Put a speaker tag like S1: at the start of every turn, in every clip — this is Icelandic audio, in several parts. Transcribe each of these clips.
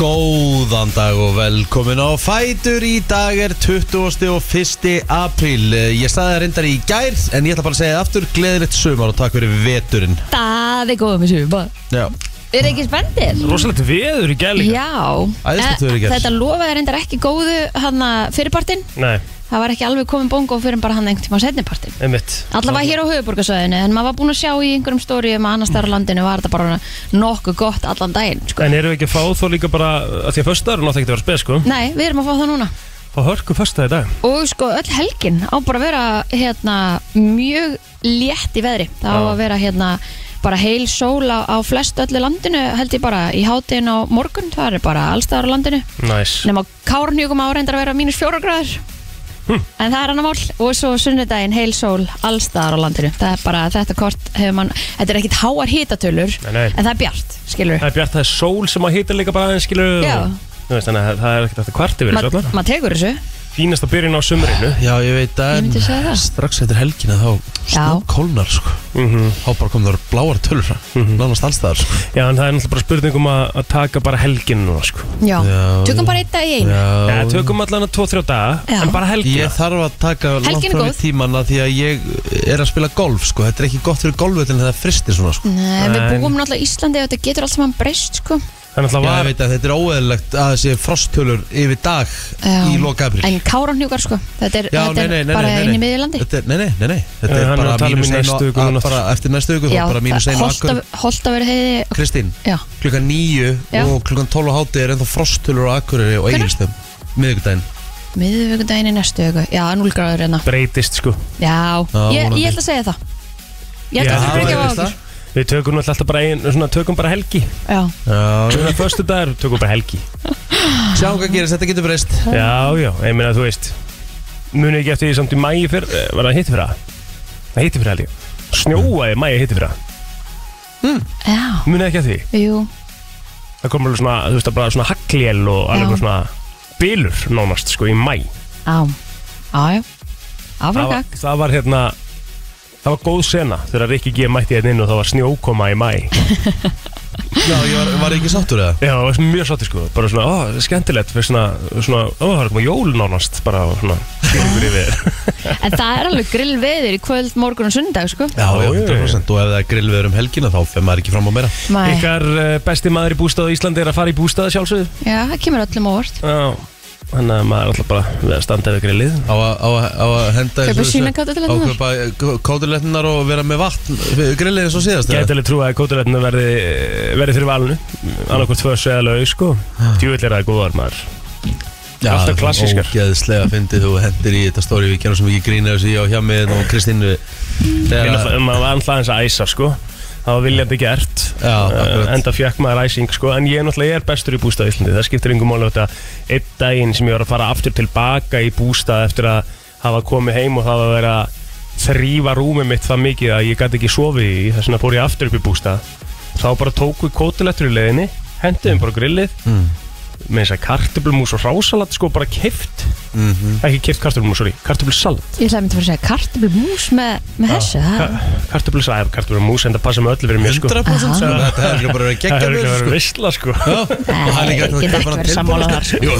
S1: Góðan dag og velkomin á Fætur Í dag er 21. apríl Eh, Ég staði það reyndar í gær En ég ætla bara að segja það aftur Gleðilegt sumar og takk fyrir veturinn
S2: Það er góðum þessu bara.
S1: Já,
S2: Er ekki spenntir?
S3: Rosalegt veður í gæli
S2: Já
S1: Æðislegt veður í gær.
S2: Þetta lofaði reyndar ekki góðu hann fyrirpartin
S3: Nei,
S2: Það var ekki alveg komin bongo fyrir bara hann einhvern tíma setnipartin
S3: einmitt
S2: Alla var hér á höfuborgarsöðinu en maður var búinn að sjá í einhverjum stórium að annars þar á landinu var þetta bara nokkuð gott allan daginn sko.
S3: En erum við ekki að fá þó líka bara að Því að föstudagur náttúrulega ekki að vera spes sko
S2: Nei, við erum að fá það núna
S3: Fá hörku föstudag í dag
S2: Og sko öll helgin á bara að vera hérna, mjög létt í veðri Það á
S3: Já.
S2: að vera hérna, bara heil sól á, á flest öllu landinu held ég bara í hátinn á morgun það er bara allstaðar á landinu
S3: Næs
S2: nema kárnjögum áreindar að vera mínus fjóra gráður
S1: Hm.
S2: en það er annar mál og svo sunnudaginn heil sól allstaðar á landinu það er bara þetta kort hefur mann þetta er ekkit háar hitatölur
S3: Nei, nei.
S2: en það er bjart skilur
S3: Það er bjart, það er sól sem að hita líka bara aðeins skilur við,
S2: Já.
S3: og- Þú veist, þannig að það er ekkert eftir kvart yfir þessu
S2: maður
S3: allar
S2: ma tekur þessu
S3: Fínast að byrja inn á sumrinu
S1: já ég veit að
S2: Ég myndi
S1: en
S2: segja það.
S1: Strax eftir helgina þá
S2: Já.
S1: Snókólnar sko
S3: Mhm.
S1: Þá bara kom það bláar tölur fram Nánast allstaðar sko
S3: Já, en það er náttúrulega bara spurningum að, að taka bara helgin núna sko
S2: já,
S1: Já,
S2: tökum
S1: já.
S2: bara eitt dag í einu
S1: Já,
S3: Já, tökum allan að 2-3 daga
S2: Já.
S3: En bara helgina
S1: Ég þarf að taka langt
S2: Helgin er
S1: fram í
S2: góð.
S1: tíman að Því að ég er að spila golf sko Þetta er ekki gott fyrir golfvöldin þegar það fristir svona sko
S2: Nei, við
S3: Nei.
S2: búum náttúrulega í Íslandi og þetta getur allt saman breyst sko.
S3: Það er náttúrulega
S1: Já, ég
S3: var
S1: veit að þetta er óeðlilegt að það sé frosttölur yfir dag
S2: Já.
S1: í loka apríl.
S2: En káranhjúkar sko. Þetta er,
S1: Já,
S2: þetta
S1: nei,
S2: er
S1: nei, nei,
S2: bara
S1: nei, nei,
S2: inn í
S1: nei.
S2: miðjulandi
S1: Þetta er, nei, nei, nei, nei. Þetta
S3: Eh, hann
S1: er
S3: er
S1: bara
S3: að tala um í
S1: mínus einu
S3: næstu viku
S1: að-
S3: núna.
S1: bara eftir næstu viku þá bara mínus einu akkur
S2: Holtaver heiði
S1: Kristín,
S2: Já,
S1: klukkan níu
S2: Já.
S1: og klukkan 12 á hátti er ennþá frosttölur á akkurri og
S2: Hvenær?
S1: eigilstum miðvikudaginn
S2: miðvíkudaginn í næstu viku Já, 0 gráður hérna
S3: breytist sko
S2: Já,
S1: Já,
S2: ég,
S1: vonandi.
S2: ég ætla að segja það
S3: Já,
S2: Ég ætla að það
S3: ég
S2: breyka á
S1: veist
S2: okkur
S1: það.
S3: Við tökum náttúrulega alltaf bara ein, svona, tökum bara helgi
S2: Já,
S1: Já,
S3: Svona föstudagur, tökum bara helgi
S1: sjáum hvað gerist, þetta getur breyst
S3: Já, já, ég meina þú veist Munið ekki eftir því samt í mæi fyrr eh, Var það hitti fyrra? Það hitti fyrra held ég Snjóaði mæi hitti fyrra
S1: Hmm.
S2: já,
S3: Munið ekki eftir því
S2: jú
S3: Það kom alveg svona, þú veist, bara svona hagljél og
S2: Já.
S3: alveg eitthvað svona bylur nánast, sko, í mæ
S2: Já, já, já
S3: það,
S2: Áfram
S3: var- það var hérna Það var góð sena þegar Rikki G mætti hérna inn og það var snjókoma í mæ
S1: Já, ég var, var ekki sáttur eða
S3: Já, það var mjög sáttir sko, bara svona, ó, skemmtilegt fyrir svona, svona, ó, það er komað jól nánast bara og svona, skilningur yfir
S2: gakk En það er alveg grill veður í kvöld, morgun og sundag sko.
S1: Já, já,
S3: Já, já, já.
S1: 100% og ef það er grillveður um helgina þá fer maður ekki fram á meira
S2: Mæ,
S3: Ykkar eh, besti maður í bústað á Íslandi er að fara í bústað sjálfsögðu
S2: Já, það kemur öllum á óvart
S3: Já, þannig að maður er alltaf bara við að standa yfir grillið
S1: Á að- á að á að henda
S2: Kaupa
S1: þessu-
S2: sína kátuletturnar.
S1: Á kaupa kátuletnar og vera með vatn eh, Grillið eins og síðast eða?
S3: Gæti alveg trúa að kótulegna verði, verði fyrir valinu annarkvort föss eða laug sko Djúvill er það góðar maður
S1: Já,
S3: Alltaf
S1: það er
S3: klassískar.
S1: Ógeðslega fyndið þú hendir í þetta stóri Við gerum svo mikið grín af þessu ég og hjá mig og Kristínu
S3: Ég
S1: Þegar
S3: náttúrulega- maður var alltaf eins Hérna, um að æsa sko Það var viljandi gert
S1: Já, akkurat.
S3: Eh, Enda fjökk maður æsing sko En ég náttúrulega er bestur í bústað í Íslandi Það skiptir yngum máli þetta Einn daginn sem ég var að fara aftur tilbaka í bústað Eftir að hafa komið heim og það var að vera að Þrýfa rúmið mitt það mikið að ég gæti ekki sofið í Þess vegna fór ég aftur upp í bústað Þá bara tók við kótilettur í leiðinni Hendiðum bara á grillið
S1: Mm.
S3: Með þess að kartöblumús og rásalat sko bara kift
S1: Mhm.
S3: Ekki kift kartöblumús, sorry, kartöblusalat
S2: Ég ætlaði myndi að fara að segja kartöflumús með, með þessu það-
S3: Kartöblusa, eða kartöblumús En það passa með öllu fyrir mér sko
S1: 100% sko, Þetta hefur bara verið
S3: Það
S1: geggja
S3: er
S1: með
S3: ekki
S1: sko
S3: verið vissla sko
S1: Já, og hann er ekki hægt að
S2: Ég get
S1: kaupa
S2: ekki
S1: hann
S2: verið sammála
S1: tilbúin,
S2: þar,
S1: sko. Jú,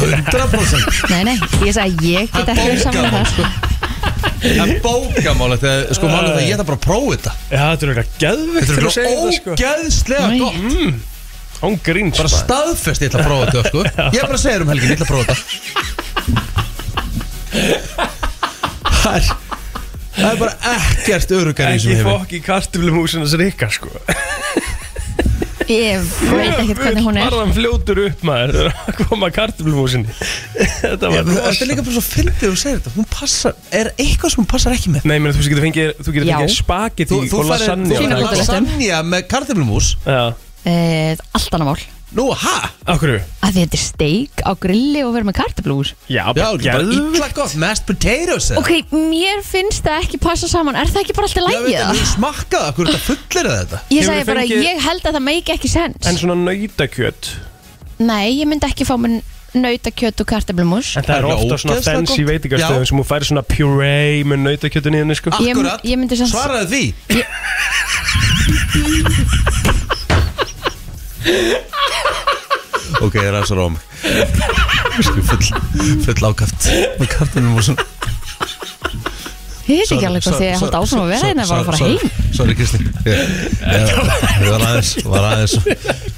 S1: 100%
S2: Nei, nei, ég sagði ég get ekki verið saman það
S1: sko Það er bókamál þetta er- Sko málið er það að ég ætla bara að prófa þetta
S3: Já, þetta er eitthvað geðvikt
S1: Þetta
S3: þegar
S1: er
S3: þú segir það sko Mm.
S1: ógeðslega
S2: Nei.
S1: gott
S3: Án gríns
S1: Bara staðfest ég ætla að prófa þetta sko Ég er bara að segja þér um helgin, ég ætla að prófa þetta Það er- Það er bara ekkert öruggar í
S3: Ekki
S1: þessum heimi
S3: fokk í kartöblumúsinas rikka sko
S2: Ég veit ekkert hvernig hún er
S3: Barðan fljótur upp maður þegar að koma kartöblumúsinni Þetta var
S1: Þetta er líka bara svo fyndið og segir þetta Hún passar, er eitthvað sem hún passar ekki með
S3: Nei, meni, þú getur fengið, þú getur
S2: Já.
S3: fengið spagetti
S1: Þú,
S3: og
S1: þú færir
S3: lasagna
S1: þú
S3: og
S2: Fína
S1: færir
S3: það.
S2: kótelettur.
S1: lasagna með kartöflumús
S3: Já,
S2: Eh, Allt annað mál
S1: Nú, ha?
S3: af hverju?
S2: að því þetta er steik á grilli og verður með kartablús
S3: Já,
S1: Já,
S3: bara
S1: bara
S3: geðvikt
S1: illa gott Mashed potatoes eða?
S2: ok, mér finnst það ekki passa saman er það ekki bara alltaf
S1: Já, veit
S2: lægið
S1: það,
S2: það?
S1: ég smakkaði það, hverju þetta fullir er þetta?
S2: ég
S3: Hefur
S2: sagði
S3: þið
S2: bara,
S3: fengið-
S2: ég held að það make ekki sens
S3: En svona nautakjöt
S2: nei, ég myndi ekki fá mér nautakjöt og kartablús
S3: En það er
S1: Það er
S3: ofta svona
S1: ógeðslega
S3: fancy
S1: gott. Já.
S3: veitingastöðum sem hún færi svona puree með nautakjötun í henni sko
S2: Ég-
S1: Akkurat,
S2: ég myndi samt-
S1: svaraði því Ok, það er aðeins að róma Full, full ákaft Ákaftinum og svona
S2: Ég veit ekki alveg hvað því að halda áfram að vera hérna bara að fara heim
S1: Sorry Kristi Ég var aðeins var aðeins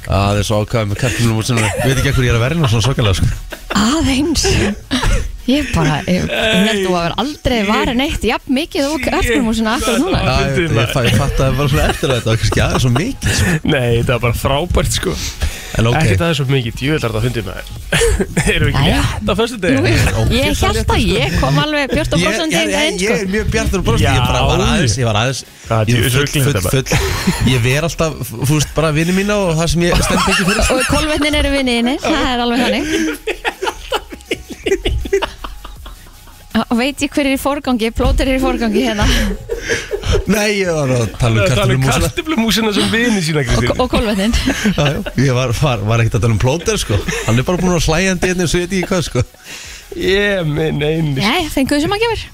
S1: aðeins ákafð með kartinum og svona Við veit ekki hvað ég er að vera hérna svona svakalega sko.
S2: Aðeins Ég bara, ég held þú að vera aldrei varin eitt jafn mikið og eftir músin akkur
S1: Já,
S2: núna
S1: ég, ég, ég, ég fatt að það var svona eftir þetta kannski aðeins svo mikið sko.
S3: Nei, þetta var bara frábært sko
S1: En ok,
S3: Ekkert aðeins svo mikið djúðlar það fundið með þér Erum við ekki
S2: Jæja.
S3: rétt á fyrstu
S2: Nú,
S3: degi?
S2: Ég held að ég kom alveg björt og
S1: Ég,
S2: brosan
S1: ég, ég, ég
S2: sko.
S1: er mjög bjartur og brosti
S3: Já.
S1: Ég bara var aðeins Ég var aðeins
S3: Hvað,
S1: ég,
S3: djöfull
S1: full,
S3: ruglið
S1: full,
S3: þetta
S1: full, ég ver alltaf Þú veist bara vini mína og það sem ég stend ekki fyrir
S2: Og kolvetnin eru vinniðinni, það er alveg hannig Og veit ég hver er í forgangi, plóter er í forgangi hérna
S1: Nei, ég var að tala um
S3: Það er
S1: kartunum og svona
S3: kartumlumúsina sem vini sína
S2: og,
S3: Kristín
S2: og kolvetnin
S1: Já, já, Ég var, var, var ekkert að tala um plóter sko Hann er bara búin að slæja hann dýrnir Svo ég veit ekki hvað sko
S3: Ég minn einu
S2: Jæja, fenguðu sem að gefur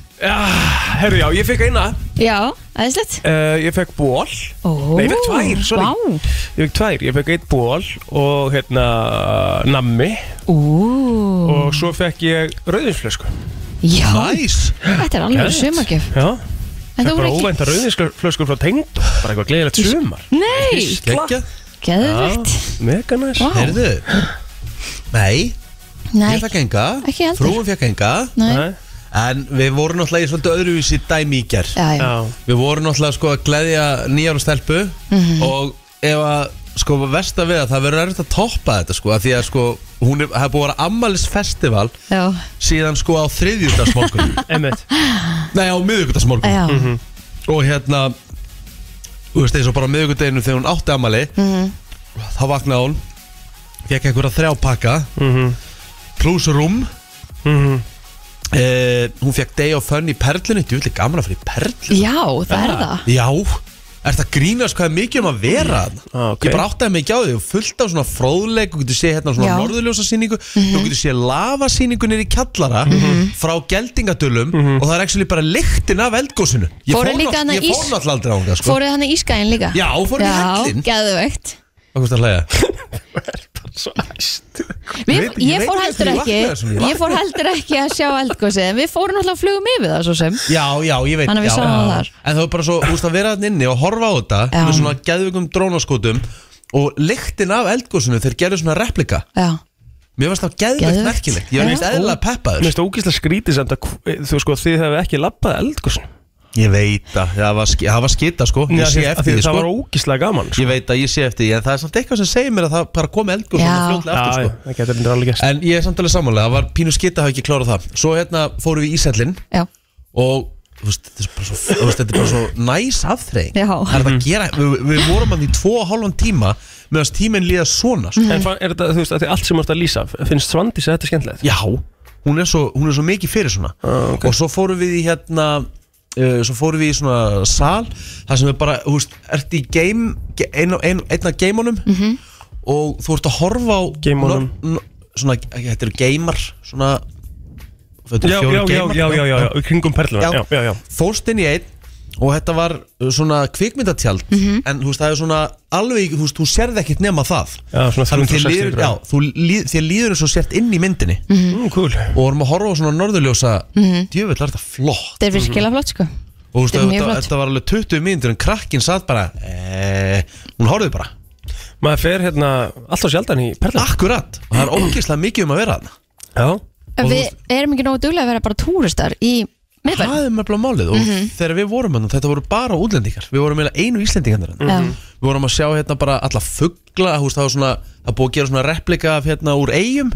S3: Herru já, ég fekk eina
S2: Já, aðeinslegt
S3: uh, Ég fekk ból
S2: Ó,
S3: Nei, ég fekk tvær, sorry.
S2: Vá,
S3: Ég fekk tvær, ég fekk eitt ból og hérna nammi
S2: ú,
S3: og svo fekk ég rauðinsflösku
S2: já,
S1: Næs
S2: þetta er alveg
S3: Geðveikt.
S2: sumagjöf
S3: Já,
S2: En
S3: það
S2: þú
S3: bara
S2: voru
S3: óvænta rauðinsflösku frá tengd bara eitthvað gleðilegt sumar
S2: ekki Nei,
S1: Kekja
S2: geðvikt
S3: Mega næs
S2: Vá.
S1: Heyrðu Nei,
S2: Nei,
S1: ég fekk enga
S2: Ekki heldur.
S1: Frúin fekk enga
S2: nei,
S3: Nei.
S1: En við vorum náttúrulega í svolítið öðruvísi dæmi í gerð
S2: já, já
S3: Já,
S1: Við vorum náttúrulega sko að gleðja nýjára stelpu
S2: Mhm.
S1: og ef að sko versta við að það verður erfitt að toppa þetta sko að því að sko hún er- það er búið að vera ammælisfestival
S2: Já,
S1: síðan sko á þriðjúdagsmorgun
S3: emmitt
S1: Nei á miðvíkudagsmorgun
S2: já,
S3: Mhm.
S1: og hérna þú veist eins og bara á miðvíkudeginu þegar hún átti ammæli
S2: Mhm.
S1: þá vaknaði hún fekk einhverja þrjá pakka
S3: Mhm.
S1: plus rúm eh, hún fekk day of fun í perlunni þú vilja gaman að fara í perlunni
S2: já það er það
S1: Já, er þetta grínast hvað er mikið um að vera þarna?
S3: Ah, ok.
S1: Ég bara áttaði mig ekki á því og fullt af svona fróðleik og getur séð hérna svona
S2: Já. Mhm.
S1: norðurljósa síningu og getur séð lavasýningu nýri kjallara frá geldingadölum
S3: Mhm.
S1: og það er ekki bara lyktin af eldgósinu Ég
S2: Fóru
S1: fór
S2: líka
S1: nátt-
S2: þarna
S1: ég
S2: í-
S1: fór náttúrulega aldrei á það sko
S2: Fóruðu hann í Ískæðin líka?
S1: Já, fórum í hellin
S2: Já, geðveikt
S1: Hvað er það að hlæja?
S3: Svo æst
S1: Ég
S2: Við,
S1: veit-
S2: ég,
S1: ég veit
S2: fór
S1: ekki
S2: heldur
S1: af hverju ég vaknaði
S2: ekki
S1: þessum, ég
S2: Ég fór heldur ekki að sjá eldgósi En við fórum náttúrulega flugum yfir það svo sem
S1: Já, já, ég veit
S2: Þannig að við
S1: já,
S2: sáum
S1: já.
S2: það þar.
S1: En það er bara svo, þú veist að vera þarna inni og horfa á þetta
S2: Já.
S1: með svona geðvikum drónaskotum og lyktin af eldgósinu þeir gerðu svona replika
S2: Já,
S1: Mér varst það geðveikt
S2: Geðveikt.
S1: merkilegt Ég var
S2: Já.
S1: neist eðla peppaður
S3: Mér finnst ógísla skrítið samt að hv- þú sko þið hefði ekki lappað eldgósn
S1: Ég veit að það var, sk- það var skita sko Ég sé eftir því
S3: Það
S1: sko
S3: var ógísla gaman sko.
S1: Ég veit að ég sé eftir því En það er samt eitthvað sem segir mér að það bara komi eldgóð
S2: Já.
S1: fljótlega
S3: Já,
S1: aftur
S3: já,
S1: sko
S3: það getur hendur alveg gæst
S1: En ég er samtalið samanlega Það var pínu skita að hafa ekki klárað það Svo hérna fórum við í Ísællin
S2: já,
S1: Og þú veist, þetta er bara svo, þú veist, þetta er bara svo næs afþreying
S2: Já.
S1: Það er
S3: Mhm.
S1: það að gera Við, við vorum hann í tvo og hálfan tíma Meðan tíminn líða svona sko.
S3: En fa- er þetta, þú veist, að því allt sem þú ert að lýsa finnst Svandís að þetta er skemmtilegt?
S1: Já, hún er svo, hún er svo mikið fyrir svona
S3: Ah, ok.
S1: Og svo fórum við í hérna uh, Svo fórum við í svona sal þar sem við bara, þú veist, ert í game ge- ein, ein, Einn af geimunum -hmm. Og þú ert að horfa á
S3: Geimunum.
S1: no- no- Svona, þetta eru geimar Svona þetta eru
S3: Já, já,
S1: fjórir
S3: já,
S1: geimar,
S3: já, já, já, já, í kringum perluna Já, já, já
S1: Fórst inn í einn Og þetta var uh, svona kvikmyndatjald
S2: Mhm.
S1: -hmm. En þú veist, það er svona alveg Þú veist, þú sérð ekkert nema það
S3: Já, svona
S1: Þannig að þér
S3: 360
S1: líður,
S3: gráður.
S1: já, þú líð, þér líður eins og sért inn í myndinni
S2: Mhm.
S3: Mm, Cool
S1: og vorum að horfa á svona norðurljósa mm -hmm. djöfull er þetta flott
S2: þetta er
S1: Mhm.
S2: virkilega flott sko
S1: og þú veist
S2: Þetta er
S1: að
S2: mjög
S1: þetta,
S2: flott.
S1: þetta var alveg 20 mínútur en krakkin satt bara eh, hún horfið bara
S3: Maður fer hérna alltaf sjaldan í perluna
S1: akkurat og það er ógeðslega mikið um að vera þarna
S3: Já
S2: En við erum ekki nógu duglega að vera bara túristar í miðbæn
S1: það er með blá málið og
S2: Mhm.
S1: þegar við vorum hann þetta voru bara útlendingar við vorum eiginlega einu íslendingarnir mm
S2: Já.
S1: við vorum að sjá hérna bara alla fuggla þú veist það var svona það er búið að gera svona replika af hérna úr eigum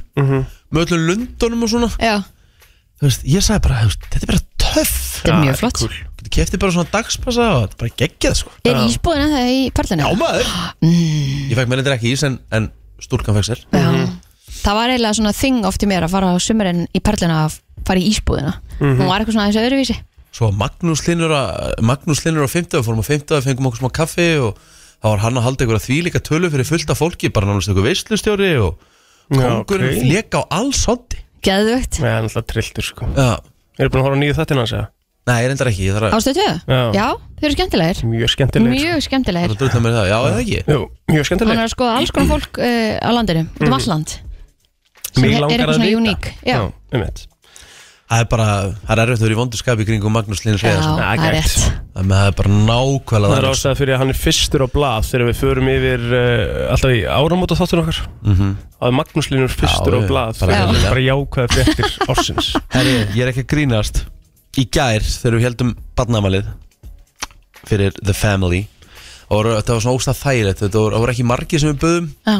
S1: með öllum lundunum og svona
S2: Já,
S1: þú veist ég sagði bara þú veist, þetta er bara töff
S2: þetta er
S3: Ah,
S2: mjög flott
S3: cool.
S1: þú kefti bara svona dagspassa og þetta er bara geggjað sko
S2: Er ísbúðin að það í parlinu?
S1: Já maður Ég fekk mér eitthvað ekki ís en, en stúlkan fekk sér
S2: Já. Það var eiginlega svona þing oft í mér að fara á sumurinn í perluna að fara í ísbúðina
S1: Mhm.
S2: Hún var eitthvað svona aðeins öðruvísi
S1: Svo var Magnús Linur að, Magnús Linur á 50 Við fórum á 50 fengum okkur smá kaffi og þá var hann að halda einhverja þvílíka tölu fyrir fullta fólki bara nánast einhver veislustjóri og kongurinn okay.
S3: flýr
S1: leka á alls hondi
S2: Geðvögt
S3: Já, náttúrulega trilltur sko
S1: Já,
S3: Eru búin að horfa á nýju þættina hans eða?
S1: Nei, ég reyndar ekki, ég þarf að
S2: Ástöð 2?
S3: Já.
S2: Já, þeir eru skemmtilegir
S3: Mjög skemmtileg sko.
S2: Mjög
S1: Það
S2: skemmtilegir
S1: er Mhm. drullið með það, já, eða ekki
S3: Jú, mjög
S2: Hann
S3: skemmtileg
S2: er að skoða alls konar fólk uh, á landinu Út
S1: Mhm.
S2: um alland Sem
S3: Mig
S2: er
S3: langar
S2: eitthvað
S3: að
S2: svona
S3: vita.
S2: uník Já,
S3: Já, einmitt.
S1: Það er bara, það er erfitt að vera í vondurskapi kringum Magnús Linus
S2: já
S1: Leðarsson
S2: það er rétt
S1: Þannig að það er bara nákvæmlega
S3: Það er
S1: þannig.
S3: ástæða fyrir að hann er fyrstur á blað þegar við förum yfir uh, alltaf í áramóta þáttur okkar að Magnús Linur fyrstur
S1: Mhm. Já,
S3: á
S1: já,
S3: blað
S1: bara
S3: þegar við
S1: eðlilega.
S3: bara jákvæða fréttir ársins
S1: Herri, ég er ekki að grínast Í gær þegar við heldum barnamalið Fyrir The Family Og þetta var svona óstað þægilegt Þetta voru, það voru ekki margir sem við böðum
S2: Já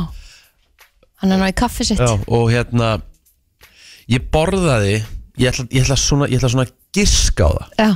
S2: Hann er náði kaffi sitt
S1: Já, Og hérna Ég borðaði Ég ætla, ég ætla, svona, ég ætla svona að giska á það
S2: Já,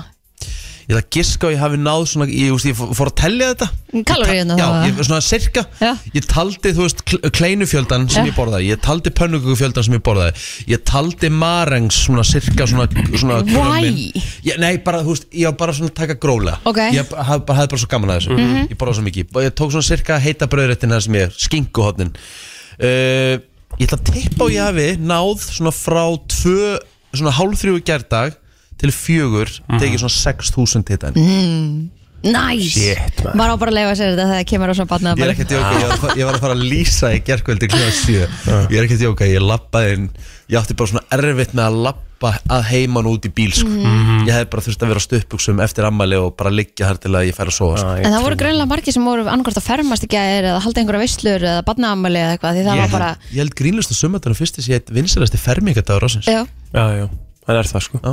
S1: Ég ætla að giska á að ég hafi náð svona Ég, ég, ég fór að tellja þetta
S2: Kaloríurnar
S1: Já,
S2: hérna þá,
S1: ég, svona cirka
S2: Já.
S1: Ég taldi, þú veist, kl- kleinufjöldan sem
S2: Já.
S1: ég borðaði Ég taldi pönnugugufjöldan sem ég borðaði Ég taldi marengs svona cirka svona, svona
S2: Why?
S1: krummin. ég, Nei, bara, þú veist, ég var bara svona að taka gróla
S2: Ok. Mhm.
S1: Ég bara- hafði bara, hafði bara svo gaman að þessu Ég borðaði svo mikið Og Ég tók svona cirka heita brauðréttina sem ég skinkuhotnin uh, Ég ætla að tippa og ég hafi náð svona frá tvö, svona hálf þrjú í gærdag til fjögur tekið svona 6.000 hitan
S2: Mm. næs
S3: Shit, maður.
S2: Var á bara að leifa sér þetta þegar það kemur á svona
S1: Ég er
S2: barnaðabæli
S1: ekki að djóka, ég var að fara, ég var að, fara að lýsa í gerkveldi kljóða 7 Ég er ekki að djóka, ég lappaði inn Ég átti bara svona erfitt með að lappa að heiman út í bíl sko. Ég hefði bara þurft að vera á stuttbuxum eftir ammæli og bara liggja þar til að ég færi að sofa sko.
S2: En það voru greinlega margir sem voru annarkvæmst að fermast í gæðir eða halda einhverja veislur eða barnaðamæli eða eitthvað því það
S1: ég,
S2: var bara,
S1: held- ég held grínlust að sömöndunum fyrst þessi ég vinsilegasti fermingadagur ásins
S2: já
S3: Já, já, það er það sko
S1: Já.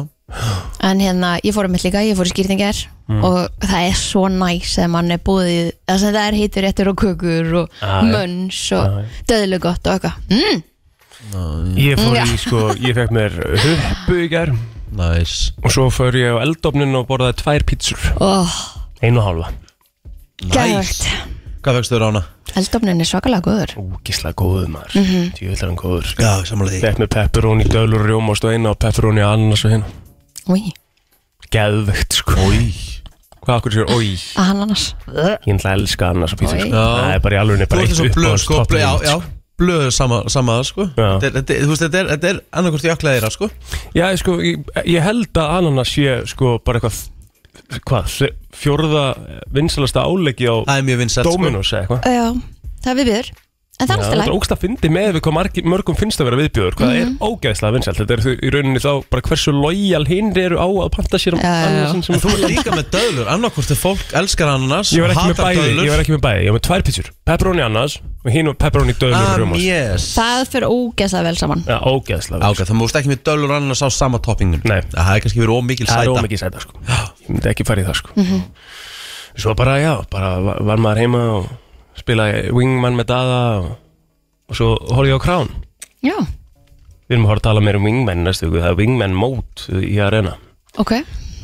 S2: En hérna, ég fór um mitt líka, ég fór í skýrtingar og það er svo næs að mann er búið, þess að það er heitur réttur og kökur og
S3: Já, já.
S2: mönns og döðlega gott og eitthvað mm,
S3: Ég fór
S2: Já.
S3: í sko, ég fekk mér huppu í gær
S1: Næs
S3: og svo fór ég á eldofnin og borðaði tvær pítsur
S2: oh,
S3: einu og hálfa
S2: Gæðvögt
S1: Hvað fegstu þér ána?
S2: Eldofnin er svakalega góður
S3: Úkislega góður maður mm -hmm. Tjóðlega hann góður sko.
S1: Já, samanlega því
S3: Fekk mér pepperoni, dölur, rjómást og eina og pepperoni og ananas og hérna
S2: Új,
S3: Geðvegt sko
S1: Í.
S3: Hvað akkur sér, oi
S2: að hann annars
S3: Ég ætla að elska annars á pítsu
S2: Oi.
S3: sko.
S1: Já.
S3: Það er bara í alveg
S1: Þú
S3: bara
S1: ert
S3: eitt
S1: svo blöð sko
S3: uppáhalds
S1: blöð, Já,
S3: toppnum,
S1: já, blöð sama, sama sko.
S3: Já.
S1: þetta, er- þetta, er- þú veist, þetta er, þetta er annarkvort jaklaðir sko.
S3: Já, ég, sko, ég, ég held að ananas sé sko bara eitthvað hvað, þe- fjórða vinsalasta álegi á
S1: Það er mjög vinsælt sko.
S3: Dominos eða eitthvað
S2: Já, það er viðbjör En það er alltaf
S3: Það er
S2: læg
S3: ógst að fyndi með við hvað margi, mörgum finnst að vera viðbjóður hvað er ógæðslega vinsælt þetta er þau- í rauninni þá bara hversu lojal hinn eru á að panta sér um
S2: Já, já, já.
S3: annarsin sem
S1: En þú er líka með döðlur, annarkvort er fólk elskar ananas
S3: Ég var ekki með
S1: hatar
S3: bæði,
S1: döðlur.
S3: ég var ekki með bæði, ég var með tvær pítsur Pepperoni annars og hinn var pepperoni döðlur og
S1: Ah,
S3: rjómás
S1: yes
S2: Það fyrir ógeðslega vel saman
S3: Já, ógæðslega
S1: Ok, það múst ekki með döðlur og ananas á sama toppingun
S3: Nei.
S1: Það hefði kannski verið ómikil
S3: Það er
S1: sæta
S3: ómikið sæta sko Ég myndi ekki fara í það sko Svo bara já, bara va- var maður heima og spilaði Wingman með Dada og, og svo horfði ég á Crown
S2: Já,
S3: Við erum að fara að tala meir um Wingman næstu viku, það er Wingman mót í arena
S2: ok,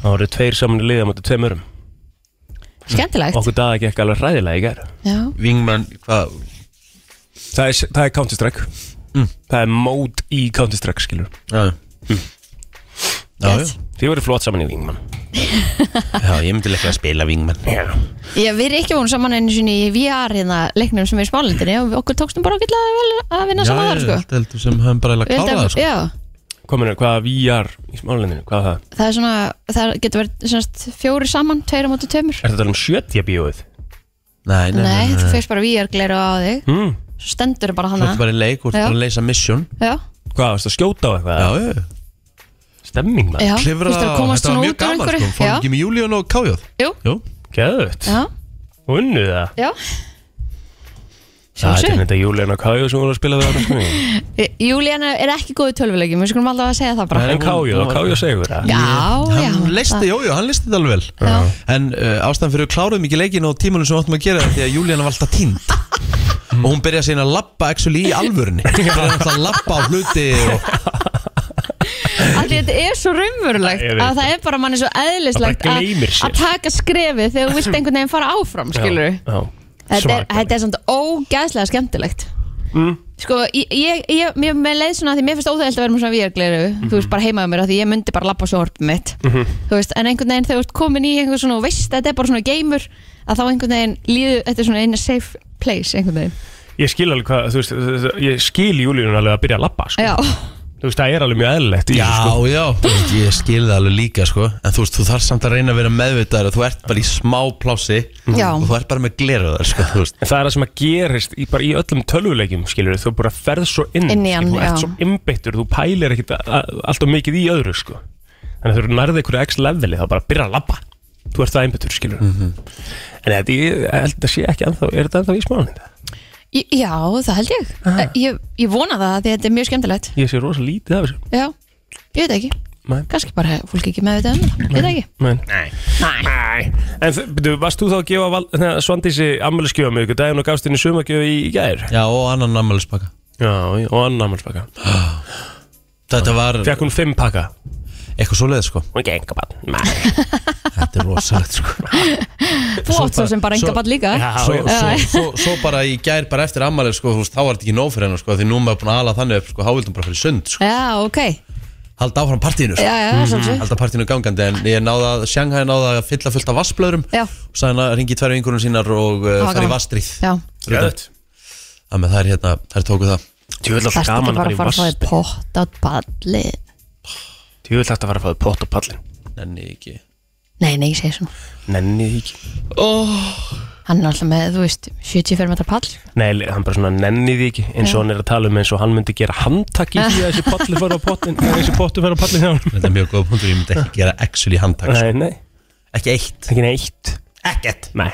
S3: Það voru tveir saman í liða mútið tveim örum
S2: skemmtilegt
S3: um. Okkur Dada gekk alveg hræðilega í gær
S2: Já,
S1: Vingmenn, hvað Mm.
S3: Það er, það er Counter Strike Það er mót í Counter Strike skilur Mm.
S1: Já, já, já.
S2: Yes.
S3: Þið voru flott saman í Wingman
S1: já, ég myndi leiklega að spila vingmenn
S3: Já
S2: Já, við erum ekki voru saman einu sinni í VR hérna leiknum sem er í smálendinni og okkur tókstum bara ágætlega vel að vinna saman þar sko
S1: ég held sem höfum bara eiginlega
S2: Við
S1: klárað
S2: heldum-
S1: það sko.
S2: Já,
S3: Kominu, hvað VR í smálendinu, hvað er það?
S2: það er svona, það getur verið semast, fjóri saman, tveir á móti tveimur
S3: Er þetta um 70 bíóið?
S1: Nei, nei,
S2: Nei,
S1: nei,
S2: þú fyrst bara VR gleru á þig
S3: Mm.
S2: Svo stendur bara
S1: þú ert
S2: hana
S1: bara í leik, þú ert
S2: Já.
S1: bara að leysa mission
S2: Já,
S3: Hvað, varstu að skjóta á eitthvað?
S1: Já, já,
S3: Stemming maður
S2: já,
S1: klifra
S2: þurftir að komast
S1: Þetta var
S2: svona
S1: mjög
S2: út úr
S1: gaman
S2: einhverju.
S1: sko, fórum ekki með Júlíun og Kájóð
S2: Já, jú,
S1: Jú,
S3: Gæðut
S2: já,
S3: Unnuð það
S2: já
S3: Það er
S2: Sjálfsög
S3: þetta Júlíun og Kájó sem voru að spila við hann sko.
S2: Júlíana er ekki góð í tölvuleikjum, við skulum alltaf að segja það bara
S1: Nei.
S3: En Kájó, og Kájó segur það
S2: Já, já
S1: hann leisti,
S2: það-
S1: jú, jú, hann leisti þetta alveg vel
S2: Já.
S1: En uh, ástæðan fyrir við kláruðum ekki leikin og tímanum sem við áttum að gera er því að Júlíana var alltaf tínd
S3: Mm.
S1: og hún byrjaði síðan að lappa actually í alvörunni byrjaði alltaf að lappa á hluti og
S2: Af því þetta er svo raunverulegt
S3: Ég veit
S2: að það er bara manni svo eðlislegt
S3: Það bara gleymir sér.
S2: að taka skrefið þegar þú vilt einhvern veginn fara áfram, skilur
S3: Já,
S2: Þetta er,
S3: svakalega.
S2: þetta er samt ógæðslega skemmtilegt
S3: Mm.
S2: Sko, ég, ég, ég, mér, mér leið svona því mér finnst óþægilt að vera með svona výrgleru Þú veist, bara heimaðu mér af því ég myndi bara labba á sjónvarpið mitt
S4: Mm-hmm.
S2: Þú veist, en einhvern veginn þegar þú ert komin í einhvern svona og veist að þetta er bara svona geimur að þá einhvern veginn líður, þetta er svona eina safe place einhvern veginn Eh.
S3: Ég skil alveg hvað, þú veist, þú veist, ég skil Júlíun alveg að byrja að labba sko.
S2: Já,
S3: þú veist, það er alveg mjög eðlilegt í
S1: Já,
S3: þessu, sko.
S1: já, þú veist, ég skil það alveg líka sko. En þú veist, þú þarf samt að reyna að vera meðvitaður að Þú ert bara í smá plási
S2: Já.
S1: Og þú ert bara með gleröðar sko, þú veist.
S3: En það er það sem að gerist í, bara í öllum tölvuleikjum, skilur þú bara ferð svo inn,
S2: Inn í hann,
S3: skilurðu, þú ert
S2: já.
S3: svo innbyttur, þú pælir ekkit a- a- alltaf mikið í öðru, sko. Þannig að þú eru nærðið einhverju x-leveli, þá bara byrja að labba. Þú ert það einbyttur, skilur
S1: Mhm.
S3: En þetta, ég held að sé ekki ennþá, er þetta ennþá í smálinni þetta?
S2: Í- Já, það held ég Eh, Ég, ég vona það af því að þetta er mjög skemmtilegt
S3: Ég sé rosa lítið af þessu.
S2: Já, ég veit ekki
S3: Nei.
S2: Kanski bara fólk ekki með þetta um það, veit ekki
S3: Men.
S2: Nei,
S3: Nei. En þ- byrju, varst þú þá að gefa val, neða, Svandísi ammælisgjöfum ykkur daginn og gafst henni sumargjöf í gær?
S1: Já, og annan ammælispakka
S3: Já, já, og annan ammælispakka.
S1: Þetta var
S3: Fekk hún fimm pakka?
S1: eitthvað svoleið sko.
S3: Hún ekki enga bann.
S1: Þetta er rosalegt sko.
S2: þú
S1: Svo
S2: átt svo
S1: bara-
S2: sem bara
S1: svo-
S2: enga ball líka
S3: Já,
S1: svo,
S3: já.
S1: svo, svo, svo bara í gær bara eftir ammælið sko, þú veist, Þá var þetta ekki nóg fyrir hennar sko, Því nú er maður búin að ala þannig upp sko, Hávildum bara fyrir sund sko.
S2: Já, ok
S1: Halda áfram partíinu sko.
S2: Já, já,
S3: Mhm.
S2: svolítið
S1: Halda partíinu gangandi En ég náði að Shanghai náði að fylla fullt af vassblöðrum
S2: Já.
S1: Og sagði hann að ringi tverju vingunum sínar Og uh,
S2: Það var
S1: fara í
S2: gaman.
S1: vasstrið
S2: Já,
S3: Gæðut.
S1: Þannig að það er hérna, það er tókuð það
S3: Tjóðvill
S2: það
S3: alltaf
S2: er ekki
S3: gaman að fara
S2: bara að
S3: í
S2: fara að fá
S3: vass
S2: þér pott át balli
S3: Tjóðvill alltaf að fara að fá þér pott og pallin
S1: Nenni ekki
S2: Nei, nei, ég segi svona
S3: Nenni því ekki
S2: Hann er alltaf með, þú veist, 75 metrar pall
S3: Nei, le- hann bara svona nenni því ekki eins og hann er að tala um eins og hann myndi gera handtak í því að þessi potli fara á pottin eða þessi pottu fara á pottin hjá hann
S1: Þetta er mjög góð punktur, ég myndi ekki gera actually handtak sko.
S3: Nei, nei,
S1: Ekki eitt
S3: ekki neitt
S1: Ekkert
S3: Nei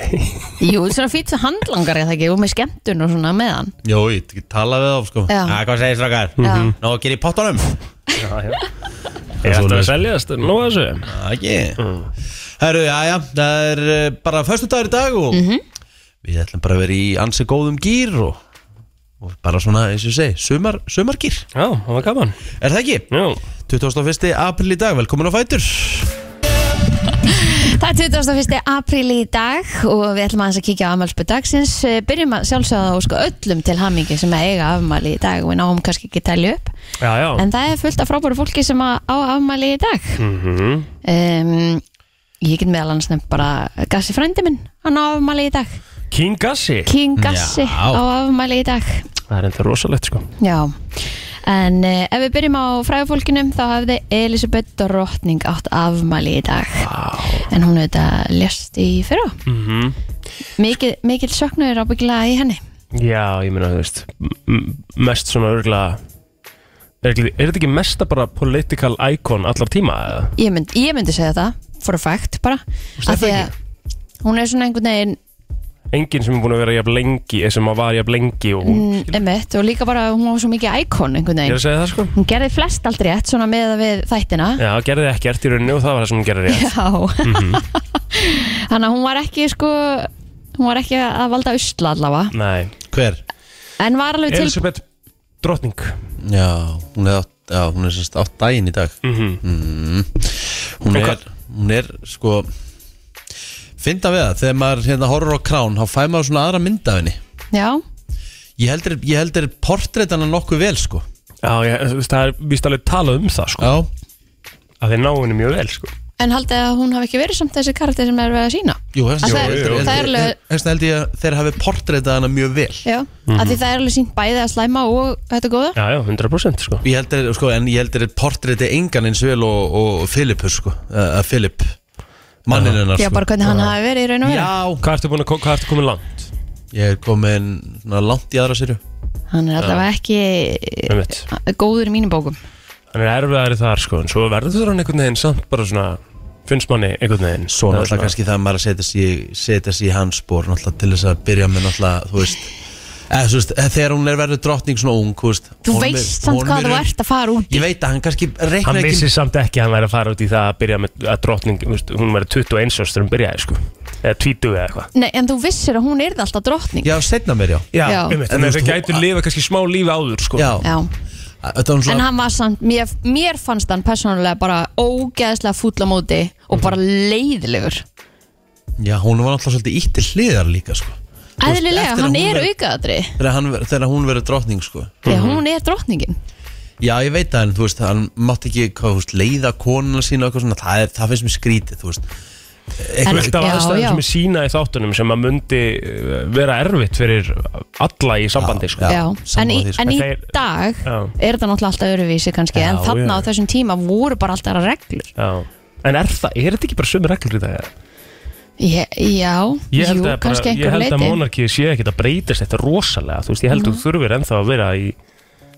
S2: Jú, svona fýtt svo handlangar ég það ekki og með skemmtun og svona með hann
S1: Jó, ég get tala við þá sko
S2: Já.
S1: Að hvað segir strákar? Mhm.
S2: Já.
S1: Nó, ger ég pottanum?
S3: Já, já Ég ætla að seljast, nú að þessu Mm.
S1: Að Ekki Herru, já, já, það er eh, bara Föstu dagur í dag og
S2: Mhm.
S1: Við ætlum bara að vera í ansi góðum gýr og, og bara svona, eins og ég segi Sumar, sumargýr,
S3: Já, það var gaman
S1: er það ekki?
S3: Já,
S1: 21. april í dag, velkomin á Fætur
S2: Það er 21. apríl í dag og við ætlum aðeins að kíkja á afmælspöð dagsins. Eh, Byrjum að sjálfsögða og sko öllum til hamingi sem að eiga afmæli í dag og við náum kannski ekki að telja upp.
S3: já, já
S2: En það er fullt af frábæru fólki sem að á afmæli í dag.
S3: Mhm.
S2: um, ég get meðal annars nefnt bara Gassi frændi minn, hann á afmæli í dag.
S3: King Gassi
S2: King Gassi
S1: Já.
S2: á afmæli í dag.
S3: Það er enda rosalegt sko
S2: Já, en uh, ef við byrjum á fræðufólkinum þá hafði Elisabeth Drottning átt afmæli í dag wow. en hún auðvitað lest í fyrra
S3: Mhm.
S2: Mikið, mikil söknu er ábyggilega í henni
S3: Já, ég meina, þú veist m- m- mest svona örgla er, er þetta ekki mesta bara political icon allar tíma eða?
S2: Ég, mynd, ég myndi segja það, for a fact bara
S3: veist
S2: af því
S3: það
S2: að hún er svona einhvern veginn
S3: Enginn sem er búin að vera jafn lengi eða sem að var jafn lengi og hún
S2: mm, emitt og líka bara hún var svo mikið íkon einhvern
S3: Ég er
S2: veginn
S3: að segja það sko
S2: Hún gerði flest aldrei rétt svona með við þættina
S3: Já, gerði ekkert í rauninu og það var það sem hún gerði rétt Mm. Mhm.
S2: Já Þannig að hún var ekki sko hún var ekki að valda usla allavega
S3: Nei,
S1: Hver?
S2: en var alveg til
S3: Elisabeth Drottning
S1: Já, hún er, átt, já, hún er sérst átt daginn í dag
S3: Mhm.
S1: Mm. Hún
S3: En
S1: er,
S3: hvað-
S1: hún er sko Fynda við það, þegar maður hérna horfur á krán þá fæ maður svona aðra mynd af henni
S2: Já,
S1: Ég heldur, ég heldur portrétana nokkuð vel sko
S3: Já, ég, þú veist, það er víst alveg talað um það sko
S1: Já,
S3: að þeir ná henni mjög vel sko
S2: en haldið að hún hafi ekki verið samt þessi karakter sem er verið að sína
S1: jú, þess
S2: Það
S1: vegna
S2: er-
S1: heldur-
S2: það er
S1: heldur-
S2: alveg-
S1: þess vegna held ég að þeir hafi portrétað hana mjög vel
S2: Já, af því það er alveg sínt bæði að slæma og þetta góða
S3: Já, já, 100% sko
S1: Ég heldur, sko, en ég heldur portréti engan eins vel og, og Filipur sko, að Filip mannin hennar
S2: Já,
S1: sko
S2: bara hvernig hann hafi verið í raun og verið
S1: Já,
S3: Hvað ertu búin að, hvað ertu komin langt?
S1: ég er komin svona, langt í aðra sérju
S2: Hann er allavega ekki eh,
S3: Einmitt.
S2: góður í mínum bókum
S3: Hann er erfiðari þar sko en svo verður hann einhvern veginn samt bara svona finnst manni einhvern veginn
S1: Svo
S3: Það er
S1: náttúrulega kannski það að maður að setja sig, setja sig í hans spór náttúrulega til þess að byrja með náttúrulega, þú veist eða, þú veist, eða þegar hún er verið drottning svona ung, þú veist
S2: Þú
S1: honum er-
S2: veist samt
S1: honum er-
S2: hvað þú ert að fara út
S1: Ég veit að hann kannski
S3: Hann
S1: reikna
S3: vissi samt ekki að hann væri að fara út í það að byrja með að drottning, þú veist, hún væri 21 árs þegar hún byrjaði sko, eða 20 eða eitthvað
S2: Nei, en þú vissir að hún er alltaf drottning
S1: Já, setna mér, já
S3: Já,
S2: Já.
S3: einmitt,
S1: En
S3: en
S1: þú
S3: það
S1: veist,
S3: gætur
S1: hún-
S3: lifa kannski smá lífi áður sko
S1: Já,
S2: Já,
S1: þetta var
S2: en
S1: svona
S2: hann var samt Mér, mér fannst hann persónulega bara ógeðslega fúll á móti og bara leiðilegur
S1: Já, hún var náttúrulega svolítið ítt til hliðar líka, sko Þú veist,
S2: Æðlilega,
S1: eftir að
S2: hann
S1: hún
S2: er
S1: verður-
S2: aukaðatri
S1: Þegar, hann, ver- þegar hún verið drottning, sko
S2: Þegar hún er drottningin
S1: Já, ég veit það, en þú veist, hann mátt ekki hvað, þú veist, leiða konuna sína og eitthvað svona, það, er, það finnst mér skrítið, þú veist Einhver-
S3: Fullt af
S2: Já, já.
S3: aðstæðum sem er sína í þáttunum sem að myndi eh, vera erfitt fyrir alla í sambandi sko.
S1: Já,
S2: Já, en í,
S1: sammála því, sko.
S2: en í
S3: Þeir-
S2: dag
S3: Já.
S2: er þetta náttúrulega alltaf öruvísi kannski
S3: Já,
S2: en
S3: já.
S2: þarna á þessum tíma voru bara alltaf aðrar reglur
S3: Já. En er, það, er þetta ekki bara sömu reglur í dag?
S2: Já, já
S3: Ég held
S2: jú,
S3: að, bara,
S2: kannski
S3: ég
S2: einhver
S3: held að
S2: leiti
S3: monarkið sé ekkert að breytast þetta rosalega þú veist, Ég held
S2: Mhm.
S3: að þú þurfir ennþá að vera í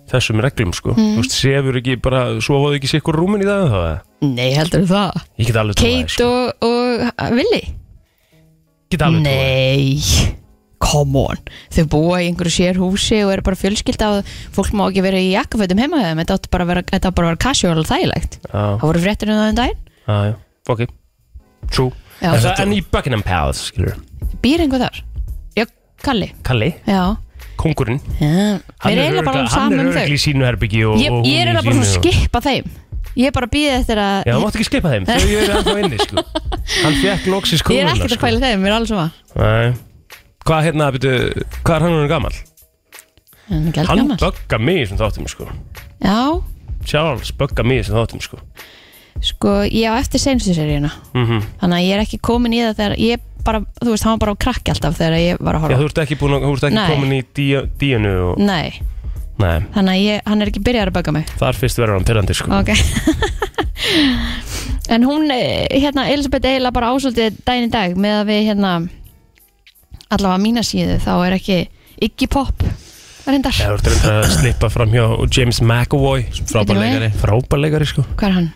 S3: þessum reglum sko. Þú veist, sefur ekki bara, sofaðu ekki sikkur rúmin í dag þá eða?
S2: Nei, heldur þú það?
S3: Ég get alveg trúað því,
S2: Kate
S3: sko.
S2: og, og Willi?
S3: Ég get alveg trúað því.
S2: Nei Come on, þau búa í einhverju sér húsi og eru bara fjölskylda og fólk má ekki vera í jakkafötum heima þeim þetta átti bara að vera, þetta á bara að vera casual og þægilegt
S3: Já,
S2: Það voru fréttir um það um daginn
S3: já, já, ok True
S2: Já.
S3: En, það, en í Buckingham Palace, skilur
S2: Býr einhver þar? Já, Kalli
S3: Kalli,
S2: Já,
S3: kongurinn
S2: já. Mér er eiginlega bara
S3: hann
S2: alveg saman
S3: er
S2: um þau
S3: örgli í sínu herbyggi og,
S2: Ég,
S3: og hún
S2: ég er
S3: í
S2: eiginlega bara að
S3: sínu.
S2: skipa þeim Ég er bara að býða eftir að
S3: Já, þú mátt ekki skipa þeim, þau eru ennþá inni sko. Hann fekk loksis
S2: Ég er
S3: kúluna
S2: ekkert að
S3: sko.
S2: pæla í þeim, mér er alls sama
S3: Nei. Hvað hérna, byrju, hvað er hann hann gammal?
S2: En ekki
S3: Hann
S2: alveg gammal
S3: bögga mig sem þáttum sko.
S2: Já,
S3: Charles bögga mig sem þáttum sko.
S2: sko, ég á eftir senstu seríuna
S3: mm
S2: Þannig að ég er ekki komin í það þegar ég bara, þú veist, hann var bara á krakki alltaf þegar ég var að
S3: Já,
S2: horfa
S3: þú ert ekki, búin, að- þú ert ekki
S2: Nei.
S3: komin í dí- díunu og...
S2: Nei,
S3: Nei,
S2: þannig að ég, hann er ekki byrjar að baka mig
S3: þar fyrst verður hann pyrrandi sko.
S2: Ok En hún, eh, hérna, Elisabeth eiginlega bara ásöldið daginn í dag með að við, hérna allavega mína síðu, þá er ekki Iggy Pop, reyndar
S3: Já, þú ert reynda að slippa fram hjá James McAvoy
S1: Frábær leikari
S3: Frábæleikari sko
S2: Hvað er hann?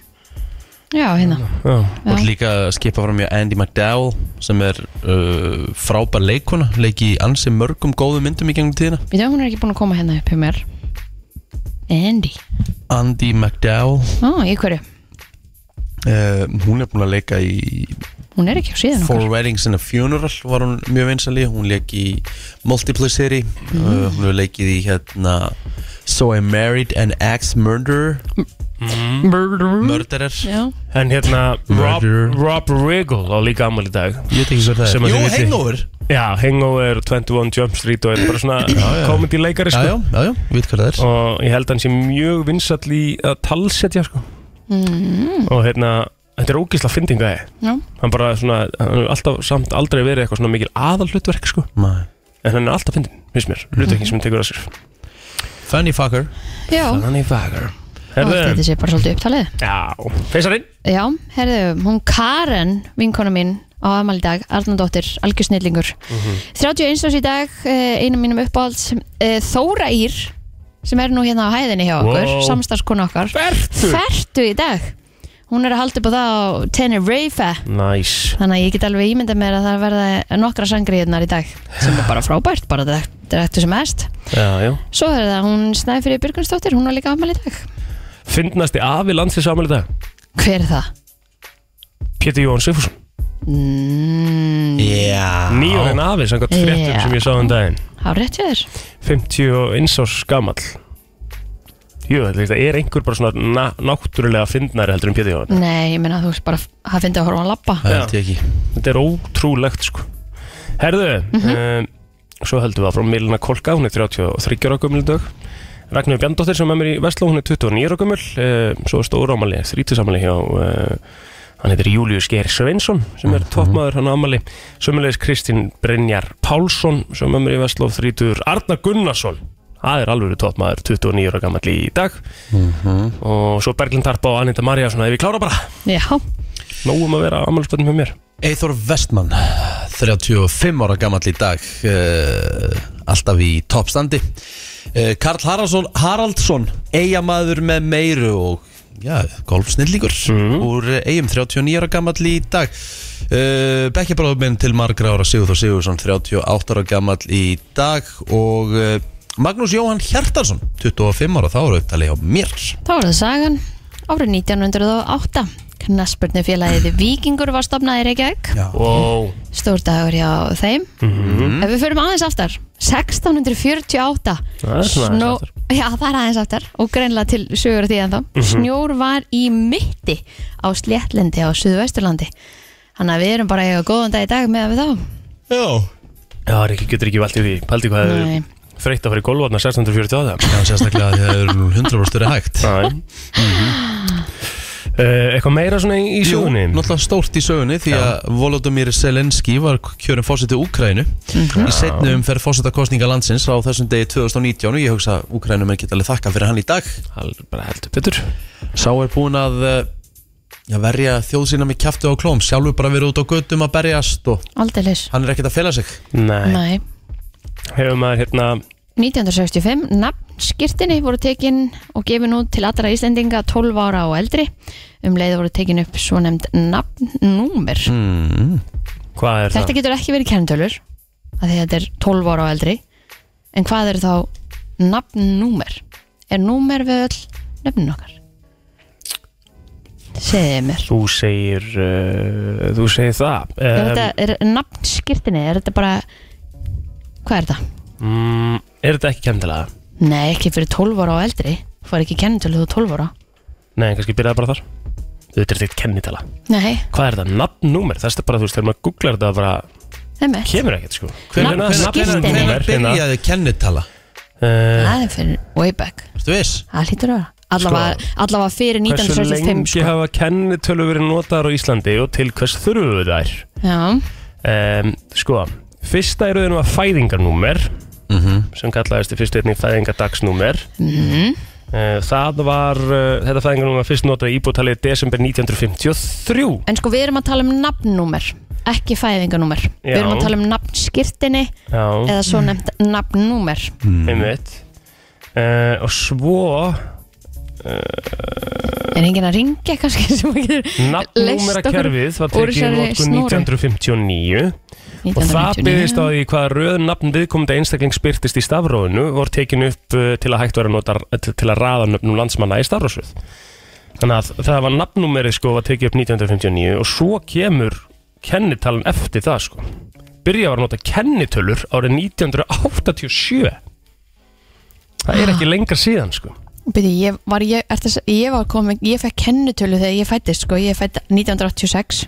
S2: Já, hérna
S3: Já,
S2: Já.
S1: Og líka að skipa fram í Andy McDowell sem er uh, frábær leikona leiki í ansi mörgum góðum myndum í gengum tíðina
S2: Við þau hún er ekki búin að koma hérna upp hjá mér Andy
S1: Andy McDowell
S2: Ó, í hverju?
S1: uh, hún er búin að leika í
S2: Hún er ekki á síðan
S1: Four
S2: okkar
S1: Weddings and a Funeral var hún mjög vinsali hún leik í Multiplicity uh,
S2: Mm.
S1: hún hefur leikið í hérna So I Married an Ex-Murderer Murderer
S2: Já,
S3: En hérna Rob,
S1: Roger.
S3: Rob Riggle á líka ammali í dag
S1: Ég veit ekki svo
S3: Sem að
S1: Jú,
S3: þið viti.
S1: Hangover
S3: Já, Hangover, 21 Jump Street og er bara svona komandi leikari
S1: Já,
S3: sko
S1: já, já, já, við veit hvað það er
S3: Og ég held að hann sé mjög vinsall í að talsetja sko
S4: Mm-hmm.
S3: Og hérna, þetta er ógisla fyndinga þið
S2: já
S3: Hann bara svona, hann hefur alltaf samt aldrei verið eitthvað svona mikil aðal hlutverk sko
S1: Nei. Mhm.
S3: En hann er alltaf fyndin, finnst mér, hlutverkin sem hann tekur að sér
S1: Funny fucker
S2: Já,
S3: Þannig fagur
S2: og þetta
S3: Herðu,
S2: sé bara svolítið upptalið
S3: já, feysarinn
S2: Já, herðu, hún Karen, vinkona mín á amal í dag, Arnandóttir, algjör snillingur
S3: Mhm.
S2: 31 árs í dag, eh, einu mínum uppáhalds eh, Þóra Ír, sem er nú hérna á hæðinni hjá okkur,
S3: Wow.
S2: wow. samstarfskona okkar
S3: Fertu
S2: Fertu í dag Hún er að halda upp á það á Tenerife
S3: Næs
S2: Þannig að ég get alveg ímyndað mér að það verða nokkra sangriðnar í dag sem er bara frábært, bara direktu sem hest
S3: Já, já
S2: Svo er það hún Snæfrið Björgunsdóttir, hún var líka afmæli í dag
S3: Fyndnasti afi landsins ámæli í dag
S2: Hver er það?
S3: Pétur Jóhann Sifursson
S2: Mm,
S1: Já
S3: Nýjórin afi, samkvæmt fréttum
S2: Já.
S3: sem ég sá um daginn
S2: á rétt hjá þér
S3: 51 árs gamall Jú, þetta er- er einhver bara svona na náttúrulega fyndnari heldur um Pétur Jóhann
S2: Nei, ég meina þú veist bara að finna að horfa á hann lappa
S1: Það held ég ekki
S3: Þetta er ótrúlegt sko Herðu um, Svo heldum við að frá Milina Kolka, hún er 33 ára gömul í dag Ragnar Bjandóttir sem er með mér í Vestló, hún er 29 ára gömul um, Svo er stóra ámali, þrítisamali hjá uh, Hann heitir Július Geir Sveinsson sem er
S1: Mhm.
S3: toppmaður hann á ámali Sömmulegis Kristín Brynjar Pálsson sem er með mér í Vestló, þrítur Arna Gunnarsson Það er alveg toppmaður, 29 ára gammal í dag Og svo Berglind Tarpa og Anita Maria Svona, ef við klára bara,
S2: Já,
S3: nógum að vera ámælisböndum hjá mér
S1: Eithor Vestmann 35 ára gamall í dag uh, alltaf í toppstandi uh, Karl Haraldsson, Haraldsson eigamaður með meiru og já, golfsnillíkur
S3: Mhm.
S1: úr eigum 39 ára gamall í dag uh, Bekkjabráðuminn til margra ára Sigurþór Sigurðsson 38 ára gamall í dag og uh, Magnús Jóhann Hjartarsson 25 ára, þá eru upptalið hjá mér
S2: þá var það sagan Árið 1908 Knaspurnu félagið Víkingur var stopnað í Reykjavík
S1: Já,
S3: Wow
S2: Stór dagur hjá þeim
S3: Mhm.
S2: Ef við förum aðeins aftar 1648
S3: Það er svona aðeins
S2: Snjó-
S3: aftar. Mhm.
S2: Já, það er aðeins aftar og greinlega til sögur af því ennþá Snjór var í mitti á Sléttlendi á Suðvesturlandi Þannig að við erum bara að eiga góðan dag í dag með að við þá
S1: já
S3: Já, Rikki getur ekki valdið því Paldi hvað það
S2: Nei.
S3: er þreytt að fara í golfvarna 1648
S1: Já, sérstaklega að það eru 100% hægt
S3: Næ Uh, eitthvað meira svona í, í
S1: Jú,
S3: sögunni
S1: náttúrulega stórt í sögunni því að Volodymyr Zelensky var kjörum fósiti Úkrænu í setni umferð fósita kostninga landsins á þessum degi 2019 og ég hugsa að Úkrænum er geta alveg þakka fyrir hann í dag
S3: Það er bara heldur betur
S1: Sá er búin að eh, já, verja þjóð sína með kjaftu á klóm sjálfur bara verið út á göttum að berjast og
S2: Aldrei leys
S1: hann er ekkert að fela sig
S3: Nei,
S2: Nei
S3: hefur maður hérna
S2: 1965, nafnskirtinni voru tekin og gefin út til allra Íslendinga 12 ára og eldri um leið voru tekin upp svo nefnd nafnnúmer
S1: Mm.
S3: Hvað er
S2: Þetta
S3: það?
S2: getur ekki verið kernitölur af því að þetta er 12 ára og eldri en hvað er þá nafnnúmer? Er númer við öll nöfnin okkar? Segðið mér
S3: Þú segir uh, Þú segir það
S2: Er
S3: um,
S2: þetta er nafnskirtinni? Er þetta bara hvað er þetta?
S3: mm, Er þetta ekki kemdilega?
S2: Nei, ekki fyrir 12 ára og eldri Fær ekki kennitölu þú 12 ára
S3: Nei, kannski byrjaði bara þar Þetta er ekkert kennitala
S2: Nei,
S3: Hvað er þetta? Nafnnúmer? Það er bara, þú veist, þegar maður googlar þetta bara
S2: emmi
S3: Kemur ekkert, sko
S2: Nafn- skírteini.
S1: hvenær byrjaði kennitala?
S3: uh,
S2: Það er fyrir way back
S1: Ertu viss?
S2: Það hlýtur að vera. allavega, allavega fyrir
S3: Sko, Hversu
S2: 1965
S3: lengi
S2: sko.
S3: hafa kennitölu verið notaðar á Íslandi og til hvers þurfum við þær?
S2: Já,
S3: um, sko, fyrsta í rauðinu var fæðingarnúmer sem kallaðist í fyrstu einnig fæðingadagsnúmer
S2: Mhm.
S3: uh, það var uh, þetta fæðingarnúmer var fyrst notað í íbútalið desember 1953
S2: en sko við erum að tala um nafnnúmer ekki fæðinganúmer Við erum
S3: Já.
S2: að tala um nafnskirtinni
S3: já,
S2: eða svo nefnt nafnnúmer
S3: einmitt uh, og svo Eh.
S2: Er enginn að ringja kannski sem að getur
S3: nafnnúmera kerfið var
S2: úr
S3: tekið í
S2: þessari
S3: notkun
S2: snúru.
S3: 1959 og það byggðist á því hvað röð nafn viðkomandi einstakling spyrtist í stafróðinu voru tekin upp uh, til að hægt vera að nota til til að raða nöfnum landsmanna í stafróðsvið þannig að það var nafnnúmerið sko var tekið upp 1959 og svo kemur kennitalin eftir það sko byrja var að nota kennitölur árið 1987 það er ekki lengra síðan sko
S2: Byrði, ég var, ég, ertu að se- ég var komin, ég fekk kennitölu þegar ég fættist sko, ég fætt 1986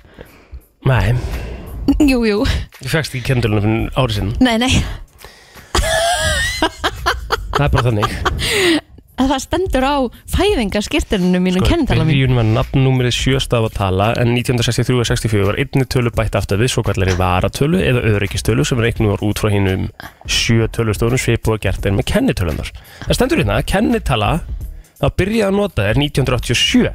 S3: nei,
S2: Jú, jú,
S3: ég fegst ekki kennitölunum fyrir árið sinna
S2: nei, nei,
S3: það er bara þannig
S2: að það stendur á fæðingaskirtinu
S3: Sko,
S2: mínum kennitala mín
S3: Byrjun var nafnnúmerið sjöstaf að tala en 1963 og 64 var einni tölu bætt aftur við svo kallari varatölu eða öryggistölu sem reiknum var út frá hinnum sjö tölustórum svipu og gert er með kennitölunar. Það stendur hérna að kennitala það byrjaði að nota er 1987.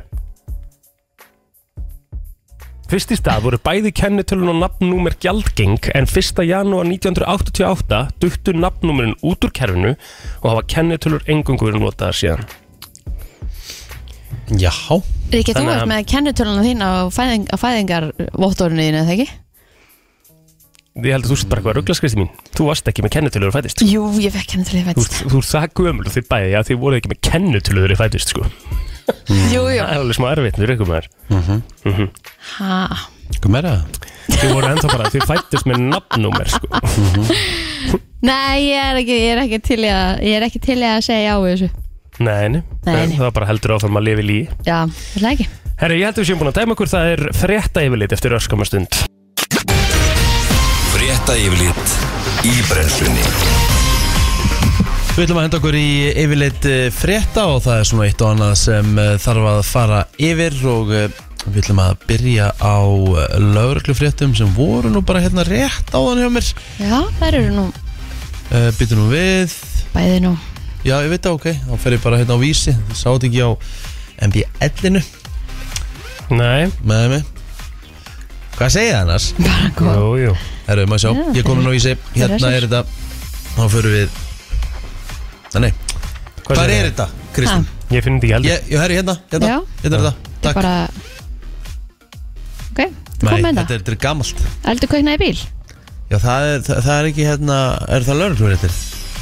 S3: Fyrst í stað voru bæði kennitölun og nafnnúmer gjaldgeng en 1. janúar 1988 duttu nafnnúmerin út úr kerfinu og hafa kennitölur engungu verið notaðar síðan.
S1: Jáhá
S2: Ríkja, þú
S3: Þannig að-
S2: ert með kennitöluna þín á, fæðing, á fæðingarvottorinu þínu, eða ekki?
S3: Ég held að þú sett bara eitthvað að ruggla skristi mín Þú varst ekki með kennitölu þegar þú fættist
S2: Jú, ég fekk kennitölu í
S3: Þú
S2: fættist.
S3: ert- Þú ert það gömul og þið bæði að þið voruð ekki með kennitölu þegar þið fættist sko.
S2: Jú, jú.
S3: Það er alveg smá erfitt fyrir ykkur maður Mhm.
S2: Ha,
S1: Mhm. Hvað meira?
S3: Þið voru ennþá bara, þið fættist með nafnnúmer sko.
S1: Mhm.
S2: nei, ég er ekki, ég er ekki til í að, ég er ekki til í að segja já við þessu.
S3: Nei, nei,
S2: Nei, nei.
S3: það var bara heldur áfram að lifa í líi
S2: Já, er það ekki?
S3: Herra, ég heldur við séum búin að dæma okkur Það er frétta yfirlit eftir öskama stund
S5: Frétta yfirlit í brennslunni
S1: Við ætlum að henda okkur í yfirleitt eh, frétta og það er svona eitt og annað sem eh, þarf að fara yfir og eh, við ætlum að byrja á lauruglufréttum sem voru nú bara hérna rétt áðan hjá mér
S2: Já, þær eru nú
S1: uh, Byttu nú við
S2: bæði nú.
S1: Já, ég veit það, ok, þá fer ég bara hérna á vísi Það sátt ekki á MBL-inu
S3: Nei,
S1: með mig Hvað segja það annars?
S2: Bara góð.
S3: jú, jú
S1: Herru, maður sjá,
S2: Já,
S1: ég kom nú á vísi Hérna
S2: fyrir
S1: er þetta Þá förum við Nei, hvað
S3: segirðu?
S1: er þetta, Kristján?
S3: Ég finn þetta ekki heldur
S1: Ég, ég herru, hérna, hérna,
S2: Já.
S1: hérna er þetta
S2: Þetta er bara, ok, þú kom
S1: Nei, þetta
S2: með það.
S1: er, þetta er gammalt
S2: Eldur kveiknaði bíl,
S1: Já, það er, það, það er ekki hérna Er það lögreglufréttir?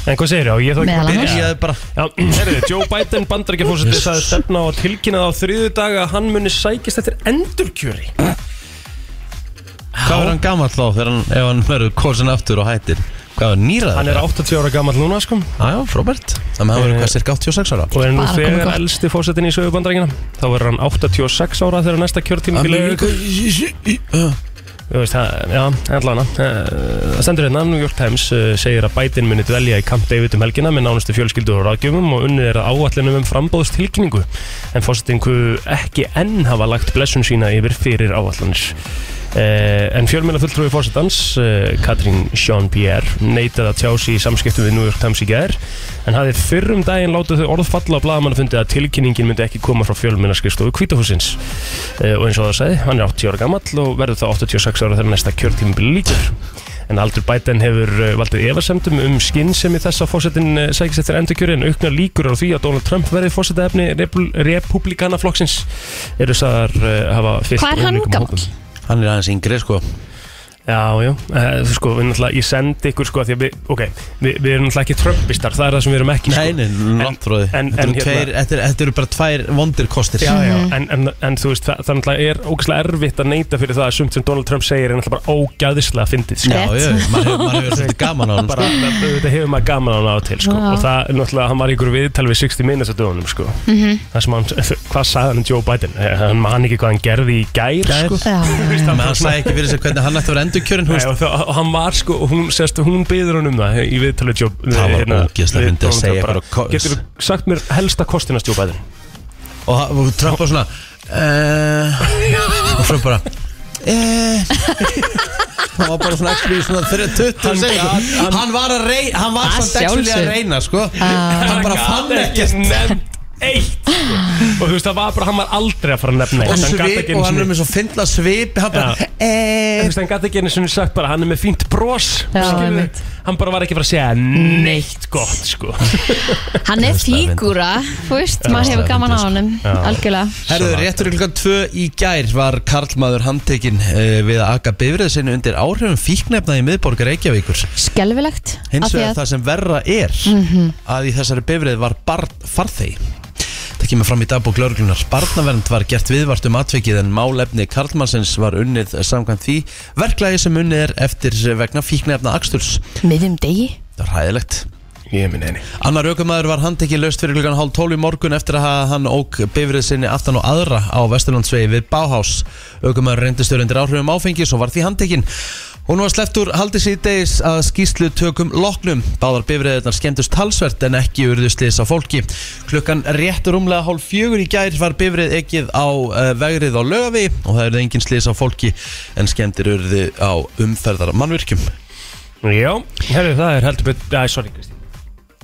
S3: En hvað segir ég? Ég þarf ekki
S2: meðal
S3: að
S2: annars.
S1: Byrjaði bara
S3: Já, herriði, Joe Biden bandarækjafósiti sagði stefna á að tilkynna það á þriðu dag að hann muni sækist eftir endurkjöri
S1: Hvað er hann gammal þá þegar hann Ef hann verður korsin aftur og hættir Hvað er nýrað?
S3: Hann er 80 ára gammal núna sko og
S1: Já, já, frábært Þannig að hann verður hvað cirka 86 ára
S3: er nú
S2: Bara komið
S3: þegar
S2: gott.
S3: elsti fósettin í sögu bandarækina þá verður hann 86 ára þegar næsta kjörtími
S1: Hann
S3: bíl
S1: verður
S3: er
S1: líka-
S3: Þú veist, það, já, allan Það stendur hérna, New York Times uh, segir að Biden muni dvelja í Camp David um helgina með nánustu fjölskyldu og ráðgjöfum og unnið er að áallinum um frambóðstilkningu en fórsetingu ekki enn hafa lagt blessun sína yfir fyrir áallanir Uh, en fjölmjöla fulltrúi fórsetans uh, Katrín Jean-Pierre neitaði að tjá sig í samskiptum við New York Times í gær en hafði fyrrum um daginn látið þau orð falla á blaðamannafundi að tilkynningin myndi ekki koma frá fjölmjöla skrifstofu Kvítahúsins Eh, og eins og það sagði, hann er 80 ára gammal og verður þá 86 ára þegar næsta kjörtímabili líkur en Aldur Biden hefur eh, valdið efasemdum um skinn sem í þess að fósettin sækist eftir endurkjöri en aukna líkur á því að Donald Trump verði fósettaefni republikanaflokksins eru sagðar eh, hafa fyrst
S2: Hvað er hann gamall?
S1: Hann er aðeins yngri sko
S3: Já, já, eh, þú sko, við náttúrulega, ég sendi ykkur sko, af því að við, ok, við, við erum náttúrulega ekki trömpistar, það er það sem við erum ekki sko.
S1: Nei, nei, langt frá því
S3: en-
S1: Þetta
S3: en
S1: eru tveir-
S3: hérna-
S1: Þetta eru- þetta eru bara tvær vondir kostir
S3: Já, já, en, en, en þú veist, það, það náttúrulega er ógæslega erfitt að neyta fyrir það að sumt sem Donald Trump segir er náttúrulega bara ógæðislega fyndið, sko.
S1: já, já maður hefur- maður hefur svolítið gaman sko. á hann
S3: bara, þetta hefur maður gaman á hann á til sko.
S2: Já.
S3: og það, er náttúrulega, hann var í ykkur viðtal við 60 minutes að dögunum, sko
S2: Mhm.
S3: það sem hann, hvað sagði hann um Joe Biden Eh, hann man ekki hvað hann gerði í gær,
S1: Gær.
S3: sko
S2: Já.
S3: Þú veist, bara
S1: Menn hann
S3: svona-
S1: sagði ekki fyrir sig hvernig hann ætti að vera endurkjörin
S3: Nei, og, það, og hann var sko, og hún, sérst, hún byður hann um það í viðtalið Joe
S1: Það var
S3: hérna,
S1: ógeðslega
S3: við
S1: fyndið að
S3: Donald
S1: segja
S3: Trump, bara,
S1: eitthvað á ko-
S3: Getur þú sagt mér helsta kostinast Joe Biden?
S1: og, ha- og Trump var svona uh, og svo bara eh, hann var bara svona ekki svona þegar tuttum
S3: Hann-
S1: segja hann, hann var að reyna hann var
S2: "Ah, Að
S1: samt ekki að
S2: sjálfsögðu. Ah.
S1: reyna sko hann bara fann ekkert
S3: nefnt eitt sko. og þú veist það var bara, hann var aldrei að fara að nefna
S1: og
S3: eitt gat
S1: svip
S3: ekki einu
S1: og hann
S3: sinni-
S1: er með svo fyndla svip hann bara
S3: Þú
S1: eh,
S3: veist, hann gæti ekki einu sinni sagt bara hann er með fínt bros
S2: Já,
S3: skilurðu.
S2: einmitt.
S3: hann bara var ekki að fara að segja neitt gott sko
S2: Hann er
S1: staðreynd.
S2: fígúra, þú veist, maður hefur
S1: staðreynd,
S2: gaman á
S1: sko.
S2: honum, algjörlega
S1: Herðu, réttur í klukkan 2 í gær var karlmaður handtekinn uh, við að aga bifrið sinni undir áhrifum fíknefna í miðborgar Reykjavíkur
S2: Skelvilegt
S1: Hins
S2: af því
S1: vegar
S2: að- Mhm.
S1: það sem verra er að í þessari bifrið var barn farþegi Það kemur fram í dagbók lauruglunar. Barnavernd var gert viðvart um atvikið en málefni Karlmannsins var unnið samkvæmt því verklagi sem unnið er eftir vegna fíknefna aksturs.
S2: miðjum degi
S1: Það var hæðilegt.
S3: ég minn eini
S1: Annar aukumæður var handtekið laust fyrir klukkan hálf tólf í morgun eftir að hann ók bifrið sinni aftan og aðra á Vesturlandsvegi við Báhás. Aukumæður reyndistur undir áhrifum áfengis og var því handtekinn. Hún var sleppt úr haldi síðdeis að skýslu tökum loknum. Báðar bifriðirnar skemmtust talsvert en ekki urðu slis á fólki. Klukkan rétt rúmlega hálf fjögur í gær var bifrið ekkið á uh, vegrið á lögavi og það urðu engin slis á fólki en skemmtir urðu á umferðar mannvirkjum.
S3: já, herru það er heldur betur Æ, sorry Kristín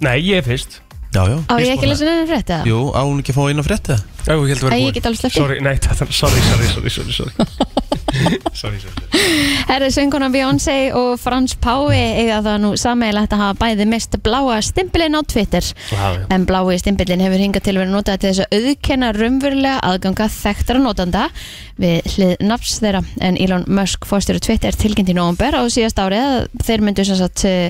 S3: Nei, ég er fyrst
S1: Já, já.
S2: Á ég ekki að lesa neina frétt eða?
S1: Jú, á hún ekki að fá inn á frétta?
S3: Æ, ég,
S2: Æ, ég get alveg sleppt því.
S3: Sorry, nei, það, sorry, sorry, sorry, sorry, sorry. sorry, sorry.
S2: Herri, sönguna Beyoncé og Frans Pái eiga það nú sameiginlegt að hafa bæði mest bláa stimpilinn á Twitter
S3: Já, já.
S2: en blái stimpilinn hefur hingað til verið notað til þess að auðkenna raunverulega aðganga þekktra notanda við hlið nafns þeirra en Elon Musk fórstjóri Twitter tilkynnt í november á síðast árið að þeir myndu sem sagt eh,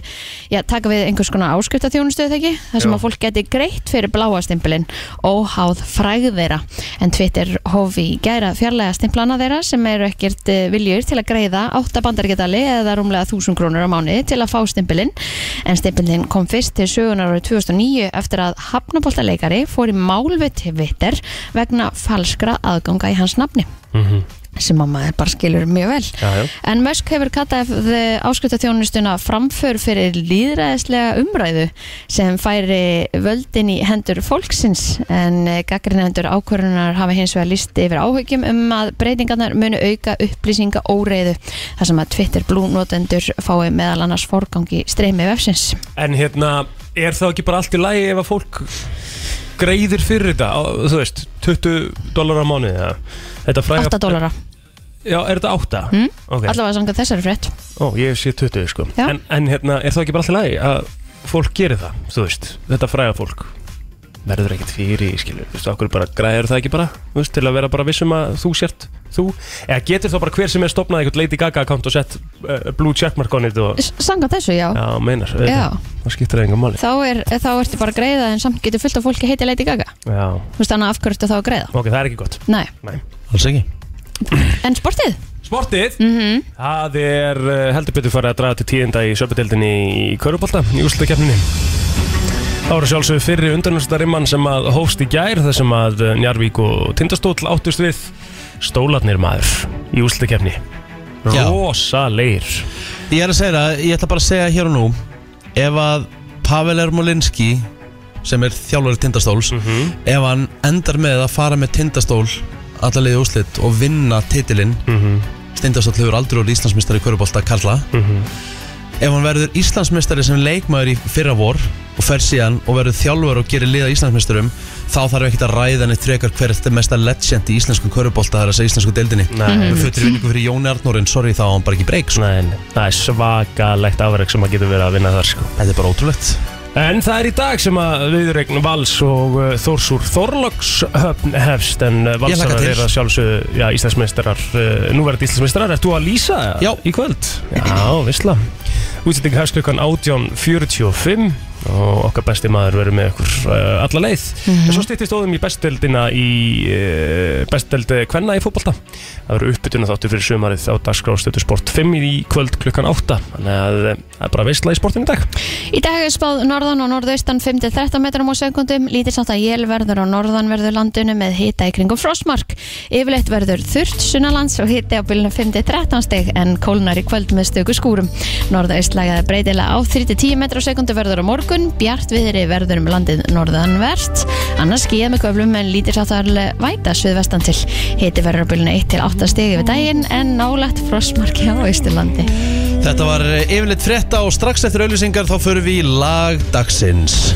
S2: já, taka við einhvers konar áskriftaþjónustu eða ekki, þar sem
S3: Jú.
S2: að fólk geti greitt fyrir bláa stimpilinn óháð fræð þeirra en Twitter hófi í gæra fjarlæga stimplana þeirra sem eru ekkert eh, viljur til að greiða 8 bandaríkjadali eða rúmlega 1000 krónur á mánuði til að fá stimpilinn en stimpilinn kom fyrst til sögunar árið 2009 eftir að hafnaboltaleikari fór í mál við Twitter vegna falskra aðganga í hans nafni sem að maður bara skilur mjög vel
S3: Mhm. Já, já.
S2: en Musk hefur kallað áskriftaþjónustuna framför fyrir líðræðislega umræðu sem færi völdin í hendur fólksins en gaggrinendur ákvörunar hafa hins vegar list yfir áhugjum um að breytingarnar munu auka upplýsinga óreiðu þar sem að Twitter Blue notendur fái meðal annars forgangi streymi vefsins
S3: En hérna, er það ekki bara allt í lagi ef að fólk greiðir fyrir þetta, á, þú veist, 20 dólar á mánuði, eða? Þetta fræga...
S2: 8 dólara,
S3: Já, er þetta 8?
S2: Mm,
S3: Ok.
S2: allavega samkvæmt þessari frétt
S3: Ó, ég sé 20, sko.
S2: Já.
S3: En, en hérna, er það ekki bara allt í lagi að fólk gerir það, þú veist, þetta fræga fólk? Verður ekkert fyrir, skilur, þú veist, okkur bara græður það ekki bara, þú veist, til að vera bara vissum að þú sért þú? Eða getur þá bara hver sem er stopnað eitthvað Lady Gaga account og sett uh, blue checkmark á nýtt og...
S2: samkvæmt þessu, já,
S3: Já, meinar,
S2: Já.
S3: auðvitað. það skiptir það enga máli
S2: Þá, er, þá ertu bara að greiða en samt getur fullt af fólki heiti Lady Gaga
S3: Já,
S2: Þú veist þannig af hverju ertu þá að greiða
S3: ok, það er ekki gott
S2: Nei,
S3: Nei.
S1: Alls ekki.
S2: en sportið? Mhm.
S3: Sportið, það er uh, heldur betur farið að draga til tíðinda í söpudeldinni í Körubolta í úrslutakefninni Það voru sjálfsögur fyrri undanúrslutarimman sem að hófst í gær þar sem að eh, Njarvík og Tindastóll áttust við stólarnir maður í úrslutakefni
S1: Já.
S3: Rosalegir
S1: Ég er að segja það, ég ætla bara að segja hér og nú Ef að Pavel Ermolinski sem er þjálfari tindastóls
S3: Mhm.
S1: ef hann endar með að fara með tindastól alla leiði úslit og vinna titilinn mm
S3: Mhm.
S1: Tindastóll hefur aldrei orðið Íslandsmeistari í Körubolta Karla
S3: Mhm.
S1: Ef hann verður Íslandsmeistari sem leikmaður í fyrra vor og fer síðan og verður þjálfur og gerir liða Íslandsmeisturum þá þarf ekkert að ræða neitt frekar hver er þetta mesta legend í íslenskum körubolta það er að segja íslensku deildinni
S3: Nei.
S1: Með fullri vinningu fyrir Jóni Arnór en sorry þá á hann bara ekki breyk sko.
S3: Nei, nei, það er svakalegt afreg sem að getur verið að vinna þar sko.
S1: Þetta er bara ótrúlegt
S3: En það er í dag sem að viðregn Vals og uh, Þórsúr Þorlokshöfn hefst en uh, Valsarar
S1: hlakka til.
S3: eru að sjálfsögðu já, Íslandsmeistarar, uh, núverðið Íslandsmeistarar Ert þú að lýsa
S1: Já.
S3: í kvöld? Já, vissla Útsending hefst klukkan 18.45 og okkar besti maður verður með okkur uh, alla leið.
S2: Mhm.
S3: En svo stýttist óðum í bestdeldina í uh, bestdeld kvenna í fótbolta. Það eru uppbytuna þáttu fyrir sumarið á dagskráðstötu sport 5 í kvöld klukkan 8. Þannig að eh, það er bara veistla í sportinu í dag.
S2: Í dag er spáð norðan og norðaustan 5-13 metrum á sekundum, lítið samt að jél verður á norðanverður landinu með hita í kringum frostmark. Yfirleitt verður þurrt sunnalands og hiti á bylunum 5-13 steg en kólnar í kvöld með stöku skúrum. Norðaustlægaði breytilega á 3-10 metrum á sekundu verður á morgun, bjart viðri verður um landið norðanvert, annars skíða með köflum en lítið samt að væta suðvestan til. Hiti verður á bylunum 1-8 steg yfir daginn en nálagt frostmarki á Ístilandi.
S1: Þetta var eh, yfirleitt frétta og strax eftir auðlýsingar þá förum við í lag dagsins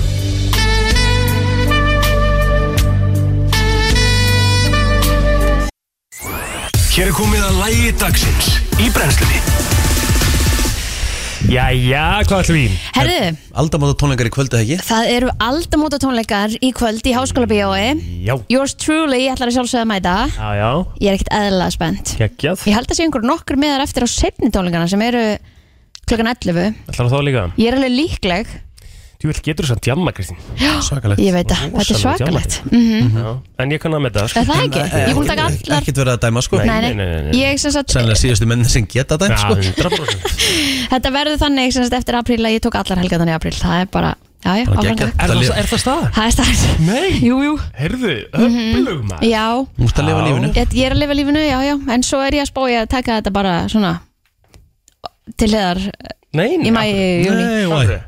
S5: Hér er komið að lægi dagsins í brennslunni
S3: Jæja, hvað ætlum við? í?
S2: Herðu,
S1: Aldamáta tónleikar í kvöldu ekki
S2: Það eru aldamóta tónleikar í kvöld í Háskóla Bíói
S3: Já.
S2: Yours truly, ég ætlar að sjálfsögða að mæta
S3: Já, já,
S2: Ég er ekkert eðlilega spennt
S3: geggjað.
S2: Ég held að sé einhver nokkur meðar eftir á setni tónleikana sem eru klokkan 11
S3: Ætlar þá líka?
S2: Ég er alveg líkleg
S3: Þú vil getur þess að djamma, Kristín.
S1: Svakalegt Mhm.
S2: Ég veit að þetta er
S3: Rosalega
S2: svakalegt
S3: djammar.
S2: mm
S3: Já. En ég kann að með það, sko.
S2: Er það ekki? Ég er búin að taka allar
S1: Ekkert verið að dæma sko
S3: Nei, nei, nei, nei, nei.
S2: Ég sem sagt
S1: Sannlega síðustu menn sem geta dæma sko
S3: Já, 100%.
S2: Þetta verður þannig sem sagt eftir apríl að ég tók allar helgatan í apríl Það er bara, já, já,
S1: Bara
S2: áfram
S1: geggjað.
S2: gakk.
S1: Er það- er
S3: það staðar?
S2: Það er starf
S3: Nei.
S2: Jú, jú,
S3: Herðu, öflug maður.
S2: já
S1: Þú múst að lifa
S3: Já.
S1: lífinu
S2: ég, ég er að lifa lífinu, já, já En svo er ég að spá ég að taka þetta bara svona til heðar
S3: Nei, nei.
S2: í maí, júni
S3: Í
S1: Nei, væ.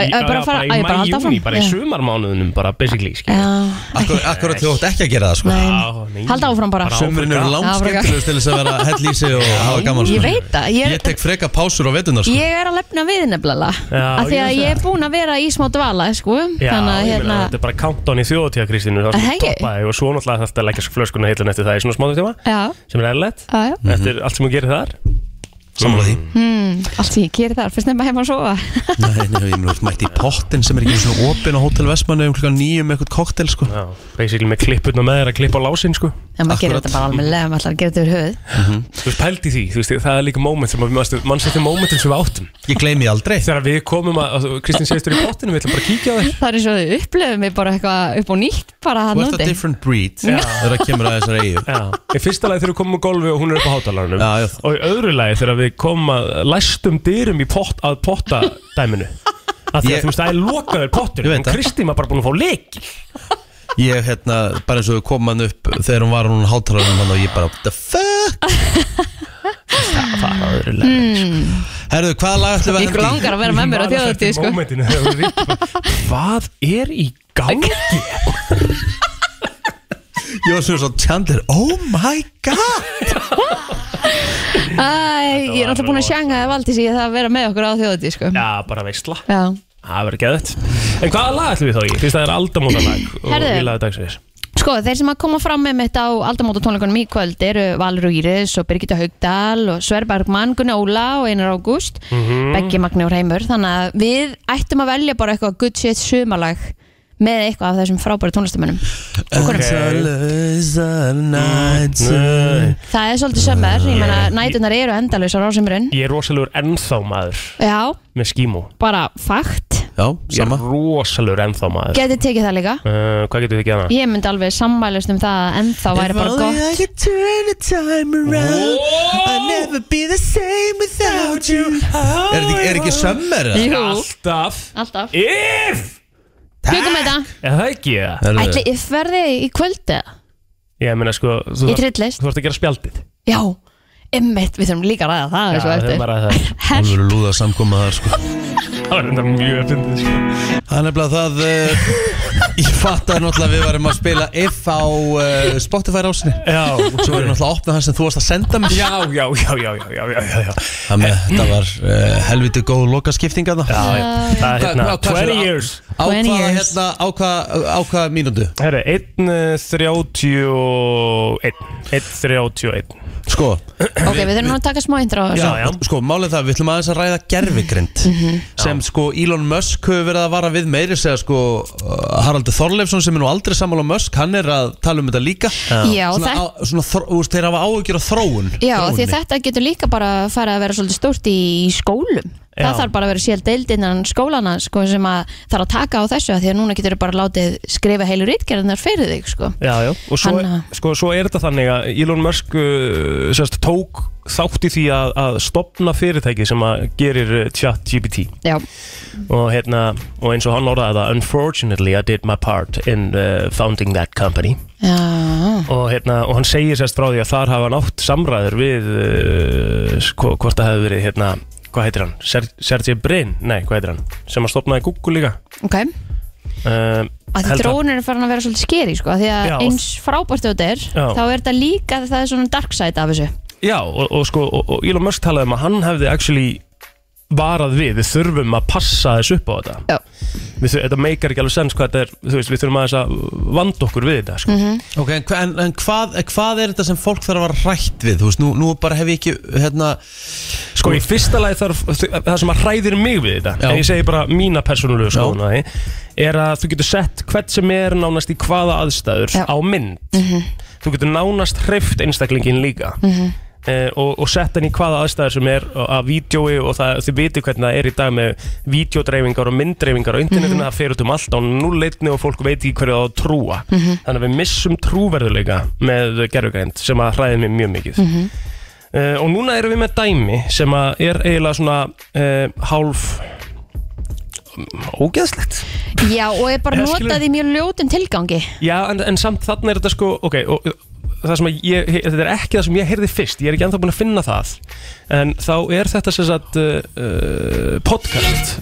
S2: Ég bara fara, á ég bara að halda áfram
S3: júni, bara í sumarmánuðunum, bara basically, skil.
S2: Já,
S1: Akkur, akkurat þú átt ekki að gera það sko
S2: nei.
S3: Já, nei.
S2: Halda áfram bara.
S1: Sumurinn eru
S2: Já, bara-
S1: langskemmtilegust til þess að vera hell í sig og hafa gaman sko
S2: Ég veit það, ég,
S1: Ég
S2: er-
S1: tek freka pásur á vetunar sko
S2: ég er að lefna við nefnilega
S3: Já,
S2: af því
S3: ég
S2: að
S3: sé
S2: ég er búin að vera í smá dvala sko.
S3: Já,
S2: þannig
S3: ég
S2: að
S3: meina,
S2: hérna
S3: þetta er bara countdown í þjóðtíða, Kristínu. Það
S2: Er
S3: er
S2: það
S3: svona
S2: ekki?
S3: toppaði og svo náttúrulega þetta leggja flöskuna heilun eftir það í svona smáðu tíma,
S2: Já,
S3: sem er eðlilegt.
S2: já, já,
S3: Eftir allt sem þú gerir þar.
S1: Mhm. Sammála því
S2: mm, allt sem ég gerir þar fyrst nefna heima að sofa
S1: Nei, nei, ég mér mætti í pottin sem er ekki svona opinn á Hotel Vestmannu um klukkan nýju með eitthvað koktel sko
S3: Já, basically með klippurna með þér að klippa á lásinn, sko.
S2: en maður gerir
S1: Akkurat. Mhm.
S2: þetta bara alveg lega, maður ætlar að gera þetta yfir höfuð
S3: Þú veist, pældi því, þú veist, það er líka moment sem að við mann setjum momentum sem við áttum.
S1: Ég gleymi því aldrei
S3: Þegar við komum að, Kristín segistur í pottinu, við ætlum bara að kíkja á þér.
S2: það er eins og þau upplöfum mig bara eitthvað upp og nýtt bara
S1: Þú
S2: hann
S1: ert að
S2: úti
S1: different breed
S3: Já.
S1: þegar það kemur að þessar eigu
S3: Já, í fyrsta lagi þegar við komum á golfi og hún er upp á hátalarunum
S1: Já, já.
S3: og í öðru lagi þegar við komum að læstum dyrum í pott, að potta dæminu að því að
S1: Ég-
S3: þú veist það er lokaður pottur
S1: Ég veit
S3: en
S1: það.
S3: Kristín var bara búin að fá leik
S1: Ég hérna, bara eins og við komum hann upp þegar hún var hún hátalarinn hann og ég bara The fuck
S3: það var öðru lagi
S2: Hmm.
S1: Herðu, hvaða lag ætlum við
S2: Mm.
S1: enda
S2: ykkur
S1: í?
S2: langar að vera með mér á þjóðatíð sko.
S3: sko Hvað er í gangi?
S1: Ég var svona svo Chandler, oh my god
S2: Æ, ég er
S3: var
S2: alltaf búin að
S3: rosa.
S2: sjanga að valdi sig það að vera með okkur á þjóðatíð sko.
S3: Já, bara veistla
S2: Já.
S3: Það verður geðvægt En hvaða lag ætlum við þá í? Fyrst það er aldamóta lag og
S2: Herðu.
S3: við lagði dagsins
S2: Sko, þeir sem að koma fram með mitt á aldamóta tónleikunum í kvöld eru Valur og Íris og Birgitta Haugdal og Sver Bergmann, Gunni Óla og Einar Ágúst
S1: Mhm.
S2: Beggi Magni og Reymur þannig að við ættum að velja bara eitthvað good shit sumalag með eitthvað af þessum frábæru tónlistamönnum
S1: And colors are nights
S3: Mm.
S2: Það er svolítið sömmer, ég
S1: Eh,
S2: meina nætunar eru endalausar á sömurinn
S3: Ég er rosalegur ennþá maður
S2: Já,
S3: með skímó
S2: bara fakt
S1: Já,
S3: Ég er
S1: sama
S3: rosalegur ennþá maður
S2: Getið tekið það líka
S3: Uh, hvað getur þið
S1: Ah.
S3: ekki annað?
S2: Ég myndi alveg sammælust um það að ennþá væri bara gott
S1: could turn the time around
S3: Oh.
S1: I'd never be the same without you Er þetta ekki- er ekki sömmer? eða?
S2: Jú,
S3: Alltaf
S2: alltaf
S3: If
S2: Tökum þetta
S3: Er það ekki það?
S1: Herðu,
S2: Ætli if verði í kvöldi
S3: Ég meina sko Þú
S2: Í
S3: þarf-
S2: trillist
S3: þú þarft að gera spjaldið
S2: Já Einmitt, við þurfum líka að ræða það
S3: Já,
S2: þessu
S3: það er
S2: eftir.
S3: bara það
S1: Það verður lúða samkoma þar sko
S3: Það var þetta mjög að fyndið sko.
S1: Það er nefnilega það uh, Ég fattaði náttúrulega að við varum að spila If á uh, Spotify rásinni
S3: Já,
S1: Svo verður náttúrulega að opna það sem þú varst að senda mér
S3: já, já, já, já, já, já, já, já.
S1: Þannig að þetta var uh, helviti góð lokaskipting að
S3: Já, já, það er
S1: Hvað-
S3: hérna
S1: hvað-
S3: 20
S1: hvað fyrir-
S3: years
S1: Á
S2: 20
S1: hvað
S2: years.
S1: hérna, á hvað á hvað mínútu?
S3: Herra, eh, 1.31 1.31
S1: Sko,
S2: Ok, við þurfum nú að taka smá intro á þessu.
S3: Já, já.
S1: sko málið það, við ætlum aðeins að ræða gerfigrind
S2: Mhm.
S1: sem sko Elon Musk hefur verið að vara við meiri segja sko uh, Haraldur Þorleifsson sem er nú aldrei sammála um Musk, hann er að tala um þetta líka
S2: Já,
S1: svona,
S2: þetta-
S1: á, svona þró, úst, þeir hafa áhugjur á þróun
S2: Já, því
S1: þróuninni.
S2: þetta getur líka bara að fara að vera svolítið stórt í skólum.
S3: Já.
S2: Það þarf bara að vera sér deild innan skólana sko, sem að þarf að taka á þessu af því að núna getur þau bara látið skrifa heilu rítgerðinar fyrir þig sko.
S3: Já, já, og svo,
S2: Hanna.
S3: sko, svo er þetta þannig að Elon Musk uh, sérst, tók þátt í því að, að stopna fyrirtæki sem að gerir uh, chat GPT
S2: Já,
S3: og, hérna, og eins og hann orðaði það Unfortunately I did my part in uh, founding that company
S2: já,
S3: og, hérna, og hann segir sérst frá því að þar hafa hann átt samræður við uh, sko, hvort það hefði verið hérna, hvað heitir hann? Ser Sergey Brin? Nei, hvað heitir hann? Sem að stopnaði Google líka
S2: ok.
S3: uh,
S2: Að því drónur er farin að vera svolítið skeri sko, af því að
S3: Já.
S2: eins frábært þau þetta er,
S3: Já.
S2: þá er þetta líka það er svona dark side af þessu.
S3: Já, og, og sko, og, og Elon Musk talaði um að hann hefði actually varað við, við þurfum að passa þessu upp á þetta
S2: Já.
S3: Við þur- Þetta meikar ekki alveg sens hvað þetta er, þú veist, við þurfum aðeins að vanda okkur við þetta, sko
S2: Mhm.
S1: Ok, en, hva- en, en hvað, hvað er þetta sem fólk þarf að vara hrætt við? Þú veist, nú, nú bara hef ég ekki hérna,
S3: Sko, í fyrsta lagi þarf, þ- það sem að hræðir mig við þetta,
S1: Já.
S3: en ég segi bara mína persónulegu skoðun að því, er að þú getur sett hvert sem er nánast í hvaða aðstæður
S2: Já.
S3: á mynd
S2: Mhm.
S3: Þú getur nánast hreift einstaklingin líka
S6: Mhm.
S3: eh, og, og sett hann í hvaða aðstæður sem er á- af vídjói og það, þið viti hvernig það er í dag með vídjódreifingar og mynddreifingar á internetinu, það fer út um allt á núleitni og fólk veit ekki hverju það á að trúa þannig að við missum trúverðuleika með gerfugrænt sem að hræði mig mjög mikið eh, og núna erum við með dæmi sem að er eiginlega svona eh, hálf mm, ógeðslegt
S2: Já, og er bara
S3: Eða skilur-
S2: notað í mjög ljótum tilgangi.
S3: Já, en, en samt þarna er þetta sko Ok, og uh, það sem að ég he- Þetta er ekki það sem ég heyrði fyrst Ég er ekki ennþá búin að finna það En þá er þetta sem sagt uh, uh, Podcast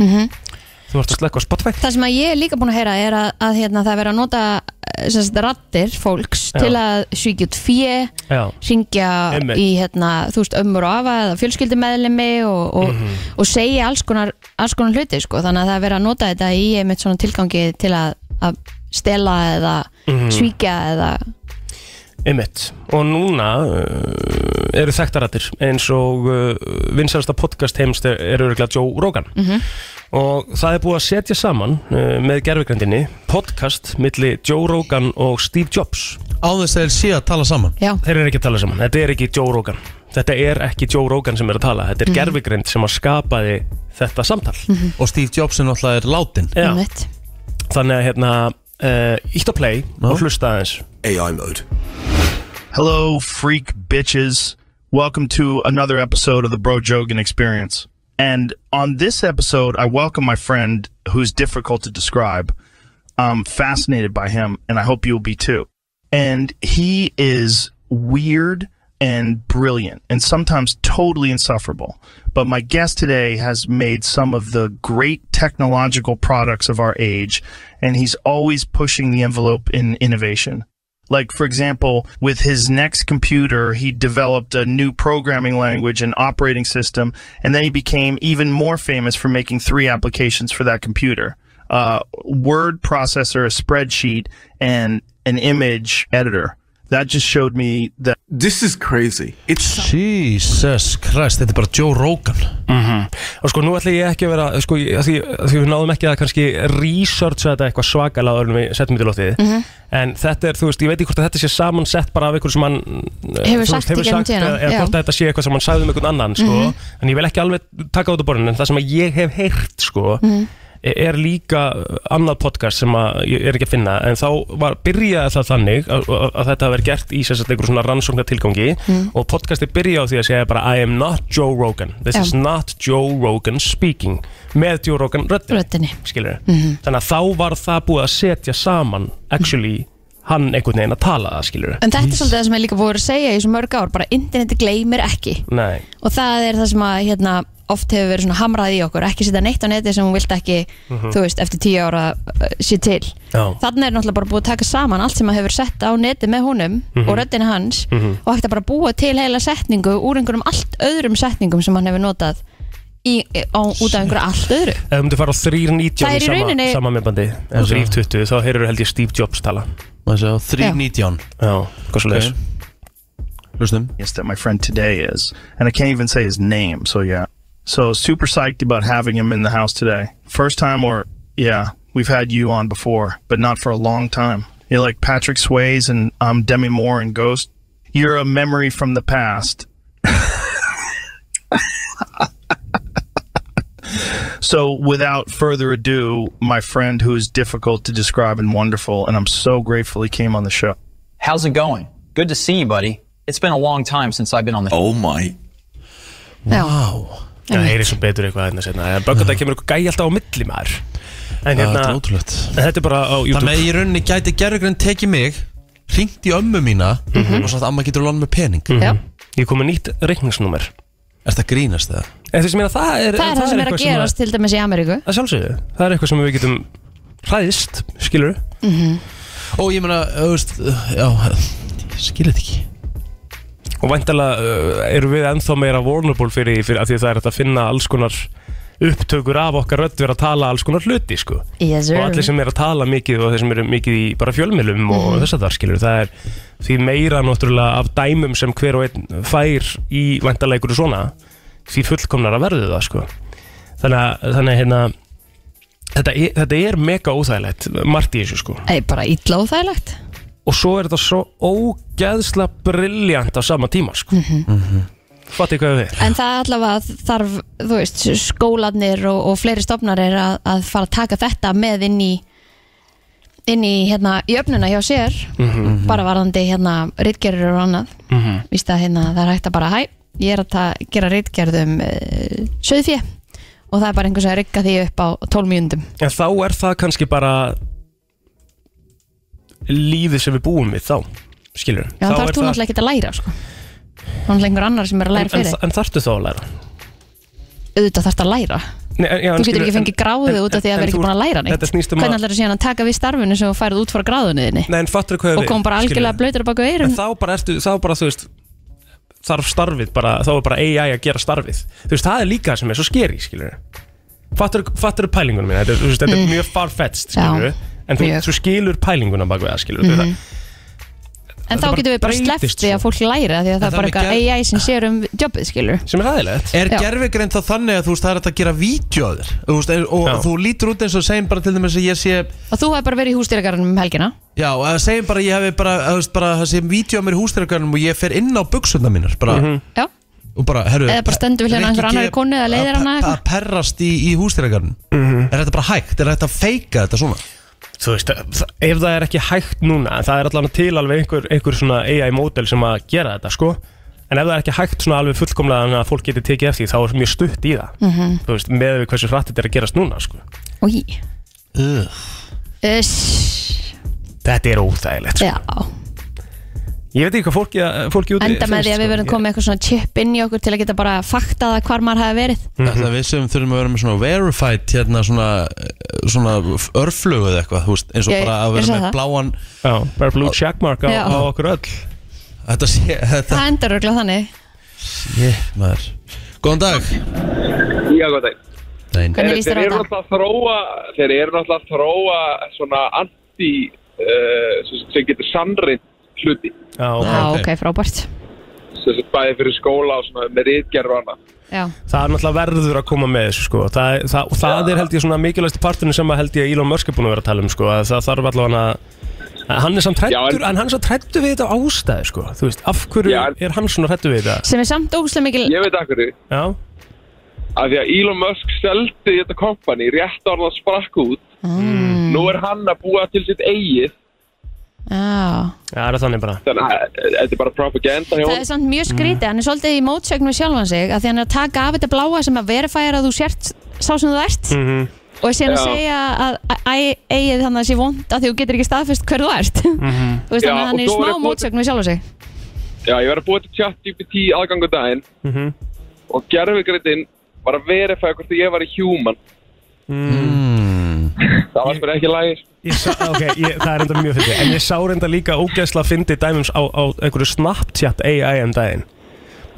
S3: Þú vart að slekka á Spotify
S2: Það sem að ég er líka búin að heyra er að, að hérna, það verið að nota eh, sem sagt, rattir fólks
S3: Já.
S2: til að svíkja út fjö,
S3: Já,
S2: syngja
S3: Einmitt.
S2: í hérna, þú veist, ömmur og afa eða fjölskyldumeðlimi og, og,
S3: Mhm.
S2: og segja alls konar, alls konar hluti sko. þannig að það er verið að nota þetta í einmitt svona tilgangi til að, að stela eða
S3: Mhm.
S2: svíkja eða
S3: einmitt Og núna uh, eru þekktarættir Eins og uh, vinsælsta podcast heimst er, er örgulega Joe Rogan
S2: Mhm.
S3: Og það er búið að setja saman uh, Með gerfugrendinni Podcast milli Joe Rogan og Steve Jobs
S1: á þess að þeir sé að tala saman
S2: já,
S3: Þeir eru ekki að tala saman, þetta er ekki Joe Rogan Þetta er ekki Joe Rogan sem er að tala Þetta
S2: Mhm.
S3: er mm sem að skapaði þetta samtal
S1: og Steve Jobs er náttúrulega er látin
S3: Já,
S2: einmitt
S3: Þannig að hérna uh, Ítt á play og hlusta aðeins
S5: AI mode
S4: Hello, freak bitches. Welcome to another episode of the Bro Jogan Experience. And on this episode, I welcome my friend who's difficult to describe. I'm fascinated by him, and I hope you'll be too. And he is weird and brilliant and sometimes totally insufferable. But my guest today has made some of the great technological products of our age, and he's always pushing the envelope in innovation. Like, for example, with his next computer, he developed a new programming language and operating system, and then he became even more famous for making three applications for that computer uh, word processor, a spreadsheet, and an image editor. That just showed me that
S7: This is crazy. It's
S1: Jesus Christ, þetta er bara Joe Rogan
S3: Og sko nú ætla ég ekki að vera sko, ég- af því, af því við náðum ekki að kannski researcha þetta eitthvað svakalega áður en við settum þetta í lótið
S4: Mhm.
S3: En þetta er, þú veist, ég veit ekki hvort að þetta sé samansett bara af ykkur sem hann eh,
S2: Hefur
S3: þú
S2: sagt í gegnum tíðina,
S3: eða, eða
S2: já. Mhm.
S3: hvort að þetta sé eitthvað sem hann sagði um einhvern annan sko. En ég vil ekki alveg taka út á borðinu En það sem að ég hef heyrt sko,
S2: Mhm.
S3: er líka annað podcast sem að ég er ekki að finna en þá var, byrjaði það þannig að, að, að þetta hafi verið gert í sérstætt einhver svona rannsóknar tilgangi
S2: Mhm.
S3: og podcasti byrjaði á því að segja bara I am not Joe Rogan, this
S2: Já.
S3: is not Joe Rogan speaking með Joe Rogan röddin,
S2: röttinni
S3: skilur þannig að þá var það búið að setja saman actually hann einhvern veginn að tala það, skilur
S2: En þetta er svolítið það sem er líka búið að segja í svo mörg ár, bara interneti gleymir ekki
S3: Nei,
S2: og það er það sem að hérna, oft hefur verið svona hamrað í okkur ekki setja neitt á neti sem hún vilt ekki þú veist, eftir tíu ára uh, sé til
S3: Mhm. Já.
S2: þannig er náttúrulega bara búið að taka saman allt sem að hefur sett á neti með honum og
S3: Mhm.
S2: röddina hans og hægt að bara búa til heila setningu úr einhverjum allt öðrum setningum sem hann hefur notað í, á, út af einhverju allt öðru
S3: ef þú myndir fara á 3.90
S2: Það er í
S3: í sama,
S2: rauninni-
S3: sama minnbandi eða 3.20 þá heyrur held ég Steve Jobs tala
S1: Maður sjá, 319
S3: Já, hvað svo leiðis
S1: Ok. Hlustum
S4: yes, that my friend today is, and I can't even say his name. So yeah, so super psyched about having him in the house today. First time, or yeah, we've had you on before, but not for a long time. You're like Patrick Swayze and um, Demi Moore and Ghost. You're a memory from the past. So, without further ado, my friend who is difficult to describe and wonderful, and I'm so grateful he came on the show.
S8: How's it going? Good to see you, buddy. It's been a long time since I've been on the
S7: Oh my.
S2: wow.
S3: Það heyrir svo betur eitthvað hérna sérna En böggat það kemur eitthvað gæi alltaf á milli maður En
S1: Það
S3: hérna,
S1: er ótrúlegt
S3: en þetta er bara á YouTube
S1: Þannig að í rauninni gæti gerðugrenn tekið mig Ringt í ömmu mína Og sagt amma getur lónað með pening
S2: Já.
S3: Mhm. Ég kom með nýtt reikningsnúmer Eh,
S1: Er þetta grínast það?
S3: En þú sem meina það er
S2: það er það sem er að
S3: eitthvað
S2: gerast til dæmis í Ameríku
S3: að sjálfsögðu, það er eitthvað sem við getum hræðist, skilur
S2: Mhm.
S1: Ó, ég meina, þú veist Já, ég skil þetta ekki
S3: og væntalega uh, erum við ennþá meira vulnerable fyrir því fyrir að því að það er hægt að finna alls konar upptökur af okkar rödd vera að tala alls konar hluti sko.
S2: Yes, sir.
S3: og allir sem er að tala mikið og þeir sem eru mikið í bara fjölmjölum
S2: Mhm.
S3: og þess að það skilur það er því meira náttúrulega af dæmum sem hver og einn fær í væntalega einhverju svona því fullkomnar að verðu það sko. þannig að, þannig að hérna, þetta, er, þetta er mega óþægilegt margt í þessu sko
S2: Ei, bara illa og þægilegt
S3: og svo er þetta svo ógeðsla briljant á sama tíma sko. mm
S2: Mhm.
S3: -hmm. Fattu hvað við
S2: En það allavega þarf, þú veist, skólanir og, og fleiri stofnarir að, að fara að taka þetta með inn í inn í, hérna, í öfnuna hjá sér
S3: Mhm.
S2: bara varðandi, hérna, reitgerður og annað
S9: Mhm.
S8: Mhm.
S2: -hmm. víst að, hérna, það er hægt að bara hæ, ég er að ta- gera reitgerðum uh, söðfjö og það er bara einhvers að rigga því upp á 12 mjöndum
S3: En þá er það kannski bara lífið sem við búum við þá skilur
S2: Já, þá þarf þú náttúrulega ekki að læra, sko þá er einhver annar sem er að læra
S3: en,
S2: fyrir
S3: en, en þarftu þá að læra
S2: auðvitað þarf að læra
S3: Nei, en, já, en
S2: þú getur
S3: skilurðu,
S2: ekki fengið
S3: en-
S2: gráðu
S3: en-
S2: út af því
S3: en-
S2: að
S3: en
S2: vera ekki
S3: þú-
S2: búin að læra neitt
S3: þetta snýst um
S2: hvernig
S3: að
S2: ætlar þú síðan að taka við starfinu sem þú færið út frá gráðunni þinni
S3: Nei, en fattur hvað við
S2: og kom bara
S3: skilurðu?
S2: algjörlega blöytur bak við
S3: en
S2: eirum
S3: þá bara ertu, þá bara þú veist þarf starfið bara, þá er bara AI að gera starfið þú veist, það er líka það sem er svo skeri, skilur fattur, fattur pælingunum minna, þetta, er, þú veist, þetta er mjög farfetched, skilur
S2: Mm. Já,
S3: en þú,
S2: mjög. Mhm.
S3: þú skilur pælinguna bak við það, skilur mm -hmm.
S2: en þá
S3: bara
S2: getum við bara
S3: breytist
S2: sleppt því
S3: svo.
S2: að fólk læra því að það
S1: það
S2: er
S1: er
S2: bara eitthvað
S1: mikið-
S2: AI
S3: Ah.
S2: sem sér um jobbið skilur
S3: sem er aðeinslegt
S1: Er
S2: Já.
S1: gerfugrein þá þannig að þú veist það er hægt að gera vídjóður veist, er- og
S3: Já.
S1: þú lítur út eins og segjum bara til dæmis að ég sé
S2: og þú hefur bara verið í hústýragarnum um helgina
S1: Já, að segjum bara að ég hefði bara, að, þú veist, bara það sé vídjó að mér í hústyrkarnum og ég fer inn á buksundar mínar bara,
S3: Mhm.
S2: já,
S1: og bara, herru
S2: Eða bara stendur við hliðina á
S1: Rikki
S2: einhverju
S1: G.
S2: annarri konu
S3: Ah,
S2: eða leiðir
S1: að-
S2: hana
S1: að-
S2: eitthvað.
S1: að perrast í, í hústyrkarnum
S3: Mhm.
S1: Er þetta bara hægt? Er þetta að feika þetta svona?
S3: þú veist, það- ef það er ekki hægt núna það er allan til alveg einhver, einhver svona AI módel sem að gera þetta, sko en ef það er ekki hægt svona alveg fullkomlega þannig að fólk getur tekið eftir því, þá er mjög stutt í það þú veist, með við hversu hratt þetta er að gerast núna, sko
S2: og
S1: Ugh.
S2: ég
S3: þetta er óþægilegt, sko.
S2: já,
S3: ég veit ekki hvað fólki, fólki úti sko.
S2: enda með því að við verðum komið með eitthvað svona chip inn í okkur til að geta bara faktað að hvar maður hafi verið
S1: Mm -hmm. Við sem þurfum að vera með svona verified hérna svona, eh, svona örflögu eða eitthvað, þú veist, eins og
S2: Já,
S1: bara að
S2: ég
S1: vera
S2: sá
S1: með
S2: það.
S1: bláan
S3: Já, bara blue checkmark á,
S2: Já.
S3: á okkur öll
S1: Þetta sé, þetta
S2: það endar örgulega þannig
S1: sé, maður Góðan dag
S10: Já, góð dag.
S1: Nein.
S2: hvernig líst
S10: Þeir
S2: þér á
S10: eru
S2: þetta?
S10: náttúrulega að þróa, þeir eru náttúrulega að þróa svona anti, uh, sem, sem getur sannrind hluti,
S3: Já, ok.
S2: já,
S1: ok.
S2: ok, frábært
S10: sem sem bæði fyrir skóla og svona með rítgerð og annað.
S2: já,
S3: Það er náttúrulega verður að koma með þessu sko. það, það, og það er held ég svona mikilvægstu parturinn sem að held ég að Elon Musk er búin að vera að tala um sko. að það þarf allavega að að hann er samt
S10: Já,
S3: hrættur,
S10: en-
S3: en hann er svo hrættur við þetta á ástæði sko. þú veist, af hverju
S10: Já, en-
S3: er hann svona hrættur við þetta
S2: sem er samt ógustlega mikil
S10: Ég veit akkur því,
S3: já,
S10: af því að Elon Musk seldi þetta kompani rétt ára það sprakk út.
S2: Mm.
S10: Nú er hann að búa til sitt eigið,
S2: já
S3: já, það er þannig bara
S10: þannig að eh, þetta er bara propaganda hjá
S2: Það er
S10: honum.
S2: samt mjög skrítið,
S10: Mm.
S2: hann er svolítið í mótsögn við sjálfan sig að því hann er að taka af þetta bláa sem að verifæra að þú sért sá sem þú ert
S3: Mhm.
S2: og síðan að
S10: Já.
S2: segja að að- æ- eigið þannig að sé vond að því þú getur ekki staðfest hver þú ert
S10: Mm.
S2: þú veist
S10: Já,
S2: þannig að hann
S10: og
S2: er í
S10: svo var
S2: smá
S10: ég búin-
S2: mótsögn við sjálf sig
S10: Já, ég var að búa til chat GPT aðgang á daginn
S8: Mhm.
S10: og gerfugreitin var að verifæða hvort ég var í human Það var spyrir ekki lægir
S3: Ég Sá, ah, ok, ég, það er enda mjög fyndið En ég sá reynda líka ógæðsla fyndi dæmums á, á einhverju Snapchat AI um daginn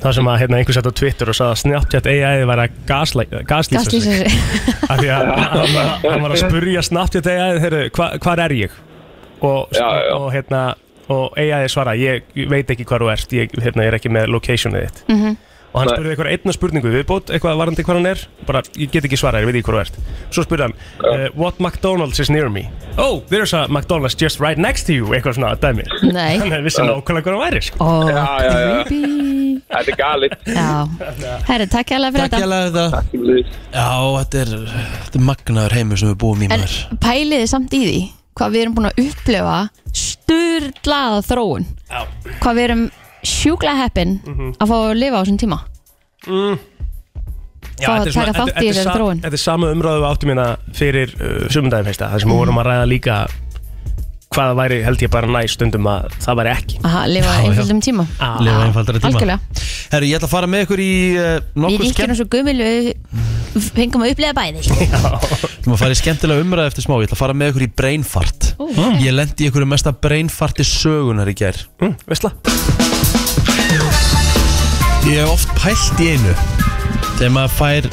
S3: Það sem að hérna, einhver sett á Twitter og sagði að Snapchat AI var að gasla- gaslýsa
S2: Gaslýsa
S3: sig
S2: sig
S3: Af því að hann var- hann var að spurja Snapchat AI heyrðu, hva, Hvar er ég? Og,
S10: Já, já.
S3: og hérna og AI svara, ég veit ekki hvar þú ert ég, hérna, ég er ekki með locationið þitt og hann
S10: Nei.
S3: spurði eitthvað einna spurningu viðbót, eitthvað varandi hvað hann er bara, ég get ekki svarað, ég veit ekki hvað þú ert svo spurði hann, uh, what McDonald's is near me oh, there's a McDonald's just right next to you eitthvað svona dæmi
S2: Nei
S3: hann vissi nákvæmlega hvað hann væri sko.
S2: Ó,
S10: Já, já, já.
S2: creepy
S10: Þetta er galið
S2: Já, herri, takk hérlega fyrir
S1: Takk
S2: þetta
S1: ég að þetta Já, þetta er, þetta er magnaður heimur sem við búum í
S2: En
S1: maður
S2: pæliði samt í því hvað við erum búin að upplefa styrlaða þróun
S3: Já.
S2: hvað við erum sjúkla heppin
S10: Mhm.
S2: að fá að lifa á þessum tíma
S3: Já,
S2: Fá að
S3: þetta er svona-
S2: taka
S3: þetta-
S2: þátt í
S3: þetta er
S2: þessari
S3: sa-
S2: þróun.
S3: þetta er sama umræðu við áttum hérna fyrir uh, sumundagin fyrsta þar sem við vorum að ræða líka hvað það væri held ég bara næst stundum að það væri ekki
S2: að lifa á
S1: já.
S2: einföldum tíma
S10: Ah.
S1: Lifa einfaldara tíma
S2: Algjörlega,
S1: Herru, ég ætla að fara með ykkur í uh,
S2: við
S1: nokkur
S2: ríkjum
S1: skemmt
S2: svo gumil við fengum að upplega bæði
S1: Við erum að fara í skemmtilega umræð eftir smá Ég ætla að fara með ykkur í brainfart
S2: Ó.
S1: Ég lendi í ykkur mesta brainfarti sögunar í gær
S3: mm, Vissla?
S1: Ég hef oft pælt í einu Þegar maður fær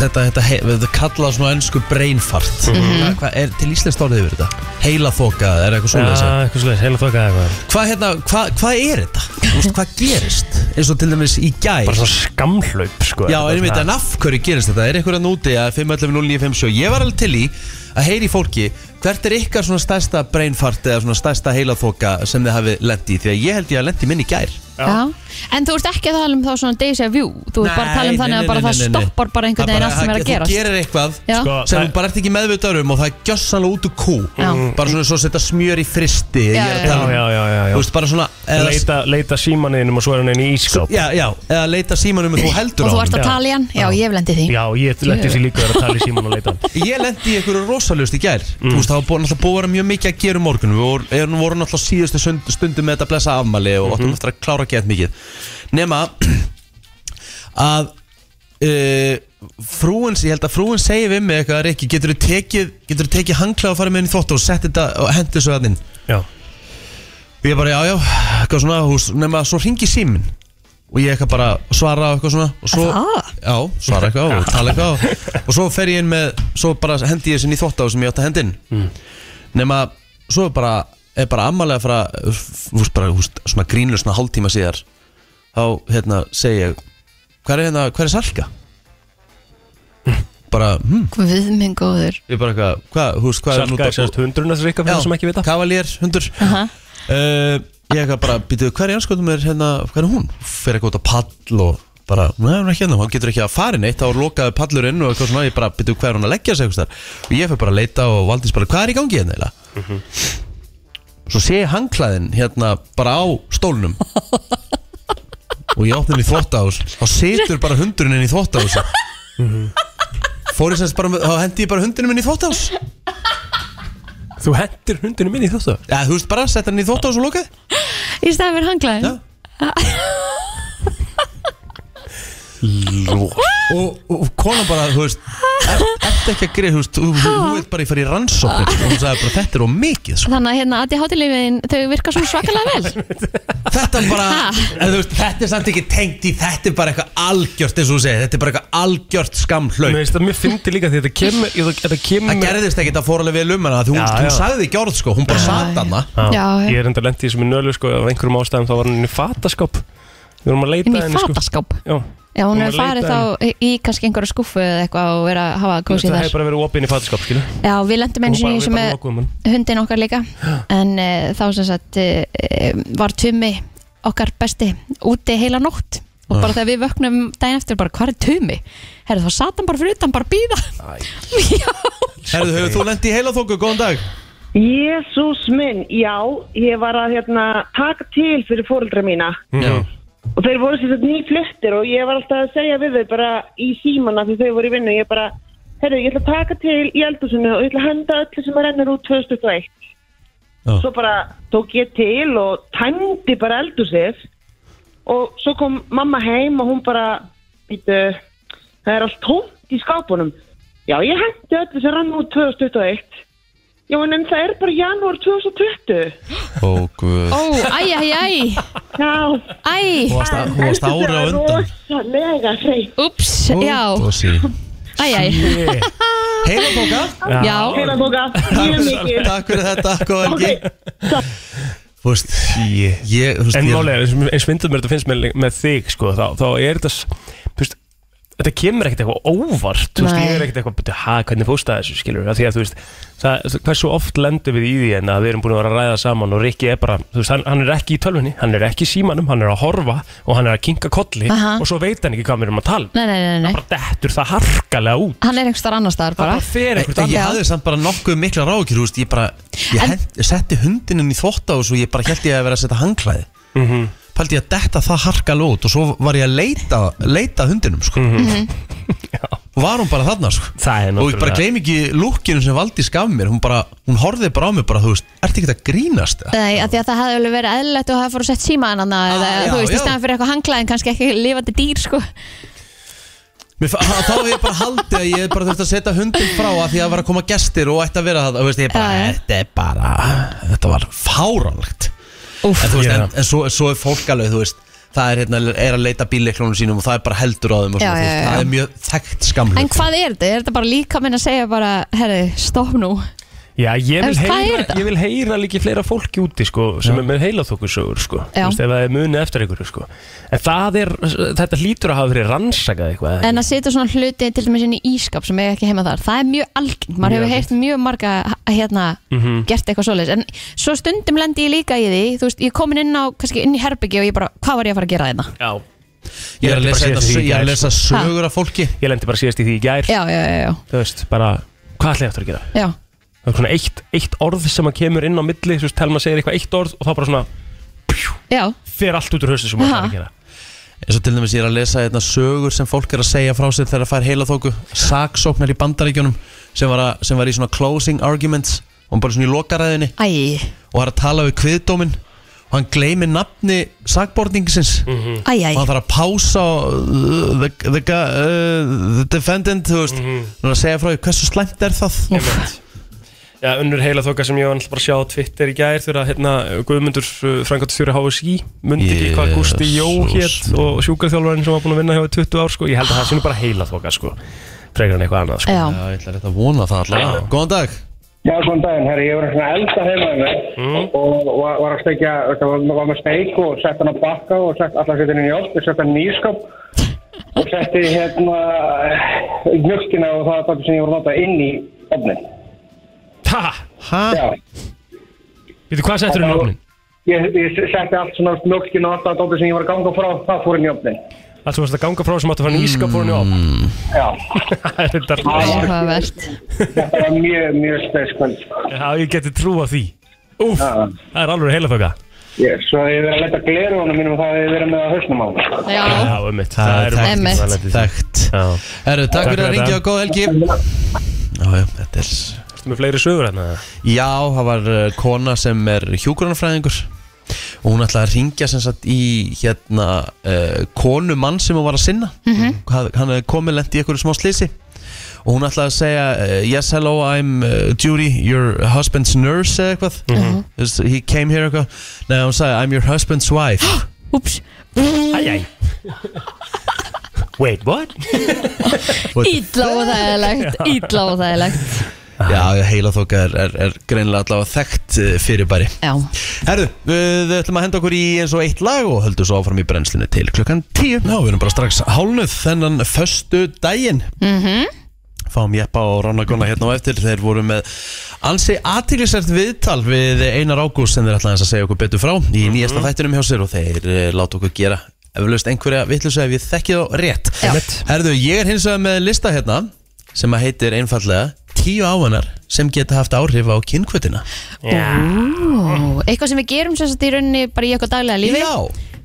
S1: Þetta, þetta, hei- þetta kallað svona ennsku brainfart
S3: Mhm.
S1: Hvað hva er til íslenskt orðið yfir þetta? Heila þoka, er eitthvað svona þess
S3: eitthvað slúðis, heila þokkað eitthvað
S1: Hvað hérna, hva, hva er þetta? Þú veist, hvað gerist? Eins og til dæmis í gær
S3: Bara svona skamhlaup sko
S1: Já,
S3: Þetta er
S1: erum við
S3: svona-
S1: þetta, en af hverju gerist þetta? Er einhver að núti að 511-0957 Ég var alveg til í að heyri fólki Hvert er ykkar svona stærsta brainfart eða svona stærsta heilaþoka sem þið hafið lendi í Því að ég held ég að lendi minni í gær
S2: Já. En þú ert ekki að tala um þá svona deja vu Þú ert bara að tala um
S1: Nei,
S2: þannig
S1: nei,
S2: að bara
S1: nei,
S2: það
S1: nei, nei, nei.
S2: stoppar bara einhvern
S1: Það
S2: veginn allt sem er að
S1: það-
S2: gerast
S1: Þú gerir eitthvað
S2: Já.
S3: Sko,
S1: sem
S3: það- Mm.
S1: þú bara ert ekki meðvitað um og það er gjössanlega út úr kú
S2: Já.
S1: Bara svona svo að setja smjör í fristi
S2: Já,
S1: ég er að
S2: já,
S1: tala um-
S3: Já, já, já, já.
S1: Þú veist, bara svona eða- Sko,
S3: leita, leita símaninum og svo er hann inn í ískáp
S1: Já, já, eða leita símanum og þú heldur á
S2: Og þú
S1: honum.
S2: ert að tala í hann, já ég hef lendið því
S3: Já, ég leti sér líka að vera að tala í síman og leita Mm. hann
S1: Ég lendi í einhverju rosalust í gær Þú veist, það var búið- náttúrulega búið að vera mjög mikið að gera um morgunum Við vorum, erum- vorum náttúrulega síðustu sund- stundum með þetta blessa afmæli
S3: Mhm.
S1: og áttum eftir að klára að geta mikið Nema að uh, frúins, ég held að frúin segi við mig eitthvað Rikki, getur þú tekið, getur þú tekið hanglega og farið með henni þótt og sett þetta og hendi þessu að inn
S3: Já,
S1: Og ég bara, já, já, eitthvað svona, hús, nema svo ringi símin Og ég eitthvað bara svara og eitthvað svona og svo,
S2: Það?
S1: Já, svara eitthvað og tala eitthvað og, og svo fer ég inn með, svo bara hendi ég sinni í þvótt á sem ég átti að hendi inn Nema, svo er bara, er bara ammalega frá, húst bara, húst, svona grínlega svona hálftíma síðar Þá, hérna, segi ég, hver er hérna, hver er Salka? Bara, hm,
S2: Guð minn góður
S1: ég bara eitthvað, hvað, húst, hvað
S3: Salka er sérst hundruna þess ríka fyrir það sem ekki vita
S1: Kavalír, hundur
S2: Aha.
S1: uh, Ég eitthvað bara, býtu, hver í anskotum er hérna, hver er hún? Fer eitthvað út á pall og bara, neða, hún er ekki hérna, hún getur ekki að fara neitt þá er lokaði pallurinn og eitthvað svona, ég bara býtu, hver er hún að leggja sig eitthvað þar? Og ég fer bara að leita og valdís bara, hvað er í gangi hérna eiginlega? Svo sé ég hangklæðin hérna bara á stólnum og ég opna henni í þvottahús þá situr bara hundurinn henni í þvottahús fór ég semst bara með- þá hendi ég bara hundurinn henni í þvottahús
S3: Þú hendir hundinu minni í þáttu
S1: Já, þú veist bara, setja hann í þvótt á þessu lókað
S2: Í staðan fyrir hanglaðin
S1: Já. og, og, og konan bara, þú veist er- Ertu ekki að greið, þú veist Þú þú- þú veit bara, ég fari í rannsókn Og hún sagði bara, þetta er of mikið sko.
S2: Þannig að hérna aði hátilegin þau virka svona svakalega vel
S1: Þetta er bara,
S2: Ha?
S1: en, þú veist, þetta er samt ekki tengt í Þetta er bara eitthvað algjört, eins og þú segir Þetta er bara eitthvað algjört
S3: Mér
S1: skamhlaug
S3: finnst það, mér fyndi líka því þetta kemur ég- Þetta kemur
S1: Það gerðist ekki að fóra alveg vel um hana Þú
S3: Já,
S1: veist, hún
S3: já.
S1: sagði ekki orð, sko, hún bara sat hana
S3: Já,
S2: Já, já.
S3: Ég er enda lent í þessu með nölu sko Af einhverjum ástæðum þá var hann inn í fataskáp Við vorum að
S2: Inn
S3: leita
S2: í
S3: henni sko
S2: fataskáp
S3: Já,
S2: Já, hún
S3: Hún
S2: hefur
S3: var að
S2: farið
S3: leita
S2: þá í í kannski einhverja skúffu eða eitthvað og verið að hafa kósið
S3: það
S2: þar
S3: hefur bara verið opið inn í fataskáp skilu
S2: Já, við lendum
S3: Og
S2: eins og
S3: bara-
S2: í
S3: við
S2: þessu
S3: bara
S2: með
S3: lokuðum um hann.
S2: hundin okkar líka en uh, þá sem sagt uh, var tumi okkar besti úti heila nótt og
S1: Ah.
S2: bara þegar við vöknum daginn eftir bara hvað er tumi? Herðu þá sat hann bara fyrir utan bara að býða Já,
S1: Herðu, hefur þú lendi í heila þóku, góðan dag
S11: Jésús minn, já, ég var að hérna, taka til fyrir fóreldra mína
S1: Já,
S11: og þeir voru sér nýfluttir og ég var alltaf að segja við þau bara í símana því þau voru í vinnu, ég bara herru, ég ætla að taka til í eldhúsinu og ég ætla að henda öllu sem að rennur út 2001
S1: Já.
S11: svo bara tók ég til og tændi bara eldhúsið og svo kom mamma heim og hún bara býtu, það er allt tómt í skápunum já, ég hendi öllu sem rann út 2021 já, en það er bara janúar 2020
S1: Ó, guð
S2: Ó, æ, æ, æ,
S11: já,
S2: æ
S1: Hún varst á- Hún varst ári á undan
S11: rosalega hreint
S2: Úps, já,
S1: Dósi.
S2: æ, æ
S1: Heila bóka
S2: Já,
S11: Heila bóka, mjög mikið
S1: Takk fyrir þetta, góða helgi
S11: Ok,
S1: Þú veist, ég þú veist,
S3: En
S1: ég-
S3: málega, eins myndum mér þetta finnst með, með þig sko, þá, þá er þetta s- þú veist, þetta kemur ekkert eitthvað óvart þú veist,
S2: Nei.
S3: ég er ekkert eitthvað, "Bíddu, ha, hvernig fórst að þessu skilur, af því að þú veist það, hversu oft lendum við í því en að við erum búin að vera að ræða saman og Rikki er bara, þú veist, hann, hann er ekki í tölvunni, hann er ekki í símanum hann er að horfa og hann er að kinka kolli
S2: Aha.
S3: og svo veit hann ekki hvað við erum að tala um.
S2: nei, nei, nei, nei
S3: bara dettur það harkalega út
S2: Hann er einhver starf annar staðar
S3: það
S2: bara
S3: bara fer
S1: En-
S3: einhvert
S1: en Ég
S3: annað
S1: hafði samt bara nokkuð mikla rákir, þú veist, ég bara Ég
S2: En-
S1: hent, setti hundininn í þvótt á þessu og ég bara held ég að vera að setja hangklæði
S3: Mhm.
S1: Paldi ég að detta það harka lót og svo var ég að leita, leita að hundinum, sko Og var hún bara þarna, sko
S3: Mhm. Það er
S1: Og ég bara
S3: náttúrulega-
S1: gleym ekki lúkinu sem Valdís gaf mér Hún bara, hún horfði bara á mig bara, þú veist Ertu ekki að grínast það?
S2: Nei, af því að það hefði alveg verið eðlilegt og hafa fór að setja síma hann ah, eða,
S1: já,
S2: þú veist,
S1: já.
S2: í staðan fyrir eitthvað hanglaðin kannski ekki lifandi dýr, sko
S1: Mér, fa- þá hef ég bara haldið að ég bara þurfti að setja hundin frá að því að var að koma gestir og ætti að vera það og veist, ég bara,
S2: Já, já.
S1: þetta er bara þetta var fáránlegt
S2: Úff.
S1: en, þú veist,
S3: Já.
S1: en, en svo, svo er fólk alveg, þú veist það er, hérna, er að leita bíleiklunum sínum og það er bara heldur á þeim og
S2: Já,
S1: svona, þú
S2: já,
S1: veist,
S2: já.
S1: það er mjög þekkt skamlu
S2: En hvað er þetta? Er þetta bara líka minn að segja bara, herri, stopp nú
S3: Já, ég vil,
S2: Þú veist, hvað er
S3: heyra,
S2: þetta?
S3: ég vil heyra líki fleira fólki úti sko, sem er með heilaþókusögur sko,
S2: Já.
S3: Þú veist, ef það er munið eftir einhverju sko. en það er, þetta hlýtur að hafa verið rannsakað eitthvað eða
S2: En að setja svona hluti til dæmis inn í ískap sem er ekki heima þar, það er mjög algeng maður
S3: Mjög
S2: hefur heyrt mjög marga h- hérna,
S3: Mhm.
S1: Mhm.
S2: gert eitthvað svoleiðis, en svo stundum lendi ég líka í því, þú veist, ég er komin inn á kannski inn í herbyggi og ég bara, hvað var ég að fara að gera hérna?" þetta?
S3: ekki. Já,
S1: ég er að
S3: Ég lendi bara
S1: lesa, hérna,
S3: síðast í
S1: ég er að
S3: gær, sko.
S1: lesa sögur af fólki
S3: ég lendi bara síðast í því í gær
S2: Já, já, já, já,
S3: þú veist, bara, hvað ætla ég eftir að gera
S2: já.
S3: það er svona eitt, eitt orð sem að kemur inn á milli þú veist, telma segir eitthvað eitt orð og þá bara svona
S2: já.
S3: fer allt út úr höstu sem maður
S2: Aha.
S3: þarf að gera
S1: eins og til dæmis ég er að lesa hérna, sögur sem fólk er að segja frá sér þegar það fær heilaþóku saksóknar í bandaríkjunum sem var, að, sem var í svona closing arguments og bara svona í lokaræðinni
S2: Æ,
S1: og hann er að tala við kviðdóminn og hann gleymir nafni sakbortningsins
S3: Mhm.
S2: æ, æ,
S1: og hann þarf að pása og, uh, the, the, guy, uh, the defendant þú veist,
S3: Mhm.
S1: hann er að segja frá því hversu slæmt er það
S3: Já, unnur heila þoka sem ég var náttúrulega bara að sjá á Twitter í gær þegar hérna Guðmundur Frankótt Þjóri HSI myndi ekki hvað Gusti Jó hétt
S1: Jesus.
S3: og sjúkarþjálfarinn sem var búin að vinna hjá í 20 ár sko, ég held að það sinni bara heila þoka sko, frekar en eitthvað annað sko.
S2: já.
S1: Já, ég ætla rétt að vona það allavega Góðan dag
S12: Já, góðan daginn, herri, ég var svona að elda heima með mig
S3: Mm.
S12: og og var var að stekja, þetta var, var með steik og sett hann á bakka og sett allar setja hann í jólk og sett hann í nýskap og setti hérna mjölkina og það það sem ég voru að nota inn í ofnin.
S3: Ha,
S1: ha?
S12: Já,
S3: veitu hvað settur inn í ofnin?
S12: ég, ég setti allt svona mjölkina og allar það sem ég var að ganga frá, það fór inn í ofnin.
S3: Allt sem varst að ganga frá sem áttu að fara nýskap fór hann í ofn
S1: Mm.
S12: Já,
S3: Það er þetta-
S2: Áhugavert.
S12: þetta var mjög, mjög sko. speskvöld.
S3: Já, ég geti trú á því Úf, það er alveg heila þoka
S12: Yes, svo ég verið að leta gleru honum mínum og það hefði verið með að hausnum á honum.
S2: Já.
S3: Já, ummitt,
S1: Það er
S3: margt
S2: einmitt.
S3: sem að lenda í því.
S1: Þekkt
S3: Já,
S1: Herru, takk
S3: Takk
S1: fyrir að
S3: fyrir
S1: ringja
S3: þetta.
S1: og góð helgi Já, já, þetta er
S3: ertu með fleiri sögur hérna?
S1: Já, það var uh, kona sem er hjúkurunarfræðingur og hún ætlaði að ringja sem sagt í hérna uh, konu mann sem hún var að sinna hann, hann hefði komið lent í einhverju smá slisi og hún ætlaði að segja uh, yes hello I'm uh, Judy your husband's nurse eða eitthvað Is- he came here eitthvað neða hún sagði I'm your husband's wife
S2: Úps,
S3: Æjæj Wait, what?
S2: ítla og þægilegt, ítla og þægilegt.
S1: já já, heila þóka er, er, er greinlega allavega þekkt uh, fyrirbæri
S2: Já,
S1: Herðu, við ætlum að henda okkur í eins og eitt lag og höldum svo áfram í brennslinu til klukkan 10 Já, við erum bara strax hálnuð þennan föstu daginn mm
S2: Mhm.
S1: -hmm. Fáum Jeppa og Ronna Gunna hérna á eftir Þeir voru með ansi aðtýrlisert viðtal við Einar Ágúst sem þeir ætlaði aðeins að segja okkur betur frá í nýjasta þættinum hjá sér og þeir eh, láta okkur gera eflaust einhverja vitleysu ef ég þekki þá rétt
S2: Já.
S1: Herðu, ég er hins vegar með lista hérna sem að heitir einfallega tíu áhengar sem geta haft áhrif á kynkvötina
S2: Ó, eitthvað sem við gerum sem sagt í rauninni bara í eitthvað daglega lífi
S1: Já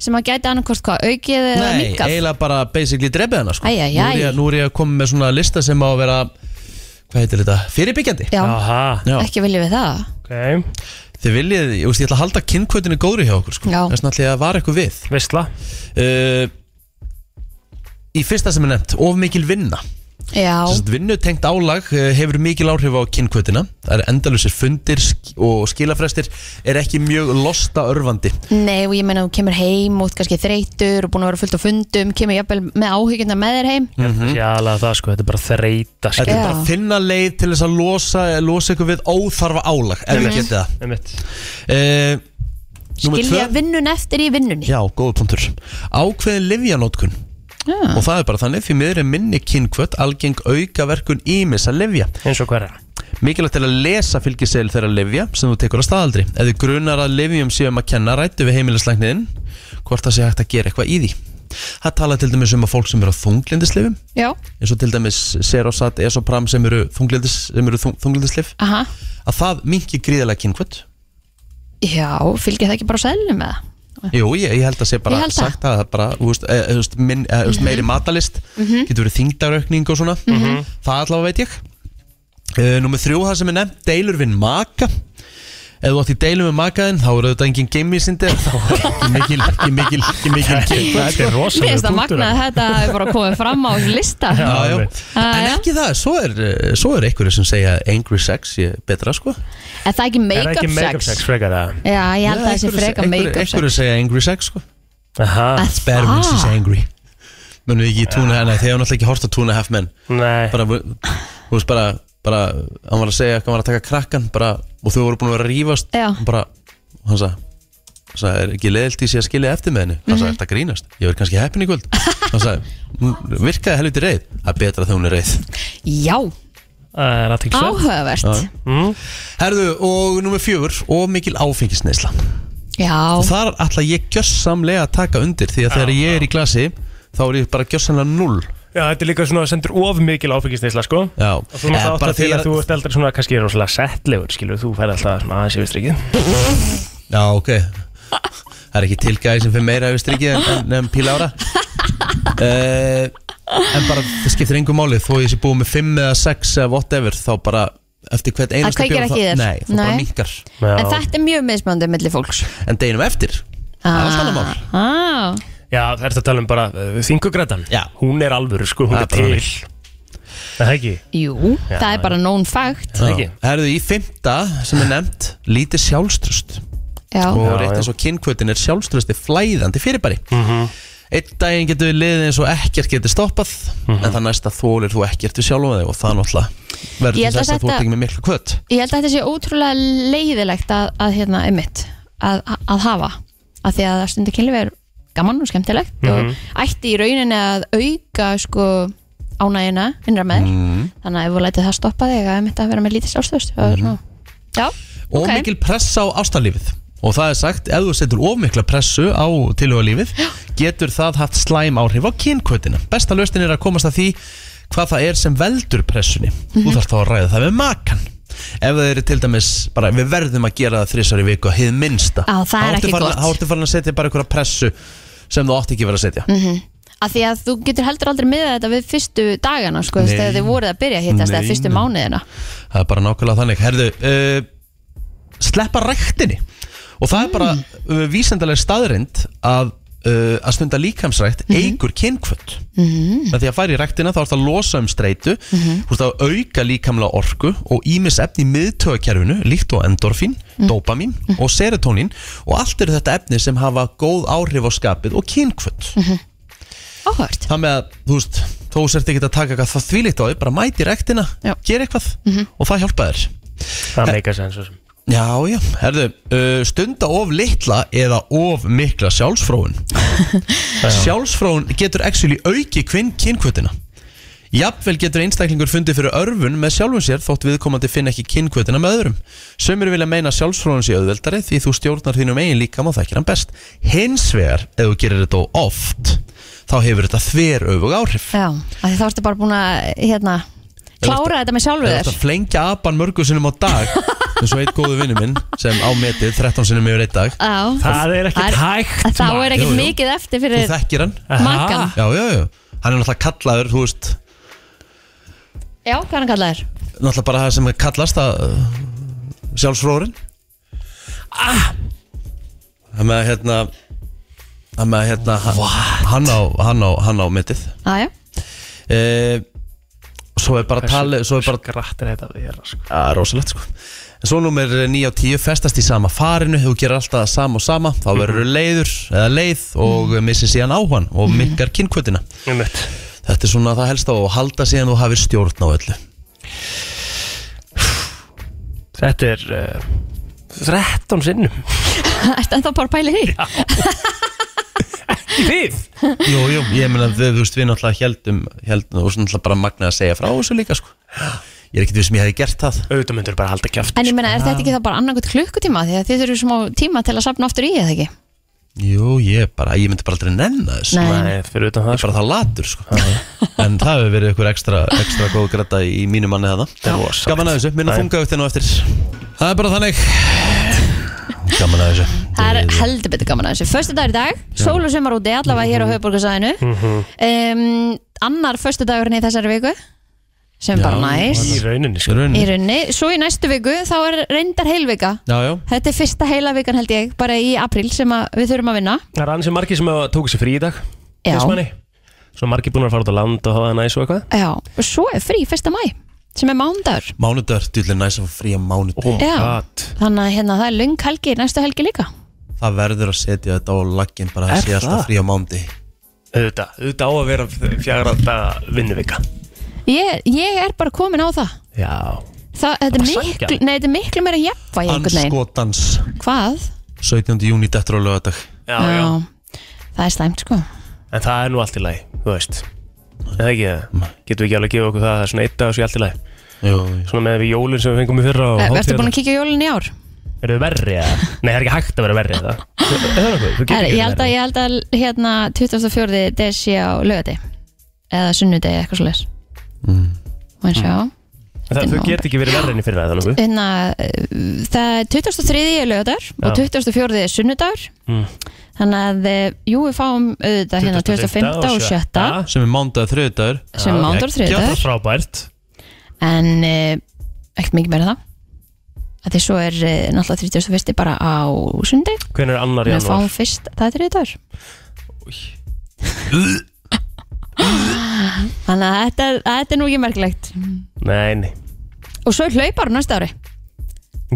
S2: sem að gæti annarkvort hvað, aukið eða
S1: Nei,
S2: minkað
S1: eiginlega bara basically drefið hana sko.
S2: Æ, æ, æ.
S1: Nú, er ég, nú er ég að koma með svona lista sem á að vera hvað heitir þetta, fyrirbyggjandi
S2: Já.
S1: Já.
S2: Ekki viljum við það
S1: okay. Þið viljið, ég, veist, ég ætla að halda kinnkvötinu góðri hjá okkur sko.
S2: Já.
S1: Þess vegna ætla ég að vara eitthvað við
S3: Veistla
S1: uh, Í fyrsta sem er nefnt, of mikil vinna
S2: Já,
S1: Sest, vinnutengt álag eh, hefur mikil áhrif á kynkvötina Það eru endalusir fundir sk- og skilafrestir er ekki mjög losta örfandi
S2: nei og ég meina þú kemur heim og ert kannski þreytur og búin að vera fullt á fundum kemur jafnvel með áhyggjuna með þér heim
S3: mm -hmm. Jálega það sko, þetta er bara þreita
S1: Mhm. Þetta er bara
S2: Já.
S1: að finna leið til þess að losa, losa ykkur við óþarfa álag ef við
S3: Einmitt.
S1: getið það
S3: Einmitt.
S1: Eh, númer
S2: Skilja
S1: tvö.
S2: vinnun eftir í vinnunni
S1: Já, góða punktur Ákveðin livjanótkun
S2: Já.
S1: Og það er bara þannig, fyrir miður er minni kynkvött algeng aukaverkun ímis að livja
S3: Eins og hverja
S1: Mikilvægt er að lesa fylgiseil þeirra livja sem þú tekur á staðaldri Ef þið grunar að livjum séum að kenna rættu við heimilislækniðin Hvort það sé hægt að gera eitthvað í því Það tala til dæmis um að fólk sem eru á þunglindislifum
S2: Já,
S1: eins og til dæmis serosat, esopram sem eru, þunglindis, sem eru þung, þunglindislif
S3: Ah.
S2: aha
S1: að það minki gríðalega kynkvött
S2: Já, fylgir það ekki bara á seðlunum með það?
S1: Jú, ég, ég held að sé bara
S2: Ég held það.
S1: sagt að það bara, þú veist, e, þú veist, minn, e, þú veist meiri matalist
S2: Mhm.
S1: getur verið þingdaraukning og svona
S2: Mhm.
S1: það allavega veit ég e, Númer þrjú, það sem er nefnt, deilur við maka Ef þú átt í deilum við makaðinn þá eru þetta engin geimvísindi þá er ekki mikil, ekki mikil, ekki mikil
S2: Mér finnst það magnað að þetta hefur bara komið fram á þessum lista
S1: hérna. Já, já.
S2: Ah,
S1: En
S2: já.
S1: ekki það, svo er, eh, svo er einhverju sem segja angry sex sé betra sko
S2: Er það ekki make-up sex?
S3: frekar það?
S2: Já, ég held að það sé freka make-up
S1: Einhverju
S2: sex
S1: segja angry sex sko
S3: Aha.
S1: Spare me, she's angry Mönum við ekki í túna henni, þegar hann alltaf ekki hort á túna half menn
S3: Nei
S1: Bara, þú veist bara, bara Hann var að segja, hann var að taka krakkan bara, Og þau voru búin að vera að rífast
S2: Já.
S1: Hann bara, og hann sagði hann sagði, er ekki leiðilt í sig að skilja eftir með henni hann sagði,
S2: Mhm.
S1: er þetta grínast, ég verð kannski heppin í kvöld hann sagði, hún virkaði helviti reið það er betra þegar hún er reið
S2: Já,
S3: Það er athyglisvert. Mm.
S2: Áhugavert.
S1: Já. herðu, og nummer fjögur og mikil áfengisneisla
S2: já,
S1: og þar ætla ég gjössamlega að taka undir því að þegar ég er í glasi þá er ég bara gjössamlega null
S3: Já, þetta er líka svona að sendur of mikil áfengisneisla sko
S1: Já
S3: Og þú mátt
S1: Eh,
S3: átt
S1: bara
S3: að til
S1: því
S3: að
S1: að-
S3: þú ert eldri svona kannski rosalega settlegur skilur Þú færi alltaf svona aðeins yfir strikið
S1: Já, ok Það er ekki tilgæði sem fyrir meira yfir strikið en, en, en píla ára uh, En bara, það skiptir engum máli Þó ég sé búið með 5 eða 6 eða whatever Þá bara, eftir hvert einasta
S2: kveikir
S1: bjór,
S2: ekki í
S1: þá-
S2: þér.
S1: Nei, þá bara
S2: Nei.
S1: minkar
S2: en þetta er mjög mismöndið millir fólks Ah,
S1: En deginum eftir
S2: Það
S3: er allt annað mál.
S2: mál
S3: Já, það ert að tala um bara uh, þingugrætan Já Hún er alvöru sko, hún
S1: Það
S3: er
S1: er bara
S3: til
S1: þannig.
S3: Það er ekki
S2: Jú,
S1: Já,
S2: það er bara known fact
S1: Já. Herðu í fymta sem er nefnt Lítið sjálfströst
S2: Já.
S1: Og
S2: Já, Mhm.
S1: rétt
S2: já.
S1: eins og kynkvötin er sjálfströsti flæðandi fyrirbæri Einn daginn getur við liðið eins og ekkert getur stoppað
S2: Mhm.
S1: En það næsta þólir þú ekkert við sjálfum þig Og það náttúrulega verður til
S2: Ég held að
S1: þess að þú
S2: þetta-
S1: ert ekki með miklu kvöt
S2: Ég held að þetta sé ótrúlega leiðilegt að, að hérna, einmitt, að, að hafa að því að stundu kynlífi er gaman og skemmtilegt
S6: Mhm.
S2: og ætti í rauninni að auka sko ánægina innra með
S1: Mhm.
S2: þér þannig að ef þú lætið það stoppa þig að einmitt að vera með lítið sjálfstöðust mm.
S1: Mhm.
S2: Já,
S1: Og
S2: ok
S1: mikil pressa á ástarlífið Og það er sagt, ef þú setur ofmikla pressu á tilhugalífið Getur það haft slæm áhrif á kynkvötina Besta löstin er að komast að því hvað það er sem veldur pressunni Þú
S2: Mhm.
S1: þarft þá að ræða það við makan Ef það eru til dæmis, bara við verðum að gera það þrísar í viku Hið minnsta
S2: Á, það er
S1: Þá ertu
S2: ekki
S1: farin-
S2: gott.
S1: Þá ertu farin að setja bara einhverja pressu sem þú átt ekki verið að setja
S2: mm að því að þú getur heldur aldrei miðað þetta við fyrstu dagana sko, þú
S1: Nei.
S2: veist, þegar þið voruð að byrja að hittast
S1: Nei,
S2: eða fyrstu
S1: nei.
S2: mánuðina
S1: Það er bara nákvæmlega þannig Herðu, uh, sleppa ræktinni Og það er bara uh, vísendalega staðrind að, uh, að stunda líkamsrækt eigur kynkvöld
S2: mm. Mhm.
S1: Það því að fara í ræktina þá er það að losa um streitu mm -hmm. Þú ert að auka líkamlega orku og ímis efni í miðtögakerfinu líkt og endorfín,
S2: Mm.
S1: dópamín og serotónín og allt eru þetta efni sem hafa góð áhrif á skapið og kynkvöld
S2: Mhm. Áhört
S1: Það með að, þú veist, þú sért ekki að taka eitthvað það þvílíkt á því, bara mæti í ræktina gera eitthvað
S2: Mhm.
S1: og það hjálpa þér
S3: Það meikar sens og sem
S1: Já, já, herðu, uh, stunda of litla eða of mikla sjálfsfróun Sjálfsfróun getur actually auki kvinn kynkvötina Jafnvel getur einstaklingur fundið fyrir örfun með sjálfum sér þótt viðkomandi finn ekki kynkvötina með öðrum Sumir vilja meina að sjálfsfróun sé auðveldari því þú stjórnar þínum eigin líkam og þekkir hann best Hins vegar, ef þú gerir þetta of oft, þá hefur þetta þver öfug áhrif
S2: Já, að því þá ertu bara búin að hérna, klára þetta með sjálfu
S1: Ef þú
S2: þér
S1: ert að flengja apan mörgu sinnum á dag eins og eitt góðu vinnu minn sem á metið 13 sinnum yfir eitt dag
S2: Já.
S1: Það er ekkert hægt,
S2: Þá
S1: maður.
S2: er ekkert
S1: Jú, jú.
S2: mikið eftir
S1: Þú
S2: fyrir
S1: þekkir hann
S2: Makan.
S1: Já, já, já Hann er náttúrulega kallaður, þú veist
S2: Já, hvað er hann kallaður?
S1: náttúrulega bara það sem kallast að uh, sjálfsfróðurinn ah! það með að hérna það með að hérna hann- hann á, hann á, hann á mittið
S2: Aðja,
S1: e, svo er bara
S3: Hversu-
S1: talið svo er bara
S3: grætt er þetta að vera sko.
S1: að rosalegt sko en svo nummer 9 og 10 festast í sama farinu þú gerir alltaf sama og sama þá
S3: Mhm.
S1: verður þú leiður eða leið og missir síðan áhann og minkar kynkvötina
S3: Mhm. Einmitt.
S1: þetta er svona það helst á að halda síðan þú hafir stjórn á öllu
S3: Þetta er uh, 13 sinnum
S2: ertu ennþá bara að pæla í því?
S3: Ekki þið
S1: jú, jú, ég meina þau, þú veist, við náttúrulega heldum, heldum og svona náttúrulega bara magnað að segja frá þessu líka sko ég er ekkert við sem ég hefði gert það
S3: auðvitað myndur bara halda sko. kjæft
S2: En ég meina, er þetta ekki það bara annarkot klukkutíma því að þið þurfum smá tíma til að safna aftur í eða ekki?
S1: jú, ég bara, ég myndi bara aldrei nenna þessu
S2: Nei.
S3: Nei, fyrir utan það
S1: bara það latur sko. en það hefur verið ykkur ekstra, ekstra góð græta í mínu manni þarna
S3: rosalegt.
S1: gaman að þessu, minna
S3: Já.
S1: þungaugtinn á eftir það er bara þannig gaman að þessu
S2: Það er
S1: Við-
S2: heldur betur gaman að þessu. Föstu dagur í dag, sól og sumar úti, allavega hér á höfuborgarsæðinu.
S3: Mhm.
S2: Um, annar föstu dagurinn í þessari viku, sem er bara
S3: Í
S2: næs.
S3: rauninni
S1: Í
S3: sko
S2: Í
S1: rauninni.
S2: runni. Svo í næstu viku, þá er reyndar heilvika.
S1: já, já,
S2: Þetta er fyrsta heila vikan held ég, bara í april sem að við þurfum að vinna.
S3: Það er ansi margir sem hafa- tóku sér frí í dag
S2: Já.
S3: finnst manni. Svo margir búin að fara út á land og hafa það næs og eitthvað
S2: Já, og svo er frí fyrsta mæ, sem er mándagur.
S1: mánudagur, djúlega næst að fá frí á mánudag
S3: Oh my
S2: Já.
S3: god
S2: Þannig að hérna, það er lung helgi, næstu helgi líka.
S1: það verður að setja þetta á laggin bara að
S3: Er
S1: sé alltaf
S3: það?
S1: frí á mánudag
S3: Auðvitað, auðvitað á að vera fjagra daga vinnuvika
S2: Ég, ég er bara komin á það.
S3: Já
S2: Það, þetta,
S3: bara
S2: er miklu,
S3: sanngjarnt.
S2: nei, þetta er miklu meira jafnvægi einhvern
S3: sko.
S2: veginn.
S1: anskotans
S2: Hvað?
S1: 17. júni dættur á lögadag
S3: Já, já
S2: Það er slæmt sko
S3: En það er nú allt í lagi, þú veist Eða ekki, eða? getum við ekki alveg að gefa okkur það að Það er svona eitt dag og svo í allt í lagi Svona með við jólinn sem við fengum í fyrra og
S2: Eh, Ertu
S3: hátíðirnar.
S2: búin að kíkja á jólun í ár?
S3: Eru þau verri eða? Nei, það er ekki hægt að vera verri eða? Er það nokkuð? Þú getur
S2: Her,
S3: ekki
S2: ég,
S3: verið
S2: held að,
S3: verri.
S2: ég held að hérna 24. des sé á lögati eða sunnudegi eitthvað svo leis mm. sjá
S3: Það, þú get ekki verið verri enn í fyrra eða nokkuð?
S2: hérna, uh, það er 23. er lögatar og 24. er sunnudagur
S3: Mm.
S2: þannig að eh, jú við fáum auðvitað hérna
S3: 25.
S2: 25. og 7.
S3: Já,
S1: sem er mánudag þriðdagur
S2: sem
S3: Það
S2: mándur og
S3: er
S2: þriðdagur
S3: frábært
S2: en eh, ekkert mikið meira en það að því svo er eh, náttúrulega 31. bara á sunnudegi
S3: Hvernig er annar
S2: Við
S3: janúar?
S2: fáum fyrst, það er þriðdagur Þannig að þetta, er- að þetta er nú ekki merkilegt
S3: Nei, nei
S2: Og svo er hlaupar á næsta ári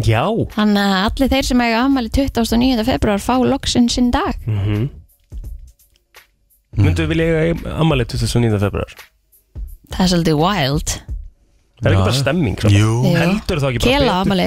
S3: Já
S2: Þannig að allir þeir sem eiga afmæli 29. februar fá loksinn sinn dag
S3: Mhm.
S1: Hmm.
S3: Myndu við vilja eiga ammalið 29. februar?
S2: Það er svolítið wild
S3: Það er
S1: Já.
S3: ekki bara stemming svona?
S1: Jú.
S2: Jú.
S3: Heldur það ekki bara
S2: Kela
S3: betur?
S2: afmæli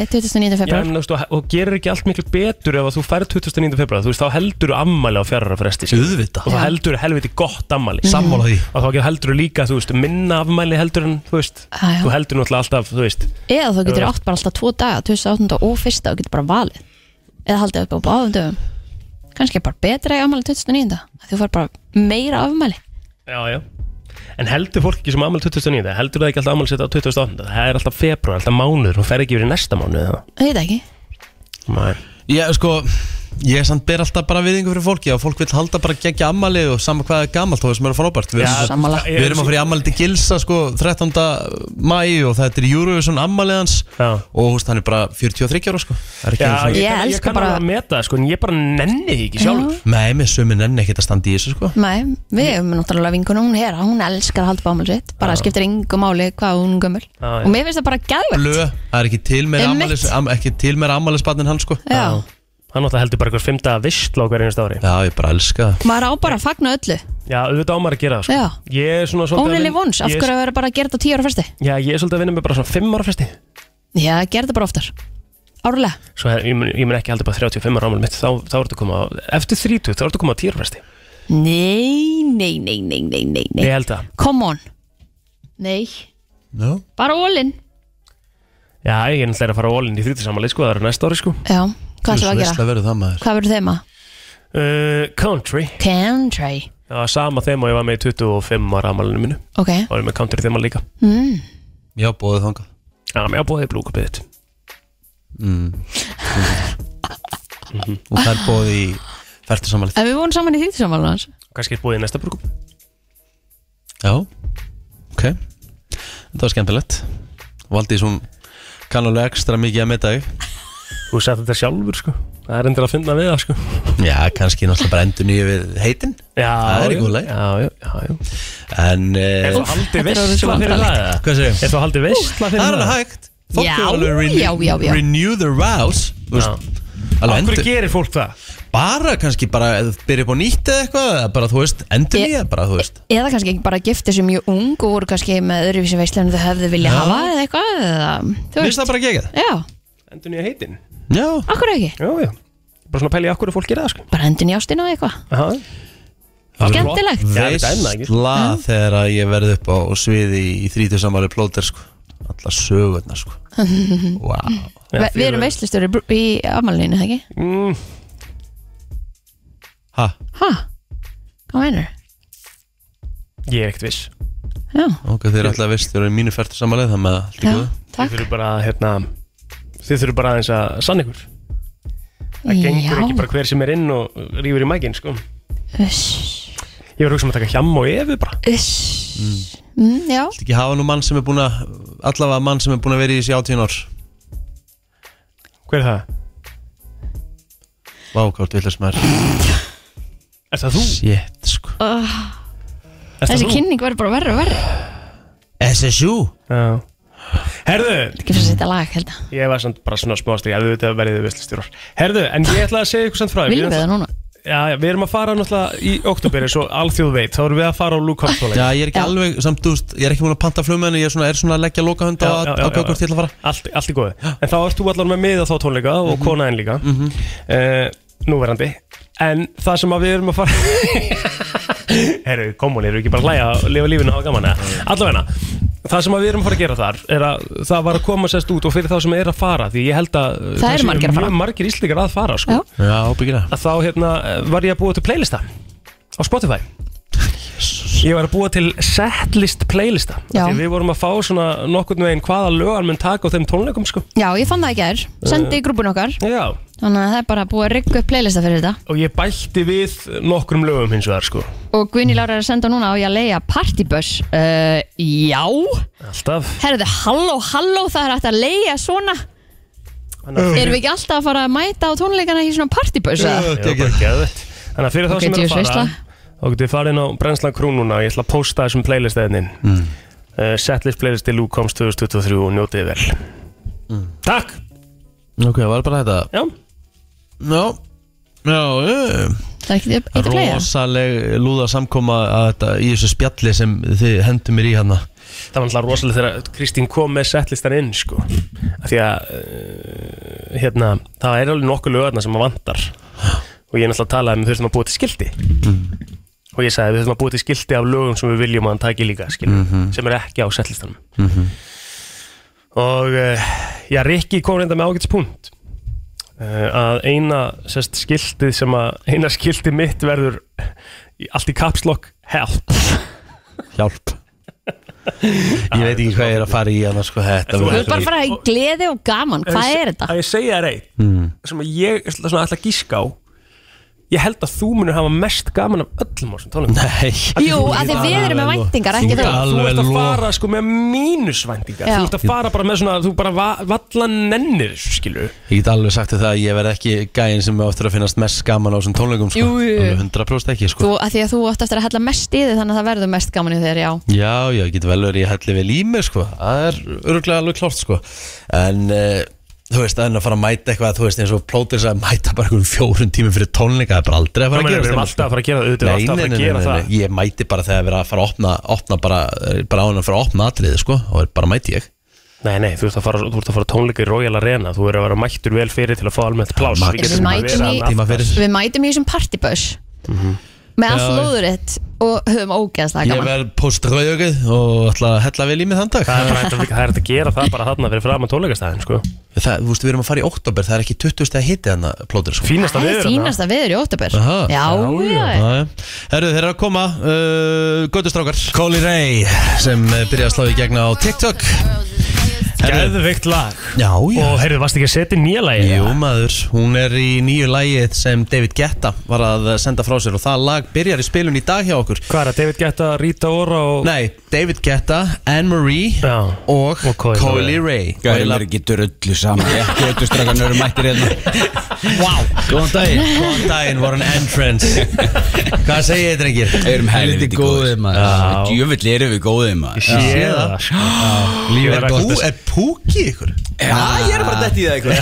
S3: Já,
S2: 29. februar
S3: en, þú veist, og, og gerir ekki allt miklu betur ef að þú færð 29. februar Þú veist, þá heldur þú ammali á fjarrara fresti skilur.
S1: auðvitað,
S3: Og þá heldur þú helviti gott ammali
S1: sammála því
S3: Og þá heldur þú líka, þú veist, minna afmæli heldur en, þú veist
S2: Já, já.
S3: Þú heldur náttúrulega alltaf, þú veist
S2: Eða þú getur átt bara alltaf tvo daga 28. og 1. og getur bara valið Eða haldið upp á báðum dögum Kannski er bara betra í afmæli 29. að Þú fær bara meira afmæli
S3: Já, já En heldur fólk ekki sem amal 2009 Heldur það ekki alltaf amal setja á 2008 Það er alltaf februar, alltaf mánuður Hún fer ekki yfir í næsta mánuð eða?
S2: Það er ekki
S3: Nei
S1: Ég sko, ég samt ber alltaf bara viðingu fyrir fólki og fólk vil halda bara gegja ammali og sama hvað er gamalt og það sem er frábært Við erum,
S2: Sammála.
S3: það er-
S1: við erum að fyrir ammali til Gilsa sko 13. mæ og þetta er Eurovision ammali hans
S3: Já.
S1: og húst hann er bara 43 ára sko Það er ekki
S3: Já, ég,
S1: einu sinni-
S2: Ég
S3: kann- ég
S2: elska
S3: kann
S2: bara-
S3: alveg að meta það sko En ég bara nenni því ekki sjálfur
S1: Nei, með sömu nenni ekkert að standa í þessu sko
S2: Nei, við hefum náttúrulega vinkunum hún hér hún elskar að halda bámál sitt bara skiptir yngu máli hvað hún er gömul
S3: Já, já.
S2: og mér finnst það bara gæðvægt
S1: Blö, það er ekki til meira
S2: Einmitt.
S1: ammalis am, ekki til meira ammalisbarnin hans sko
S2: Já,
S3: Hann náttúrulega heldur bara eitthvað fymta vistl á hverju einasta ári
S1: Já, ég bara elska það
S2: maður á bara að fagna öllu
S3: Já, auðvitað ámar að gera það sko
S2: Já.
S3: Ég er svona svolítið að
S2: Ónili
S3: vin-
S2: vons, af
S3: ég er-
S2: hverju að vera bara að gera þetta á tíu ára fyrsti
S3: Já, ég er svolítið að vinna með bara svona 5 ára fresti
S2: Já, gera þetta bara oftar Árlega,
S3: Svo hef- ég mun, ég mun ekki heldur bara 35 ára ámar mitt Þá, þá ertu að koma á, eftir 30 Þá ertu að koma á 10 ára fresti
S2: nei, nei, nei, nei, nei, nei, nei.
S3: Ég held það
S2: Come on Nei,
S1: no.
S2: bara ólinn
S3: Já, ég er náttúrulega að fara á ólinn í 30 samanleik sko Það eru næsta ári sko
S2: Já, hvað ætlum við að gera?
S1: verður það maður
S2: Hvað verður þeim að?
S3: uh, Country
S2: Country
S3: Það var sama þema og ég var með í 25 ára amalinu mínu
S2: Ok,
S3: Það var ég með country þema líka
S2: mm.
S1: Já, bóðið þangað
S3: Já, mér hafa búið í blúkupið þitt
S1: Mm. Og það er bóðið í færtusammalið
S2: en við vorum saman í því saman hans
S3: Kannski búið í næsta brúkup
S1: Já, ok Þetta var skemmtilegt Valdís hún kannulega ekstra mikið að meta þig
S3: Þú sett þetta sjálfur sko Það er endur að finna við það sko
S1: Já, kannski náttúrulega bara endur nýju við heitin
S3: Já,
S1: Það er í
S3: já,
S1: góð leið
S3: Já, já, já, já.
S1: En uh,
S3: Er þá haldið veistla fyrir það? eða?
S1: Hvað segir
S3: Er þá haldið veistla fyrir það?
S1: Það er alveg hægt Fólk
S2: Já,
S1: er alveg renew,
S2: já, já, já.
S1: renew the rouse Þú veist, alveg
S3: Af hverju
S1: endur
S3: gerir fólk það?
S1: Bara kannski bara eða byrja upp á nýtt eða eitthvað eða Bara þú veist, endur nýja bara þú veist
S2: Eða kannski ekki bara gifti sem mjög ung og voru kannski með öðruvísi veislu en þau hefðu vilja
S1: Já.
S2: hafa eða eitthvað eða,
S1: Vist
S2: þú veist,
S1: það bara gegið?
S2: já,
S3: Endur nýja heitin?
S1: Já
S2: akkur ekki
S3: Já, já Bara svona pæli í akkur að fólk gerir það sko
S2: bara hendin í ástina og eitthvað
S3: Aha.
S2: Skemmtilegt.
S3: Já, þetta er ennað, ekki?
S1: Veistla þegar að ég verði upp á sviði í þrítu samanlega plóter sko Alla sögurnar sko Vá
S3: Já,
S2: Ve- Við
S3: þið
S2: erum
S3: eru-
S2: veislustur í, br- í afmælinu, það ekki?
S3: Mm,
S1: Ha,
S2: Hæ? Hvað meinar?
S3: Ég er ekkert viss
S2: Já,
S1: ok, þeir eru alltaf veistlur í mínu fært samanlega Það með allt í
S2: já,
S1: góðu
S3: Þið
S2: takk
S3: þurfum bara, hérna Þið þurfum bara aðeins að sann ykkur Það gengur ekki bara hver sem er inn og rýfur í mækinn, sko
S2: Uss,
S3: Ég var hugsa um að taka hjam og efu bara
S2: uss mm, Já,
S1: Viltu ekki hafa nú mann sem er búin að Allavega mann sem er búin að vera í þessi átíðin ár
S3: Hver er það?
S1: Vá, hvort villast maður
S3: Er það þú?
S1: Shit, sko
S3: Er það
S2: þessi
S3: þú?
S2: kynning verður bara verður og verður
S1: SSU
S3: Já Herðu,
S2: Ekki fyrir að setja lag, held að
S3: Ég var samt bara svona smástrík að auðvitað verðið veslustjórar Herðu, en ég ætla að segja ykkur samt frá
S2: Viljum við það núna?
S3: Já, já, við erum að fara náttúrulega í oktober eins og alþjóð veit, þá erum við að fara á Luke Hoppsóleik
S1: Já, ég er ekki
S2: Já.
S1: alveg, samt, þú veist, ég er ekki múin að panta flugmenn Ég er svona, er svona að leggja loka hund á
S3: Já, já, já,
S1: að bjókur
S3: já.
S1: til að fara Mhm.
S3: allt, allt í góðu En þá ert þú allan með miða þá tónleika og konaðin líka mm Núverandi En það sem að við erum að fara Herru, komun, eru ekki bara að hlæja og lifa lífinu og hafa gaman eða?
S1: Mm.
S3: Allavegna Það sem að við erum að fara að gera þar er að það var að koma sérst út og fyrir þá sem er að fara því ég held að uh,
S2: Það eru
S3: séu
S2: margir að fara.
S3: mjög margir íslíkar að fara sko.
S2: Já.
S1: Já, ábyggilega
S3: að þá hérna, var ég að búa til playlista á Spotify Ég var að búa til setlist playlista Af
S2: Já.
S3: því Við vorum að fá svona nokkurn veginn hvaða lögar mun taka á þeim tónleikum sko.
S2: Já, ég fann það ekki aður, sendi í grúpun okkar
S3: Já,
S2: Þannig að það er bara búið að rigga upp playlista fyrir þetta
S3: og ég bætti við nokkrum lögum hins vegar sko.
S2: Og Guðni Lára er að senda núna á ég að leiða partybus uh, Já
S3: Alltaf
S2: Herðu, halló, halló, það er hægt að leiða svona
S3: Þannig
S2: Erum við ekki alltaf að fara að mæta á tónleikana í svona partybus? eða?
S1: Já,
S3: að- Já, bara geðveikt. Þannig að fyrir þá
S2: Ok,
S3: sem er
S2: djöfull
S3: að fara
S2: veisla.
S3: þá getur við farið inn á Brennslan Krú núna og ég ætla að posta þessum playlistæðinni mm. uh, Setlist playlist til Lúkoms 2023 og njótið vel Takk
S1: Ok, það var bara þetta
S3: Já,
S1: Já, já, já
S2: Það er ekki eitt að leiða
S1: Rosaleg lúða samkoma að þetta í þessu spjalli sem þið hendur mér í hérna. hana
S3: það var alltaf rosalega þegar Kristín kom með setlistan inn sko. Af því að uh, hérna, það er alveg nokkuð lögarna sem maður vantar og ég er náttúrulega að tala um þau sem að búa til skildi og ég sagði við þurfum að búa til skildi af lögum sem við viljum að hann taki líka skilur, sem er ekki á setlistanum og uh, já, Rikki kom reynda með ágætis punkt uh, að eina sest, skiltið sem að eina skiltið mitt verður í- allt í kapslokk help
S1: Hjálp Ég veit ekki hvað ég er að fara í hana, sko Þetta
S3: Þú
S2: Þú
S1: verður
S2: ert bara að fara í gleði og gaman, hvað
S3: Ef ég
S2: er
S3: se-
S2: þetta?
S3: Ef ég segja þér eitt
S1: Hmm.
S3: sem að ég ætla- svona, ætla að gíska á Ég held að þú munir hafa mest gaman af öllum á þessum tónum
S1: Nei
S2: Jú, af því við erum með væntingar, ekki þú
S1: Þú
S3: Þú ert
S1: alveg
S3: að
S1: loka
S3: fara sko með mínusvæntingar
S2: Já.
S3: Þú ert að fara bara með svona Þú bara va valla nennir þessu, skilu
S1: Ég get alveg sagt þér það að ég verð ekki gæinn sem áttur að finnast mest gaman á þessum tónleikum sko.
S2: Jú, jú, jú.
S1: Alveg 100% ekki sko.
S2: Þú, af því að þú átt eftir að hella mest í þig þannig að það verður mest gaman í þér, já
S1: Já, já, ég get vel verið í helli vel í mig sko. Það er öruglega alveg klárt sko. En uh, þú veist, en að fara að mæta eitthvað Þú veist, eins og plótir að mæta bara einhverjum fjórun tími fyrir tónleika Það er bara aldrei að
S3: Það
S1: fara að
S3: meina,
S1: gera sko.
S3: við erum alltaf að fara að gera það Þú erum alltaf að fara að gera það
S1: Ég mæti bara þegar við erum að fara að opna, opna bara, er bara ánum að fara að opna atriði sko, og bara mæti ég
S3: Nei, nei, þú ert að fara, þú ert að fara á tónleika í Royal Arena Þú ert að vera mættur vel fyrir til að fá almennt plás
S1: Max-
S3: Við getum bara
S2: Mætum
S3: verið
S2: í-
S3: þarna
S1: Tíma
S3: aftast.
S1: fyrir
S2: Við mætum í þessum partybus með allt lóðuritt og höfum ógeðslega
S1: Ég
S2: gaman
S1: verð poströðjögið og ætla að hella vel í mig þann dag
S3: Það er bara hægt að- það er hægt að gera það bara þarna fyrir fram að tónleikastæðin sko.
S1: Það, þú veist, við erum að fara í oktober, það er ekki 20 steg hitti hann að plótur sko.
S3: Fínasta
S2: Það er
S3: veður þarna.
S2: fínasta viður í óttabur Já,
S1: Aha.
S2: já, já
S1: Jæja. Herru, þeir eru að koma uh, Götustrákar Kóli Rey sem eh, byrja að slá í gegna á TikTok
S3: Geðveikt lag
S1: Já, já
S3: Og heyrðu, varst ekki að setja nýja lagi?
S1: Jú maður, hún er í nýju lagið sem David Guetta var að eh, senda frá sér og það lag byrjar í spilun í dag hjá okkur
S3: Hvað er það, David Guetta, Rita Ora og...
S1: Nei, David Guetta, Anne-Marie og, og
S3: Coi
S1: Coily Ray
S3: Ray.
S8: Gæðum er ekki drullu saman Ekki auðvitað strákan eru mættir hérna
S1: Wow,
S8: Góðan daginn
S1: Góðan daginn, var hann entrance Hvað segir þið, drengir?
S8: Erum helviti góðið maður Djöfull erum við góðið maður
S1: Ég sé það. sko.
S3: Lífið er
S1: Er, pú,
S3: ekki
S1: er púki ykkur?
S8: Já, ég er bara dætt í það eitthvað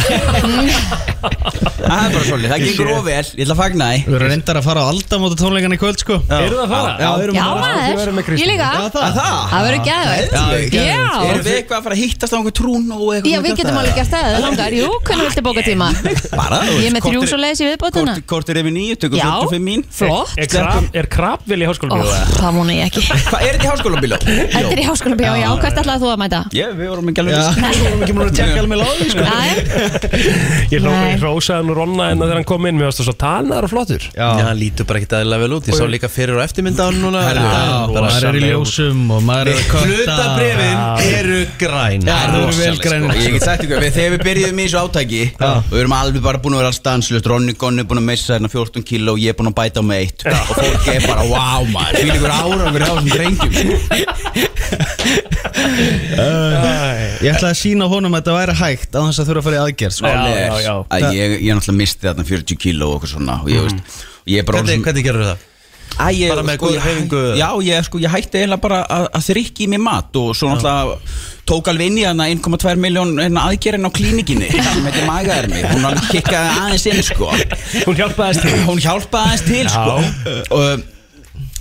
S8: Það er bara svolítið, það gengur ofvel Ég ætla að fagna
S6: Við
S8: því
S6: erum reyndar að fara á aldamóta tónleikana í kvöld sko
S3: Eru það að fara?
S6: Já,
S8: við
S6: erum
S2: Já
S6: að fara.
S8: við
S2: maður,
S8: verðum með
S2: ég
S8: Kristínu.
S2: líka
S6: Já, það.
S2: Það verður geðvægt
S6: Já, geðveikt.
S8: Erum við
S2: Já,
S8: eitthvað að fara að hittast á einhver trún og eitthvað
S2: já við getum alveg gert það, það langar Jú, hvernig viltu bóka tíma?
S8: Bara, þú
S2: Ég er
S8: veist,
S2: með þrjú
S8: korter-
S2: svo leiðis í viðbótuna
S8: sko, Kort- Kortir yfir nýju, tökum
S2: Já,
S8: 45 mín
S2: flott.
S3: Er krab- Er krabvili í
S2: Ó,
S3: háskólanum? eða?
S2: Það vona ég ekki
S8: Hvað er þetta í háskóla bíló?
S2: Þetta er í háskóla bjá, já, hvert ætlaði þú að mæta?
S8: Ég, við vorum ekki alveg Við vorum ekki múin að
S6: Tjekk
S8: tjekka
S6: alveg láði sko
S2: Æ,
S3: Ég hló-
S2: Nei.
S3: ég hrósaði hann og ronna hennar þegar hann kom inn Mér varst það svo talnaðar og flottur
S1: Já, hann lítur bara ekkert aðeinslega vel út Ég sá líka fyrir og eftirmynda hann núna
S6: Já, maður er í ljósum og maður er að kötta
S1: Hlutabrefin eru græn
S6: Já, það eru vel grænir,
S8: Ég
S6: sko.
S8: get sagt ykkur, við, þegar við byrjuðum í þessu átæki og við erum alveg bara búin að vera alls stanslust Ronny Gunn er búin að missa hérna 14 kíló og ég er búin að bæta á með eitt og fólk er bara, wow maður, því líkur árangur á þessum drengjum
S6: Ég ætla að sína honum að þetta væri hægt á þess að þurfa að fara í aðgerð sko.
S8: Mál er
S3: já, já.
S8: að ég, ég náttúrulega misti þarna 40 kíló og eitthvað svona og ég veist og ég er bara
S1: Mm. Hvernig, hvernig gerur það?
S8: Æ, ég,
S1: bara með góða
S8: ég-
S1: hreyfingu?
S8: Já, ég, sko, ég hætti eiginlega bara að, að þrykki í mig mat og svo náttúrulega tók alveg inn í hana 1,2 miljón aðgerinn hérna, á klínikinni sem heitir magaðarmi, hún alveg kikkaði aðeins inn sko,
S3: Hún hjálpaðist til
S8: hún hjálpaði aðeins til sko og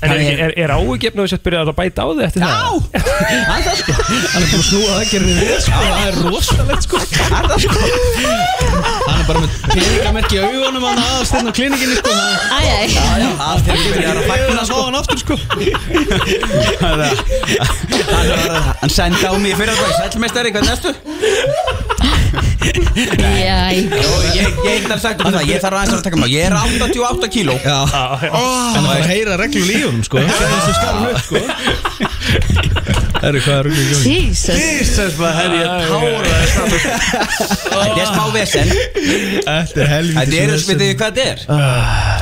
S3: En er, er, er áhugjefn og þess að byrja að bæta á þig eftir
S8: Já,
S3: það?
S8: það er það sko
S6: Hann er búin að snúa aðgerðin við sko Það er rosalegt sko
S8: Það er það sko
S6: Hann er bara með peningamerki í augunum hann aðast inn á klinikinni sko Það
S2: æ, æ
S8: Það er það byrjar að fagna
S6: er
S8: sko
S6: hann aftur sko
S8: Það er það Hann sendi á mig fyrir það Sælmestari, hvernig erstu?
S2: Jæ,
S8: Jó, ég, ég eitt er sagt um það, ég þarf aðeins að taka maður Ég er 88 kíló Ah,
S6: Já Hann er bara að heyra reglum lífunum sko Það er hvað er rúið
S2: Jesus
S1: Jesus, maður, herri, ég tára
S8: Þetta er smá vesen
S6: Þetta er
S8: Þetta
S6: helvítið
S8: eru, veitu þið hvað þetta er?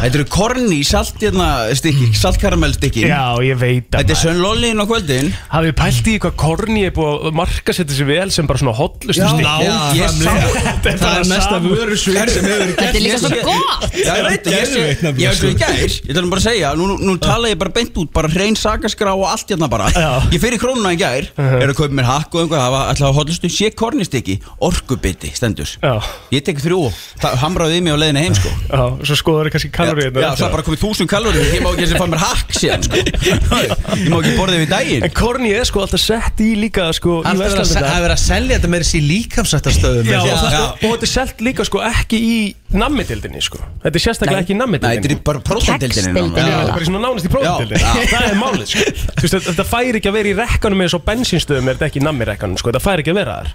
S8: Þetta eru korni, salt, hérna, stykki, saltkaramellstykki
S3: Já, ég veit að
S8: Þetta er sönlóliðin á kvöldin
S3: Hafið pælt í hvað korni er búið að marka setja sér vel sem bara svona hotlustu stík
S8: ég sá
S6: Það er mesta vörusvið sem hefur
S2: Þetta er líka svo gott
S8: Já, ég veit, ég sé, ég veit svo í gær Ég ætlum bara að segja, nú, nú tala ég bara beint út Bara hrein sakaskrá og allt hérna bara
S3: Já. Uh-huh.
S8: Ég fyrir krónuna í gær, er að kaupa mér hakk og einhvað Það var alltaf að hotlustu sé kornistykki Orkubiti, stendur
S3: Já.
S8: Ég tek þrjú, það hamraði í mig á leiðinni heim sko
S3: Já, svo skoður þið kannski kalorið
S8: Já, svo er bara komið þúsund kalóri Ég má ekki eins og fá mér hakk síðan sko Ég má ekki borðið við daginn
S3: En korni er sko alltaf sett í líka sko í
S1: Það er
S3: verslanir
S1: að
S3: þetta.
S1: vera að selja þetta með þessi líkamsættastöðum
S3: Já, og
S8: Já.
S3: það- og þetta er selt líka sko ekki í nammidildinni sko Þetta er sérstaklega ekki í
S8: Nei, þetta
S3: nammidildinni
S8: er bara prófandildinni
S2: Kexdeildinni.
S3: Já, það er bara í svona nánast í prófandildinni
S8: Já, já.
S3: Það er málið sko Þú veist, þetta- Þetta fær ekki að vera í rekkanum eins og bensinstöðum er þetta ekki í nammirekkanum sko Þetta fær ekki að vera þar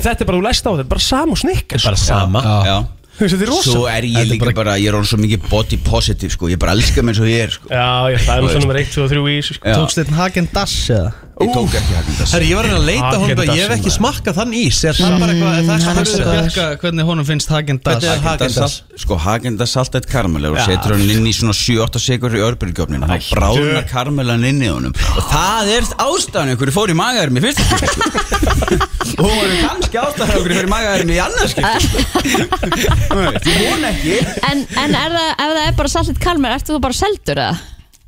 S3: En þetta er bara, þú læst á þetta, þetta er bara sam og snikka
S1: Bara sama
S8: Já
S3: Þú veist, þetta er rosa
S8: Svo er ég líka bara, ég er orðin svo mikið body positive sko Ég bara elska mér eins og ég er sko
S3: Já, já, það er náttúrulega nummer 1, 2 og 3 í þessu sko.
S8: Já.
S6: Tókst þetta Hagen Dash eða?
S8: Ég tók ekki hagndas
S1: Herri, ég var að reyna að leita
S3: Ah,
S1: honum, ég hef
S3: Häagen-Dazs,
S1: ekki smakkað þann ís Er það bara eitthvað, er það
S2: hann er
S1: er
S2: svo
S1: það
S2: góður.
S6: Bjarka, hvernig honum finnst Hagen Dash?
S1: Hvernig er Hagen Dazs?
S8: Sko, Hagendas alltaf eitt karmel og
S3: Já.
S8: setur hann inn í svona 7-8 segur í örbyrgjöfninu þá bráðnar karmelan inn í honum og það er ástæðan ykkur fór í magaðurmi fyrst og hún var kannski ástæðan ykkur fór í magaðurmi í annarskipt Þú vona ekki
S2: En, en er það, ef það er bara sallit kalmer, ertu þú bara seldur það?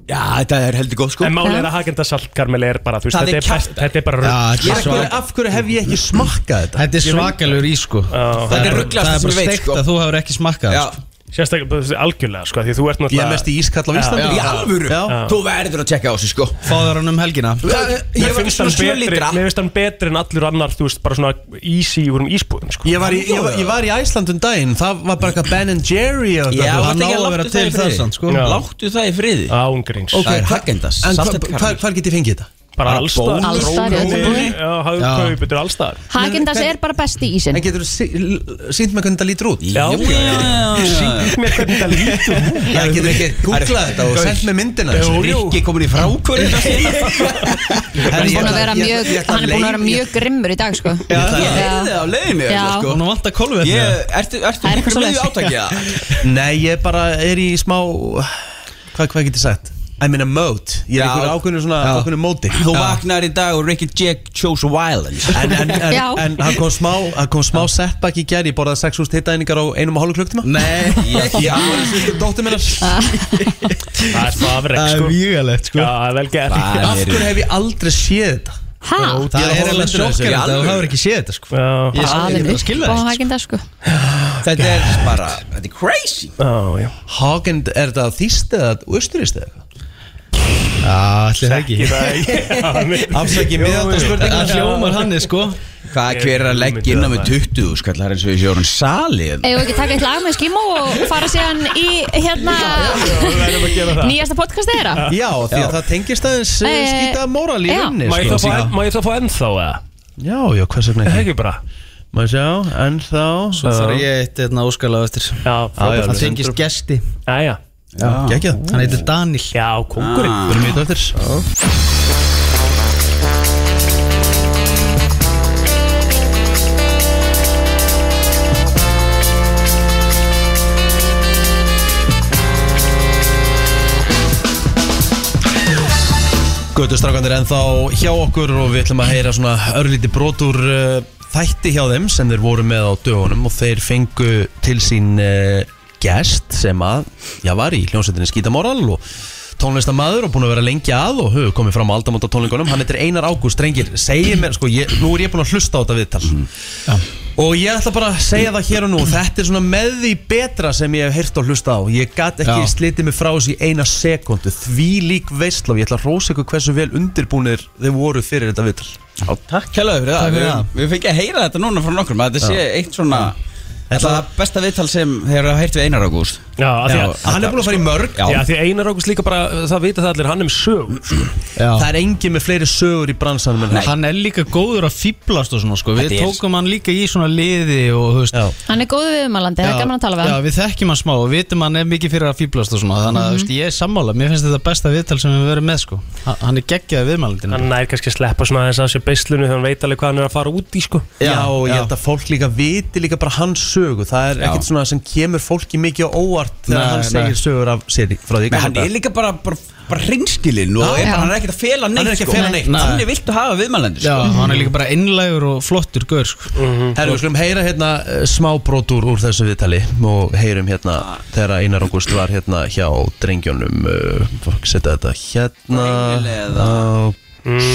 S8: Já, þetta er heldur góð sko
S3: En málið er að Hagenda saltkarmel er bara, þú veist,
S8: Það
S3: þetta
S8: er
S3: er, best,
S8: kjafta.
S3: þetta er bara
S6: Já,
S3: rugl.
S1: Af
S6: þetta er
S1: hverju-
S6: svak-
S1: Af hverju hef ég ekki smakkað þetta?
S6: Þetta er svakalur í sko
S8: Þetta er
S6: Það Það
S8: ruglast
S6: er
S8: sem
S6: bara
S8: ég veit,
S6: steikt
S8: sko.
S6: að þú hefur ekki smakkað
S8: Já,
S6: það, sko.
S3: Sérstaklega, þú veist, algjörlega, sko, því þú ert
S1: Ég er
S3: náttúrulega
S1: mest í ískall á Íslandi
S8: í alvöru
S1: Já.
S8: Þú verður að tjekka á þessu sko
S6: Fáður hann um helgina
S8: Ég
S3: Mér
S8: var
S3: finnst hann
S8: svona 7
S3: betri,
S8: litra
S3: mér finnst hann betri en allur annar, þú veist, bara svona easy úr um ísbúðum, sko
S1: Ég var, í, ég, var, ég var í Æsland um daginn, það var bara eitthvað Ben Jerry og
S8: Já,
S1: eitthvað.
S6: Hann
S8: þetta
S6: á
S8: ekki
S6: að vera til
S8: láttu það í friði.
S6: þessan sko
S3: Já.
S8: Láttu það í friði
S3: Ángríns
S8: Það er Hagendas
S1: En hva- hvar hvar get ég fengið þetta?
S3: bara allstar
S2: Alls staðar í öllum búðum.
S3: Já, hagkaup, þetta er allstar
S2: Hagendas er bara besti í sin
S1: En getur þú sínt mér hvernig það lítur út?
S3: Já, já, já, já. Sýnt mér hvernig það lítur út.
S1: Já, getur ekki googlað þetta og sendt mér myndina þessu Rikki komin í frákvörð
S2: Hann er búin að vera
S8: ég-
S2: mjög,
S8: ég ætla að
S2: hann er búin að vera
S8: leið-
S2: mjög grimmur í dag sko
S8: Já, ég heyrði það á leiðinu
S2: Já.
S8: sko.
S6: Hún vant að kolvi
S8: Ég, ertu, ertu
S2: Það er
S8: miklu
S2: eitthvað
S8: með
S2: svoleiðis.
S8: átaki Já,
S1: Nei, ég bara er í smá Hvað hva getur sagt? I'm in a mode Ég er í einhverju ákveðnu svona
S8: Já.
S1: ákveðnu móti
S8: Þú vaknar í dag og Ricky Jack chose violence
S1: En, en, en,
S8: Já.
S1: en það kom smá, það kom smá setback í gerð Ég borðaði 6.000 hittæningar á einum og hálfu klukktíma
S8: Nei,
S1: ég,
S8: já.
S1: ég Dóttir minnar
S3: Það er fafrek
S6: Það
S3: sko
S6: er vígalegt sko
S3: Já, það er vel gert
S8: Það
S1: Af hverju hef ég aldrei séð þetta?
S2: Hæ?
S6: Það er eiginlega sjokkar
S8: Í
S6: þetta
S8: alvöru.
S6: og hefur ekki séð þetta sko
S3: Já,
S6: Ég skil- ég
S2: Alveg
S6: bara
S2: upp
S6: skil það
S2: á
S6: ekki, sko.
S2: Hagendas sko
S8: Þetta er bara, þetta er crazy
S3: já, já
S1: Hagen, er þetta þýst eða austurist eða?
S6: Já, allir það
S3: Ég
S6: ekki
S3: það ekki
S1: Afsakið miðaldarspurning.
S6: Það hljómar hann sko
S8: Hvað hver er að leggja inn á með 20 skall Það er eins og ég sé orðin sali hérna.
S2: Eða ekki taka eitt lag með skímó og fara síðan í hérna
S3: Við verðum að gera það
S2: nýjasta podcast þeirra
S1: Já, því að það tengist aðeins eh,
S2: Eh,
S1: skýta móral í
S2: já.
S1: rauninni
S3: Má ég
S1: sko.
S3: það fá en- Má ég það fá ennþá eða?
S1: Já, já, hvers vegna
S3: Er Það
S1: ekki?
S3: ekki bara
S1: Má ég sjá, en þá
S6: Svo þarf ég eitt hérna óskalega eftir
S3: Já,
S1: já.
S3: frábært
S6: Hann tengist gesti
S3: Jæja
S1: Gekja,
S6: Hann heitir Ah. Daniel
S3: Já, kongurinn
S1: við erum í þetta eftir Götustrákandir ennþá hjá okkur og við ætlum að heyra svona örlíti brot úr uh, þætti hjá þeim sem þeir voru með á dögunum og þeir fengu til sín uh, gest sem að, já var í hljómsveitinni Skítamóral og tónlistamaður og búin að vera lengi að og höfðu komið fram á aldamóta tónlingunum hann heitir Einar Ágúst, drengir, segir mér sko, ég, nú er ég búin að hlusta á þetta viðtal og ég ætla bara að segja það hér og nú þetta er svona með því betra sem ég hef heyrt og hlusta á, ég gat ekki
S6: Já.
S1: slitið mig frá þessu í eina sekundu, því lík veistla og ég ætla að rósa ykkur hversu vel undirbúnir þau voru fyrir þetta viðtal
S8: Já, takk kjærlega fyrir
S6: Takk
S8: það
S6: fyrir það.
S8: Við, við fengið að heyra þetta núna frá nokkrum að Þetta sé eitt svona Þetta er besta viðtal sem hefur heyrt við Einar Ágúst
S3: Já, af því að
S1: hann er búin að fara í mörg
S8: Já,
S3: Já, því Einar Ágúst líka bara, það vita það allir, hann er með sko. sög
S6: Já
S1: það er engin með fleiri sögur í bransanum en hann
S6: Hann er líka góður að fýblast og svona sko Við
S8: Þetta er-
S6: tókum hann líka í svona liði og þú veist
S1: Já.
S2: Hann er góðu viðumalandi, það er gaman að tala við
S6: Já,
S2: hann
S6: við þekkjum hann smá og vitum hann er mikið fyrir að fýblast og svona Þannig að
S2: Mhm.
S6: mm ég er sammála, mér finnst þetta besta viðtal sem við höfum verið með sko Ha- Hann er geggjaði viðmælindin
S3: Hann er kannski að sleppa svona aðeins að sér beislunni þegar hann veit alveg hvað hann er að fara út í sko
S1: Já, og ég
S6: já.
S1: held að fólk líka viti líka bara hans sögu Það er
S8: Já.
S1: ekkert svona sem kemur fólki mikið á óvart Þegar
S6: Nei,
S1: hann segir
S6: nei.
S1: sögur af sér í- frá því
S8: Men hann er líka bara, bara, bara hreinskilinn og er
S2: Já.
S8: bara, hann er ekkert að fela neitt sko.
S1: Hann er ekki að fela neitt.
S6: Nei.
S8: Þannig viltu hafa viðmælendur
S6: Já,
S8: sko.
S6: hann er líka bara einlægur og flottur gaur sko
S1: Herru, við skulum heyra hérna eh, smábrot úr, úr þessu viðtali og heyrum hérna þegar Einar Ágúst var hérna hjá drengjónum uh, fólk setja þetta hérna
S8: Heimilega.
S1: á-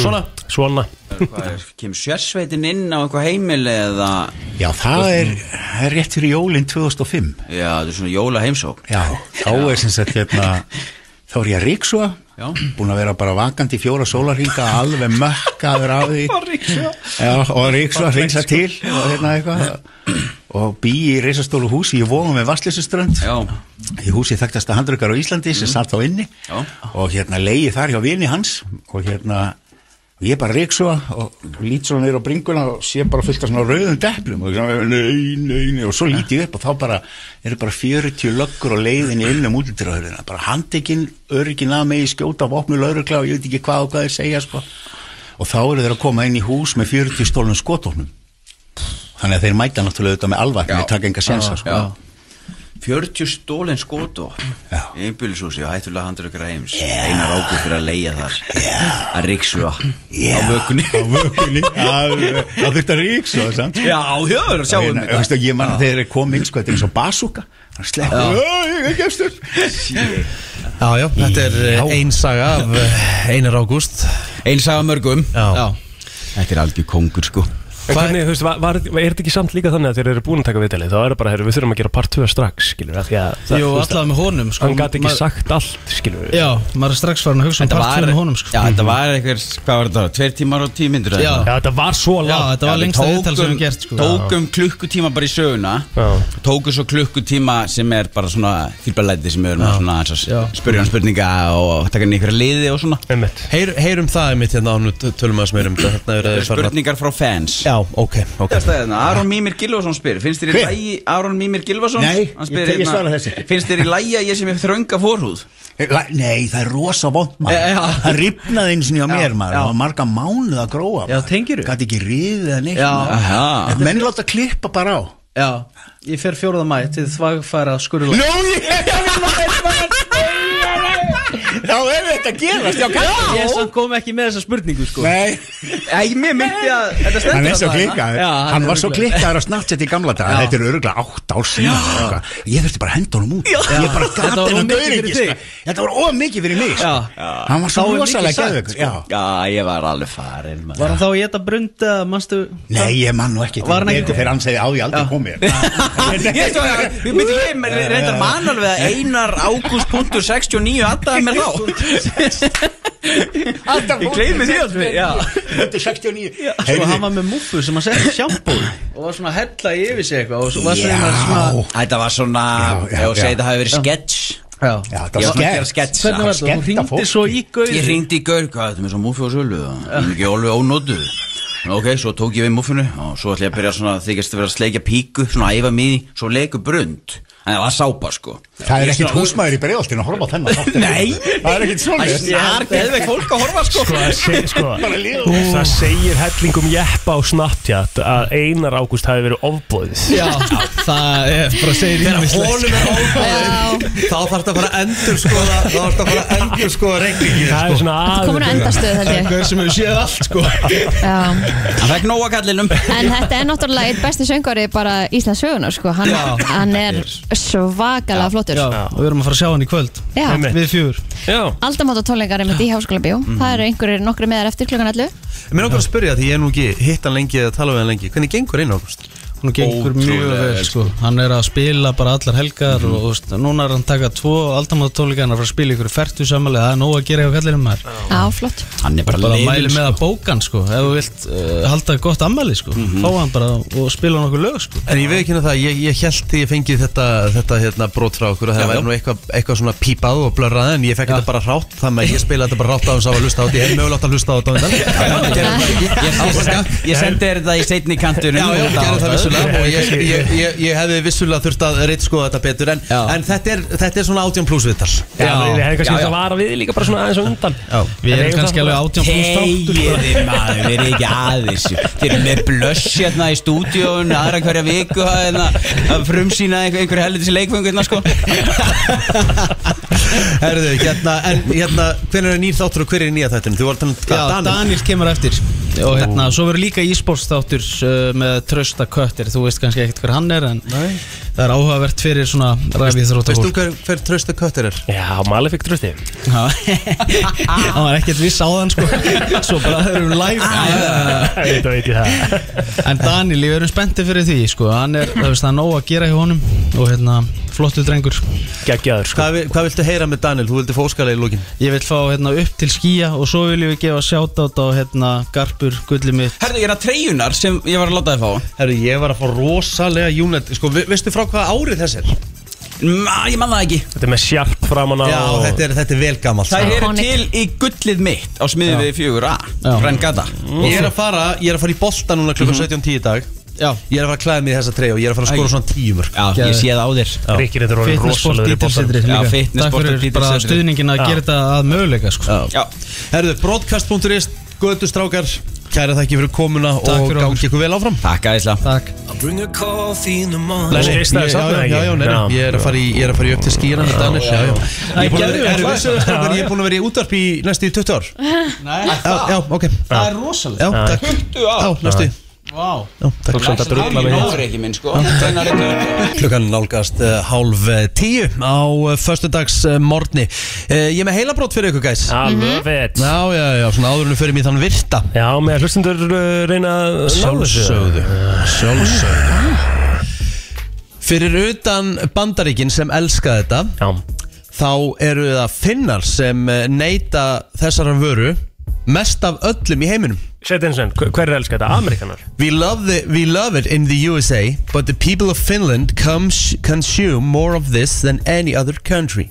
S1: Svona
S3: Svona
S8: Hvað er- Kemur sérsveitin inn á eitthvað heimil eða
S9: Já, það er, það er rétt fyrir jólinn 2005.
S8: Já, þetta er svona jóla heimsók
S9: Já, þá er sem sagt hérna, þá er ég að ríksua,
S8: Já.
S9: búin að vera bara vakandi í fjóra sólarhinga, alveg mökkaður af því. Og ríksua. Já, og ríksua,
S8: sko.
S9: hreinsa til og hérna eitthvað. Og bý í reisastólu húsi, ég vóðum með Vassleysuströnd.
S8: Já, Mhm.
S9: Í húsi þekktast að handrukar á Íslandi sem satt á inni
S8: Já.
S9: og hérna leiði þar hjá vini hans og hérna og ég bara reik svo og lít svona neyra á bringuna og sé bara fullt af svona rauðum deplum og svona nei, nei, nei og svo lít ég upp og þá bara eru bara 40 löggur og leiðin inn um útlýttiröðurina bara handekinn, öryginn að mig skjóta vopnu laurugla og ég veit ekki hvað og hvað þeir segja sko. og þá eru þeir að koma inn í hús með 40 stólnum skotofnum þannig að þeir mæta náttúrulega auðvitað með alvægni,
S8: Já.
S9: þeir taka enga sensa sko.
S8: 40 stólinn skótu
S9: Já.
S8: Einbýlishúsi og hættulega handur ykkur heims Einar águr fyrir að leia þar Að ríksu
S9: Já,
S8: Á vökunni.
S9: á vökunni Já, það þurfti að ríks og það
S8: Já, já, það er að sjá um
S9: Ég veist
S8: þetta
S9: að ég manna þegar þeir kom inn sko, þetta er eins og basúka hann sleppur, ég er gestur
S1: Já, já, þetta er eh, ein saga af eh, Einar Ágúst
S8: Einn sagði mörgum
S1: Já.
S8: Þetta er algjör kongur sko
S3: En hvernig, þú veist, var, var, er þetta ekki samt líka þannig að þeir eru búin að taka viðtalið, þá er það bara, heyrðu, við þurfum að gera part 2 strax, skilur, af því að það-
S6: Jú,
S3: þú veist,
S6: allavega með honum, sko,
S3: Hann gæti ekki
S6: maður-
S3: sagt allt, skilur
S6: Já, maður er strax farin að hugsa um
S8: Þetta
S6: part 2
S8: var-
S6: með honum sko.
S8: Já, þetta var einhver, hvað var þetta, tveir tímar og tíu myndir
S6: Já. Já,
S3: þetta var svo
S6: langt. Já, þetta var lengsta viðtal sem við gert, sko.
S8: Tókum klukkutíma bara í söguna Tókum svo klukkutíma sem er bara svona fýrbalæti sem við erum að svona aðeins að s- spyrja um spurninga og taka niður ykkur liði og svona
S1: Heyr, Heyrum það einmitt hérna ánum tölum að smeyrum Þetta Hérna er
S8: Spurningar frá fans
S1: Já, ok, ok
S8: Þetta er hérna, Aron Mímir Gilvason spyr Finnst þér í
S1: Hver?
S8: lægi, Aron Mímir Gilvason
S9: Nei, ég
S8: Hann spyr
S9: te- ég
S8: hérna,
S9: svara þessu.
S8: Finnst þér í lægi að ég sem er þrönga fórhúð?
S9: Eh, Nei, það er rosa vond maður Það ripnaði eins og nýja mér maður Það var marga mánuð að gróa Já, tengir þú? Gæti ekki riðið eða neitt
S6: Já.
S9: maður.
S6: Aha.
S9: En Menn láta klippa bara á
S6: Já, ég fer fjóruða mæ til þvagfæra skurðulag
S9: Nú, ég Já, ef þetta gerast, já, kannski.
S13: Ég samt kom ekki með þessa spurningu, sko
S9: Nei.
S8: Æ, mér myndi að þetta stendur
S9: Hann er svo
S8: þarna.
S9: klikkaður
S8: Já,
S9: Hann, var svo
S8: ruglaður.
S9: klikkaður á Snapchat í gamla daga Þetta er örgulega 8 ár síðan eða eitthvað. Ég þurfti bara að henda honum út
S13: Já.
S9: Ég bara
S13: Þetta var
S9: gata
S13: of
S9: hennar
S13: mikið
S9: gaur
S13: fyrir
S9: ekki
S13: þig.
S9: sko. Þetta var of mikið fyrir mig sko. Hann var svo
S13: Þá er mikið
S9: rosalega
S13: sagt,
S9: gæðvöggur
S13: sko.
S8: Já, ég var alveg farin maður.
S13: Var hann þá að geta brunda, manstu
S9: Nei, ég mann nú ekki
S13: Var hann
S9: ekki
S13: ekki-
S9: Þegar hann segi á ég aldrei komið hérna."
S8: Ég svo, ég myndi ég, mér reyndar man alveg að einar ágúst.69 aðdaði mér þá Ég gleymi því alveg, já
S9: Þetta er 69
S13: Svo Sko, hann var með múfu sem að setja sjampó í Og var svona að hella yfir sig eitthvað Og svo var svona svona
S8: Þetta var svona,
S13: já,
S8: ef þú segir
S13: já.
S8: þetta hafi verið sketch
S13: Já,
S8: Ég var að gera sketch
S13: Hvernig var þetta? Þú ringdi svo í gaur
S8: Ég ringdi í gaur, hvað þetta með svo muffi og sölu og ég er ekki alveg ónótuð Ok, svo tók ég við muffinu og svo ætla ég að byrja svona að þykjast að vera að sleikja píku, svona að æfa miði, svo leiku brund En það var sápa sko
S9: Það er
S8: Ég
S9: ekkit
S8: svona-
S9: húsmaður í bregðoltinu að horfa á þennan
S8: Nei
S9: Það er ekkit
S8: Það
S9: svona
S8: er snar geðveik fólk að horfa sko
S3: Sko, það segir, sko,
S9: Bara liðu.
S3: það segir hellingum jeppa á Snapchat að Einar Ágúst hafi verið ofbóðið
S6: Já, það er bara segir
S3: Þegar
S6: ýmislegt,
S3: honum
S6: sko.
S3: er
S1: Þá þarf þetta að fara að endur skoða Þá þarf þetta að sko. fara að endur skoða reikningin
S3: Það er svona
S2: Þetta komin að endastöð held ég
S6: Gaur sem hefur séð allt sko
S2: Já.
S8: Það fekk nóa kallinum
S2: En þetta er náttúrulega eitt besti söngari bara Íslands sögunar sko Hann,
S6: Já.
S2: hann er svakalega flottur
S6: Já, og við erum að fara að sjá hann í kvöld
S2: Já. Einmitt.
S6: Við fjúr
S2: Aldamáta tónleikar er mitt í háskóla bjó Það eru einhverjir nokkri meðar eftir klukkan 11
S1: Mér langar að spyrja því ég er nú ekki hitt hann lengi eða tala við hann lengi Hvernig gengur einn águst?
S6: Hún gengur mjög vel sko Mhm. Hann er að spila bara allar helgar og, og veist, núna er hann að taka tvo aldamáttatónleika Hann er að fara að spila ykkur færtu samanlega Það er nóg að gera hjá kallinum maður
S2: Já, flott
S8: Hann er bara
S6: bara
S8: leiðin,
S6: mæli með að bóka hann sko Ef þú vilt uh, halda gott ammæli sko Fá hann bara og spila nokkur lög sko
S1: En ég veit ekki hérna það, ég, ég held því ég fengið þetta, þetta hérna, brot frá okkur að það
S6: Já, já.
S1: væri nú eitthvað eitthva svona pípað og blörrað en ég fekk þetta bara rátt þannig að ég spilaði þetta bara rátt á hans á að hlusta á þetta ég hef mögulegt að hlusta á þetta á
S8: þetta Ég sendi þér þetta í seinni kantur
S1: Já, já, ég gerði það vissulega og ég, ég, ég, ég hefði vissulega þurft að reitt skoða þetta betur en, en þetta, er, þetta er svona 18 plus viðtal
S3: Já, ég hefði kannski þetta vara við líka bara svona aðeins á undan
S1: Við
S3: En
S1: erum
S3: eigum
S1: kannski
S3: það-
S1: alveg 18 plús þáttur.
S8: Þegiði maður, við erum ekki aðeins Þeir eru með blöss hérna í stúdíun aðra hverja viku hérna, að frumsýna einhver, einhver helvitis leikfengu hérna sko
S1: Herðu, hérna, en hérna, hvernig er nýr þáttur og hver er nýja þættin? Þú var þannig
S6: Já, Daniel, kemur eftir Og hérna, svo verður líka ísportstáttur uh, með trösta köttir Þú veist kannski ekkert hver hann er En það er áhugavert fyrir svona ræfið þróta
S1: Veist þú hver, hver trösta köttir er?
S3: Já, Malefik trösti
S6: Það var ekkert viss á þann sko Svo bara þau eru live
S3: Þetta veit ég það
S6: En Daniel, við erum spenntið fyrir því sko Hann er, það veist, það er nóg að gera hjá honum Og hérna, flottu drengur
S3: Gægjaður sko
S1: Hvað, vi- hvað viltu heyra með Daniel? Þú vildi fóskala í lókin
S6: Ég vil fá hérna upp til skýja Og svo viljum við gefa sjátátt á hérna Garpur, gullið mitt
S8: Herðu, ég er að treyjunar sem ég var að láta þið fá
S1: Herru, ég var að fá rosalega júnet Sko, ve- veistu frá hvaða árið þess er?
S8: Ma, Ég man það ekki
S3: Þetta er með sjarp framan á
S1: Já, þetta er, þetta er vel sko. gammalt
S8: Það er til í gullið mitt á smiðið við fjögur A Rengata
S1: Ég er að fara, ég er að fara í bolta núna
S8: Mhm.
S1: klukkan 17.10 í dag
S6: Já.
S1: Ég er að fara að klæða mig í þessa treyju og ég er að fara að skora svona tíumörk
S8: Já, ég sé það á þér
S3: Rikki, þetta er orðin
S6: Fitnessport
S3: rosalegur í boltanum.
S6: dítilsetri
S8: Já,
S6: líka
S8: fitness,
S6: Takk
S8: sport,
S6: fyrir
S8: fitness,
S6: bara
S8: setri.
S6: stuðningin að
S8: Já.
S6: gera þetta að möguleika sko.
S8: Já
S1: Herðu, broadcast.is, götu strákar Kæra þakki fyrir komuna og
S6: fyrir
S1: gangi ykkur vel áfram
S8: Takk æðislega
S6: Takk
S5: I'll bring a coffee in the morning
S1: Nei,
S3: Leysa
S1: nei, ég-
S3: þess
S1: já,
S3: að
S1: já,
S3: það
S1: já,
S3: ekki?
S1: já, nei, nei,
S3: Já.
S1: ég er að fara í, ég er að fara í upp til skýrana með Daniel, já, já Ég er búin að
S6: gerðu
S1: vera,
S6: vel,
S1: er,
S6: það.
S1: vissu, strákar, ég er búin að vera í útvarp í næstu í 20 ár
S6: Nei,
S1: Já, já, ok
S6: það er rosalega
S1: Já, takk
S8: 20
S1: Já, næstu
S8: Vá
S1: Já, takk
S8: Tók
S3: um
S1: samt að
S8: samt
S1: drulla
S8: alveg
S1: við
S8: nógur ekki minn, sko.
S1: Já.
S8: Tvennar ekki.
S1: Klukkan nálgast uh, hálf eh, tíu á uh, föstudags uh, morgni uh, Ég er með heilabrót fyrir ykkur gæs
S3: I love it
S1: Já, já, já, svona áðurinu fyrir mér þann virta
S3: Já, með hlustundur uh, reyna að ná þessu.
S1: Sjálfsögðu Sjálfsögðu Fyrir utan bandaríkin sem elska þetta
S3: Já.
S1: Þá eru það finnar sem eh, neyta þessara vöru Mest af öllum í heiminum
S3: Sett eins og enn, hver er elska þetta? Amerikanar?
S1: We love, the, we love it in the USA But the people of Finland comes, consume more of this than any other country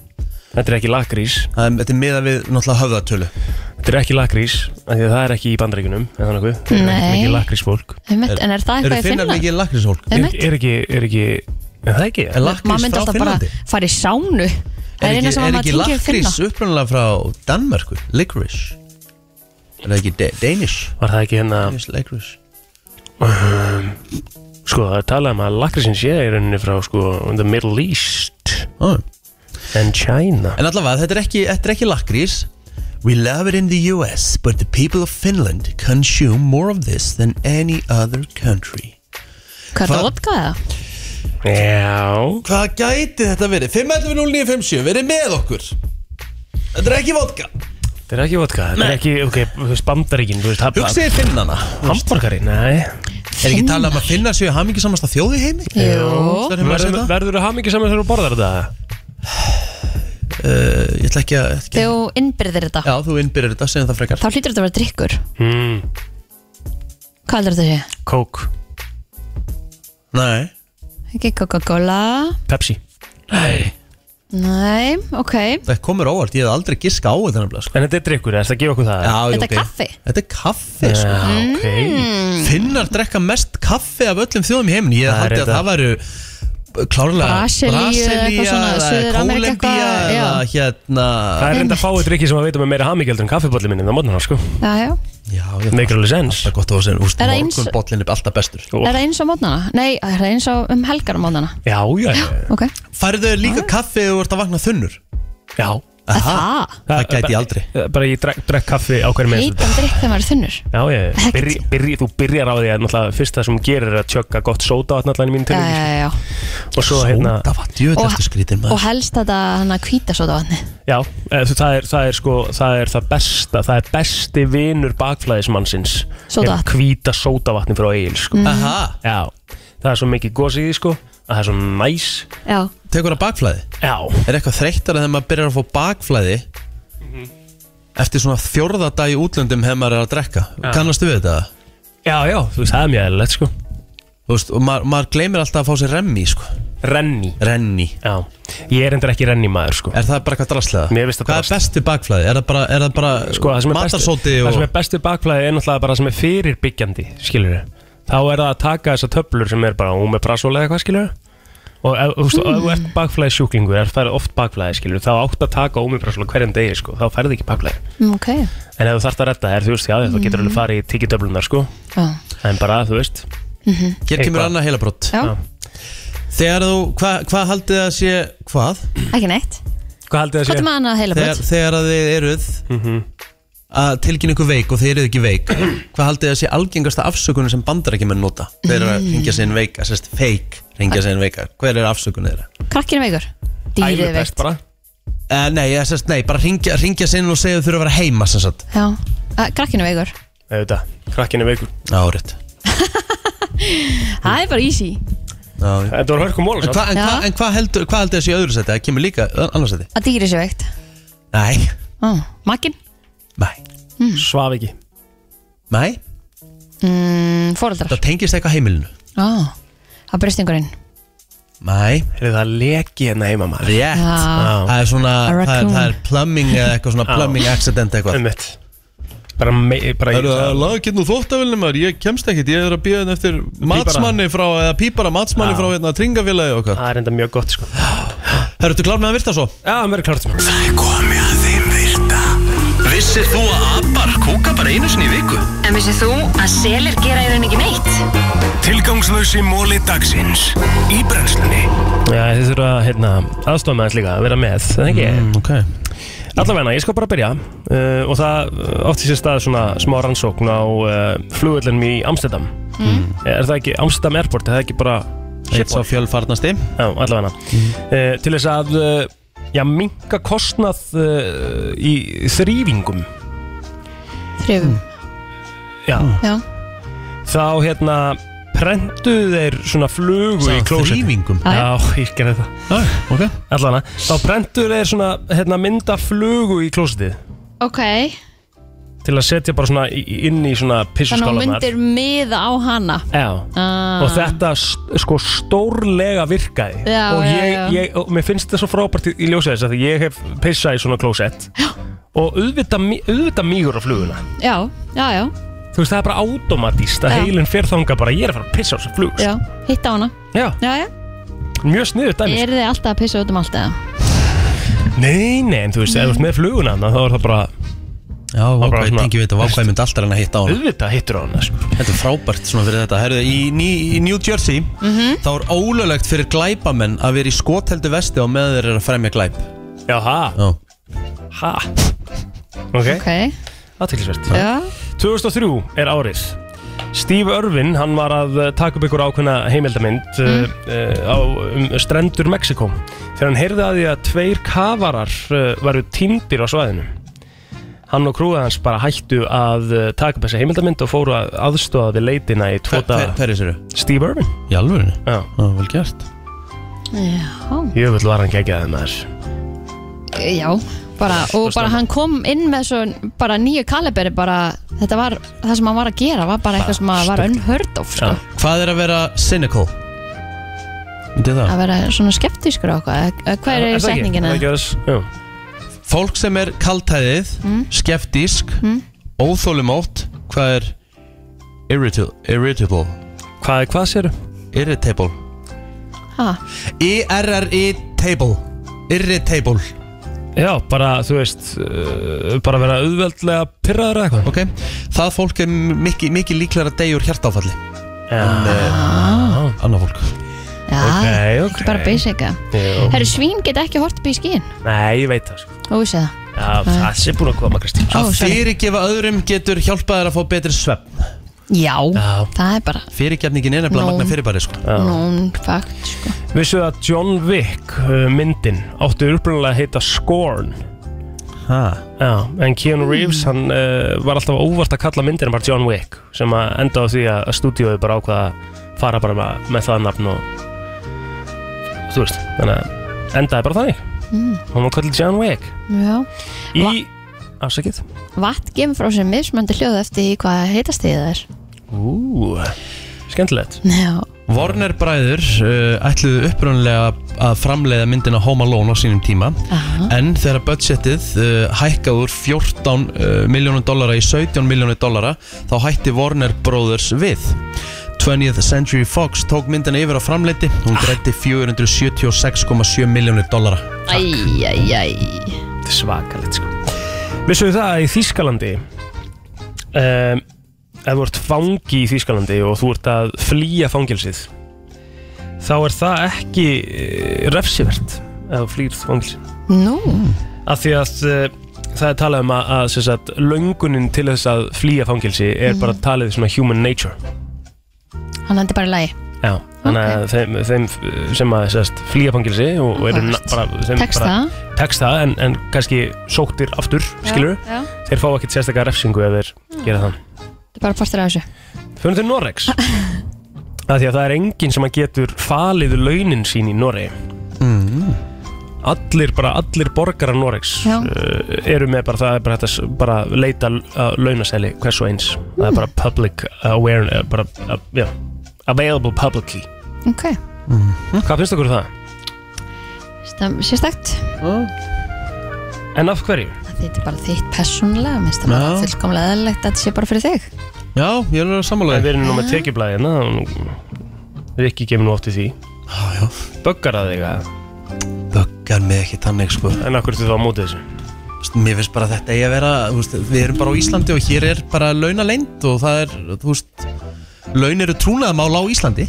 S3: Þetta er ekki lakrís
S1: um, Þetta er miða við náttúrulega höfðatölu
S3: Þetta er ekki lakrís, af því að það er ekki í bandaríkunum eða þannig að
S2: Nei.
S3: mikið lakrísfólk
S2: Einmitt, en er það eitthvað í Finnlandi?
S1: lakrísfólk?
S3: Er,
S2: Einmitt.
S3: er ekki, er ekki, er það ekki?
S2: Maður myndi alltaf bara fara í sánu Það
S1: Er
S2: er eina
S1: ekki,
S2: sem
S1: er
S2: maður
S1: ekki
S2: tengir
S1: lakrís
S2: finna
S1: upprunalega frá Danmarku? Licorice? Er það ekki da Danish?
S3: Var það ekki hérna
S1: Lakris
S3: um, Sko, það er talað um að lakrísin sé í rauninni frá, sko, the Middle East
S1: oh.
S3: and China
S1: En allavega, þetta er ekki, þetta er ekki lakrís We love it in the US But the people of Finland consume more of this than any other country
S2: Hvað er það vodkaða?
S3: Já
S1: Hvað gæti þetta verið? 5.11.09.57, verið með okkur Þetta er ekki vodka
S3: Þetta er ekki vodka, þetta er ekki, ok, þú veist, bandaríkin, þú veist, hafða
S1: Hugsið þið finnana
S3: Hamburgari, nei
S1: Er ekki talað um að finnar séu hamingisamasta þjóð í heimi? um
S3: Verður- Verður þú hamingi saman þegar þú borðar þetta?
S1: Uh, ég ætla ekki að
S2: Þegar þú innbyrðir þetta
S1: Já, þú innbyrðir þetta, segjum það frekar
S2: Þá hlýtur þetta að vera drikkur
S3: mm.
S2: Hvað heldur þetta sé?
S3: Coke
S1: Nei
S2: Ekki Coca-Cola
S3: Pepsi
S1: Nei
S2: Nei, ok
S1: Það komur óvart, ég hef aldrei giska á þetta nefnilega sko.
S3: En þetta er drikkur, það er að gefa okkur það
S1: Já, jú,
S2: Þetta er
S1: ok.
S2: kaffi
S1: Þetta er kaffi sko.
S3: Já, ok. Mm.
S1: Finnar drekka mest kaffi af öllum þjóðum í heiminum Ég
S3: Það er
S1: haldi að
S3: þetta.
S1: það væru klárlega
S2: Brasilíu, eitthvað svona, Suður-Ameríku
S1: Kólumbía
S2: eitthvað, já.
S1: eða hérna
S3: Það er reynda að fáið drikki sem að veitum með meira hamingjaldur en kaffibólli minni en það mótnar hann sko
S2: Já, já
S1: Já, já
S3: Make alveg sens
S1: Alltaf gott að það sem, úst,
S2: Er það eins-
S1: morgunbollin er alltaf bestur
S2: Er það eins á mótnana? Nei, er það eins á um helgar á mótnana?
S3: Já, já, já
S2: Ok
S1: Færðu þau líka kaffi ef þú ert að vakna þunnur?
S3: Já Eh,
S1: Aha,
S2: Það?
S1: Það gæti ég aldrei
S3: Bara ég drek, drek kaffi á hverju með
S2: Heitan drikk þegar maður er þunnur
S3: Já, já, já. byrji, byrji, þú byrjar á því að náttúrulega fyrst það sem hún gerir er að tjögga gott sódavatn allan í mínu
S2: Já,
S3: tilvík
S2: já, já
S1: sko.
S3: og svo hérna
S1: Sódavatn, djöðu
S2: Og-
S1: þetta skrítir
S2: Og
S1: maður
S2: helst þetta hann að hvíta svo vatni
S3: Já, eða þú- það er, það er sko, það er það besta, það er besti vinur bakflæðismannsins
S2: Sódavatn.
S3: Hvíta sódavatni frá Egil, sko
S2: Mhm.
S1: Aha.
S3: Já, það er svo mikið gos í því, sko að það er svo næs
S2: Já
S1: Tekur það bakflæði?
S3: Já
S1: Er eitthvað þreyttara þegar maður byrjar að fá bakflæði Eftir svona fjórða dag í útlöndum hefur maður er að drekka Kannastu við þetta?
S3: Já, já, þú veist, það er mjög eðlilegt, sko
S1: Þú veist, og maður, maður gleymir alltaf að fá sér remmi sko.
S3: Renni
S1: Renni
S3: Já, ég er endur ekki renni maður, sko
S1: Er það bara eitthvað drastlega?
S3: Mér finnst það
S1: Hvað er best við bakflæði? Er það bara, er það bara
S3: sko, það sem er best,
S1: matarsóti og...
S3: það sem er best við bakflæði er náttúrulega bara það sem er fyrirbyggjandi skilur þá er það að taka þessar töflur sem er bara hún með prasóla eða hvað skilur og ef þú veist, ef þú
S2: Mm.
S3: ert bakflæði sjúklingur er það oft bakflæði skilur þá átt að taka ómiprasóla hverjum degi sko þá færði ekki bakflæði
S4: 嗯
S2: Mm, Ok
S3: en ef þú þarft að redda þér þú veist já mm. þú getur alveg farið í tikið töflunar sko
S2: Já
S3: en bara þú veist
S2: Mhm.
S1: Hér kemur annað heilabrótt
S2: Já.
S1: Þegar þú, hvað hva haldið það sé Hvað?
S2: Ekki neitt
S3: Hvað haldið
S2: Hvað er maður annað heilabröð?
S1: Þegar, þegar að þið eruð
S3: Mhm.
S1: að tilkynna ykkur veik og þið eruð ekki veik Hvað haldið það sé algengasta afsökunum sem bandar ekki menn nota? Þeir eru að ringja sér inn veika, sérst fake ringja sér inn veika Hver er afsökunum þeirra?
S2: Krakkinu veikur Dýrið er veikt
S3: bara
S1: Uh, nei, ég, sérst, nei, bara ringja, ringja sér inn og segja þau þurfa að vera heima sem sagt
S2: Já Eh, Krakkinu veikur
S3: auðvitað krakkinu veikur
S1: Árið
S2: Það er bara easy
S1: Þetta
S3: var hörkum mól
S1: En hvað hva,
S2: Já.
S1: hva heldur hva held þessi í öðru seti? Það kemur líka ö- annars seti
S2: Að dýrið sé veikt
S1: Nei,
S2: oh. Makin Hmm.
S3: svaf ekki
S1: nei,
S2: mm, Fóreldrar
S1: það tengist eitthvað heimilinu
S2: oh. Að bristingurinn
S1: Nei
S3: Heyrðu, Það leki hérna heima maður
S1: Rétt
S2: Já. Já.
S1: Það er svona,
S2: A
S1: það er,
S2: raccoon.
S1: það er plumbing eða eitthvað svona
S3: Já.
S1: plumbing accident eitthvað
S3: Einmitt. bara, me, bara
S1: Það eru að laga getnú þóttavélni maður, ég kemst ekkit, ég er að bíða henn eftir matsmanni frá, eða pípara matsmanni
S3: Já.
S1: frá hérna tringafélagi og hvað
S3: það er enda mjög gott sko
S1: Herru, ertu klár með að virta svo?
S3: Já, það verður klart
S5: Það er komið að þeim virta Vissir þú að abar kúka bara einu sinni í viku?
S14: En vissið þú að selir gera í rauninni ekki neitt?
S5: Tilgangslösi móli dagsins Í brennslunni
S3: Já, þið þurfa að hérna, aðstofa með þess líka, að vera með, það ekki? Mm,
S1: ok.
S3: Allavegna, ég skal bara byrja uh, og það uh, átti sér stað svona smá rannsókn á uh, flugullinum í Amsterdam Er það ekki Amsterdam Airport, er það ekki bara Eitt sá
S1: fjölfarnasti
S3: Já, allavega Eh, Til þess að eh, Já, minka kostnað uh, í þrýfingum
S2: Þrifum
S3: Já,
S2: Já,
S3: þá hérna prentuðu þeir svona flugu í
S1: Sagði hann
S3: klósetti
S1: þrífingum?
S3: Já, ég gerði það ah, okay. Allana, þá prentuðu þeir svona hérna, mynda flugu í klósettið
S2: ok
S3: til að setja bara svona í- inn í svona
S2: Þannig að hún
S3: pissuskálanar
S2: myndir miða á hana
S3: Já
S2: ah.
S3: og þetta st- sko stórlega virkaði
S2: Já,
S3: og,
S2: já,
S3: ég,
S2: já.
S3: Ég, og mér finnst þetta svo frábært í- í ljósið þess að ég hef pissað í svona klósett og auðvitað, mí- auðvitað mígur á fluguna
S2: Já, já, já,
S3: þú veist það er bara automatíst að
S2: Já.
S3: heilin fer þanga bara ég er að fara að pissa á þessa flug
S2: já, hitt á hana
S3: Já,
S2: já, já.
S3: mjög sniður dæmis
S2: Eru þið alltaf að pissa út um allt eða?
S3: Nei, nei, en þú veist, ef þú ert með fluguna þarna, þá er það bara
S1: Já, vákvæði, tengi við þetta, vákvæði myndi alltaf hann að hitta á hana
S3: Auðvitað hittur á hana, sko
S1: Þetta er frábært svona fyrir þetta Herðu, í, Ní- í New Jersey þá er ólöglegt fyrir glæpamenn að vera í skoteldu vesti á meðan þeir eru að fremja glæp
S3: Já, ha?
S1: Já,
S3: Ha? Ok,
S2: okay.
S3: aðtilsvert
S2: Já.
S3: 2003 er árið Steve Irvin, hann var að eh, taka upp ykkur ákveðna heimildamind mm. á um, strendur Mexiko þegar hann heyrði að því að tveir kafarar uh, varu týndir á svæðinu Hann og krúið hans bara hættu að eh, taka upp þessa heimildamind og fóru að aðstofa við leitina í tvo dag
S1: Hver er þessu?
S3: Steve Irvin
S1: Í alvörinu?
S3: Já,
S1: Já vel gert
S2: Já,
S3: Jöfull var hann geggjaði maður
S2: já bara, og bara hann kom inn með svo bara nýju kaliberi bara, þetta var, það sem hann var að gera var bara eitthvað sem að var unheard of sko.
S1: Hvað er að vera cynical? Myndi það?
S2: að vera svona skeptískur á hvað eða hvað Ah. er setningina?
S3: setningina?
S1: Fólk sem er kaltæðið, mm. skeptísk, mm. óþólumótt, hvað er irritable? irritable.
S3: Hvað er hvað séru?
S1: Irritable. E
S2: Ha?
S1: I-R-R-I-table. Irritable.
S3: Já, bara, þú veist, uh, bara vera auðveldlega pyrraður eða eitthvað.
S1: Ok, það fólk er mikið, mikið líklega að deyja úr hjartáfalli.
S3: Já.
S1: Uh, Annað fólk.
S2: Já,
S3: Ok, ok.
S2: ekki bara basic að
S3: Jú.
S2: Herru, svín get ekki hort upp í skín
S3: Nei, ég veit það sko.
S2: Ó, vissi það
S3: Já, það sé búin að koma, Kristín
S1: Að fyrirgefa öðrum getur hjálpað þær að fá betri svefn.
S2: Já, það er bara
S1: Fyrirgefningin er nefnilega
S2: Nóm.
S1: magna fyrirbæri, sko.
S3: Mm.
S2: known fact sko.
S3: Vissu að John Wick uh, myndin átti upprunalega að heita Scorn
S1: Ha.
S3: Já, en Keanu Reeves hann uh, var alltaf óvart að kalla myndina bara John Wick sem að enda á því að að stúdíói bara ákvaða að fara bara með, með það nafn og þú veist, þannig að endaði bara þannig
S2: Mm.
S3: Hún var kallið John Wick
S2: Já
S3: Í, afsakið
S2: Vatn gemur frá sér mismöndi hljóð eftir því hvað heitast þið það er
S3: Ú, skemmtilegt
S2: Já,
S1: Warner bræður uh, ætluðu upprunlega að framleiða myndina Home Alone á sínum tíma en þegar budgetið uh, hækkaði úr 14 uh, miljónum dollara í 17 miljónum dollara þá hætti Warner Brothers við 20th Century Fox tók myndina yfir á framleiti hún grætti 476,7 miljónir dollara
S2: æjæjæj
S3: Þetta er svakalegt sko Vissu það að í Þýskalandi um, Ef þú ert fangi í Þýskalandi og þú ert að flýja fangilsið Þá er það ekki eh, refsivert Ef þú flýr fangilsið
S2: Nú
S3: Af því að eh, það er talað um að, að sem sagt, löngunin til þess að flýja fangilsi er
S2: Mhm.
S3: bara talið svona human nature
S2: Hann endi bara í lagi
S3: Já, þannig að þeim, þeim sem að sérst, flýja fangilsi og, og eru na- bara, þeim
S2: Tekst
S3: bara,
S2: það?
S3: tekst það en, en kannski sóttir aftur, skilur
S2: já. Hmm.
S3: þeir fá ekkert sérstakar refsingu ef þeir gera það
S2: Þetta er bara partur af þessu
S3: Fyrir til Noregs að Því að það er enginn sem að getur falið launin sín í Noregi
S6: Mhm.
S1: mm.
S3: Allir, bara allir borgarar Noregs
S2: Já.
S3: uh, eru með bara það er bara, þetta, s- bara leita að launasæli hvers og eins Það
S2: Hmm.
S3: er bara public awareness bara, uh, já, available publicly
S2: Ok,
S3: Hvað finnst okkur um það?
S2: Stam- sérstakt
S3: En af hverju?
S2: Þetta er bara þitt persónulega minnst það bara
S3: Já.
S2: fullkomlega eðlilegt að þetta sé bara fyrir þig
S1: Já, ég er alveg
S3: En
S1: sammálaði
S3: við erum nú með tekjublaði hérna og Við ekki kemur nú oft í því Böggar að þig að
S1: Böggar mig ekki þannig sko
S3: En akkur þú þá á móti þessu
S1: Þú veist, Mér finnst bara að þetta eigi að vera þú veist, Við erum bara á Íslandi og hér er bara launaleynd og það er, þú veist laun eru trúnaðamál á Íslandi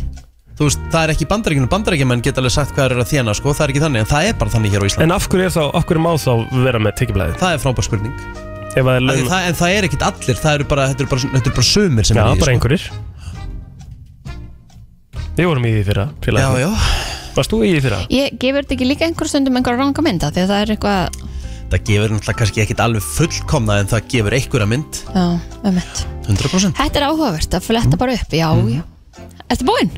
S1: Þú veist, það er ekki bandaríkjunum bandaríkjumenn geta alveg sagt hvað þeir eru að þjána sko, það er ekki þannig en það er bara þannig hér á Íslandi
S3: En af hverju, er þá, af hverju má þá vera með tekjublaði?
S1: Það er frábær spurning
S3: Ef að er
S1: En
S3: laun
S1: það, en það er ekkit allir, það eru bara, þetta eru bara, þetta eru bara sömur sem
S3: Já,
S1: eru í
S3: bara
S1: því, sko.
S3: einhverjir Við vorum í því fyrra félagarnir.
S1: Já,
S3: Varst þú í því fyrra?
S2: Ég gefur þetta ekki líka einhver stundum einhver ranga mynda því að það er eitthvað
S1: Það gefur náttúrulega kannski ekkit alveg fullkomna en það gefur einhverja mynd
S2: Já, ömmet
S1: 100%
S2: Þetta er áhugavert að fletta bara upp, já, já Ertu búinn?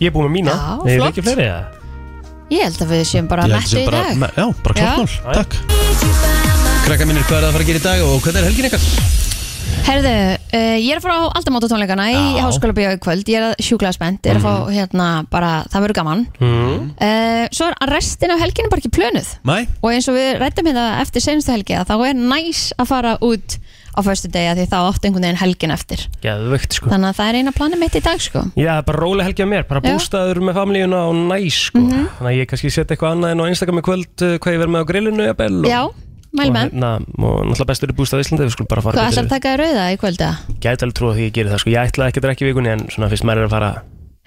S3: Ég er búin með mína
S2: Já,
S3: Nei,
S2: flott.
S3: ekki fleiri eða?
S2: Ég held að við séum bara
S1: Ég held
S2: mettu
S1: sem
S2: í dag
S1: me- Já, bara klokknál, takk Krakka mínir, hvað er það að fara að gera í dag og hvernig er helgin ykkar?
S2: Herðu, uh, ég er að fara á aldamóta tónleikana í
S1: Já.
S2: háskóla bíó í kvöld Ég er að sjúklega spennt, ég er að fá hérna bara, það verður gaman
S1: Mm.
S2: uh, Svo er restin af helginu bara ekki plönuð
S1: Mæ?
S2: Og eins og við rættum hérna eftir senstu helgi að þá er næs að fara út á föstu degi því þá átt einhvern veginn helgin eftir
S3: Geðvögt sko
S2: Þannig að það er eina planið mitt í dag sko
S3: Já, bara róli helgja mér, bara
S2: Já. Mhm.
S3: bústaður með familíuna og næs sko Þannig að ég kannski setja eitthvað annað en á Instagram í kvöld uh, hvað ég verð með á grillinu jafnvel, og,
S2: Já, mælu
S3: og,
S2: með
S3: hérna, og náttúrulega bestur í bústað í Íslandi við skulum bara fara
S2: Hvað ætlar að taka þér rauða í kvöld eða?
S3: Gæti alveg trúið því ég gerir það sko, ég ætla ekki að drekja í vikunni en svona fyrst maður er að fara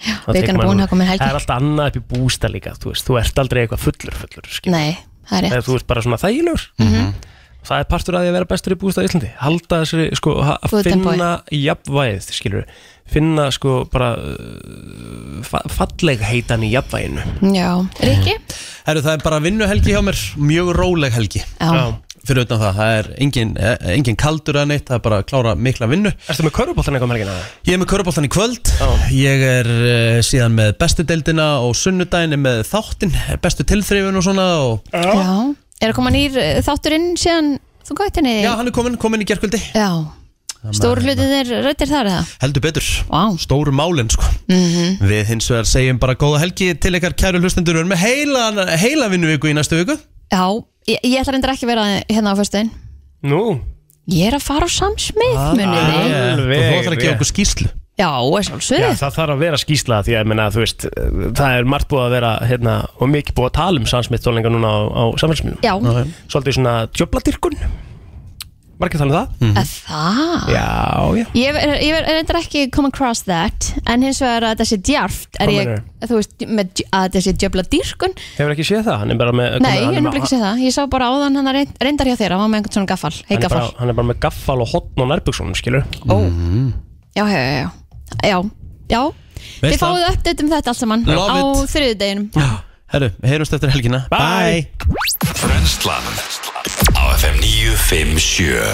S3: þá
S2: vikan
S3: tekur
S2: er
S3: maður-
S2: búin, það er komin helgi.
S3: Það er alltaf annað upp í bústa líka, þú veist, þú ert aldrei eitthvað fullur fullur skilur.
S2: Nei, það er rétt Mm. Mhm.
S3: Eða þú ert bara svona þægilegur Það er partur að því að vera bestur í bústað í Íslandi Halda þessari, sko, ha-
S2: Good
S3: að
S2: tempo.
S3: finna jafnvægið, skilur Finna, sko, bara uh, fa falleg heitan í jafnvæginu
S2: Já, Rikki?
S1: Herru, það er bara vinnuhelgi hjá mér, mjög róleg helgi
S2: Já.
S1: Fyrir utan það, það er engin, eh, engin kaldur að neitt, það er bara að klára mikla vinnu
S3: Erstu með köruboltan eitthvað melgina?
S1: Ég er með köruboltan í kvöld Ég er uh, síðan með bestu deildina og sunnudaginn er með þáttinn, bestu tilþrifun og svona og
S2: Já, er að koma nýr eh, þátturinn síðan þú gæti henni?
S1: Já, hann er komin, komin í gerkvöldi
S2: Já, stóru
S3: hérna.
S2: hlutið er rættir þar eða?
S1: Heldur betur,
S2: wow.
S1: stóru málin sko
S2: Mm
S1: Við hins vegar segjum bara góða helgi til ykkar kæru hlustendur Við erum með heila, heila vinnuviku í næstu viku
S2: Já, ég, ég ætla reyndar ekki að vera hérna á föstuðin
S3: Nú
S2: Ég er að fara á samsmið, ah, munið þið
S1: Og þú ætlar að gefa okkur skýslu
S2: Já, er sjálfsögð
S3: Já, það þarf að vera skýsla því að, menna, þú veist, eh, það er margt búið að vera hérna, og mikið búið að tala um sannsmitt tónleika núna á, á samfélsmiðum
S2: Já. Já.
S3: Svolítið svona djöfladyrkun Margir tala um það
S2: Að Það?
S3: Já, já
S2: Ég er, ég er reyndar ekki come across that En hins vegar að þetta sé djarft Er
S3: Hvað
S2: ég, þú veist, með, dj- að þetta sé djöfla dýrkun
S3: Hefur ekki séð það, hann er bara með
S2: Nei, ég
S3: hann er
S2: hef
S3: með-
S2: nefnilega ekki séð það Ég sá bara áðan hann að reynd- reyndar hjá þér Hann var með einhvern svona gaffal, hei
S3: hann er, bara,
S2: gaffal
S3: hann er bara með gaffal og hotn og nærbuksunum, skilur
S2: Ó Já, já, já, já Já, já Þið
S1: Veist það?
S2: fáið update um þetta allt saman
S1: Love
S2: Á
S1: it.
S2: þriðudeginum
S1: Herru, heyrumst eftir helgina
S5: Bye. Brennslan á FM 957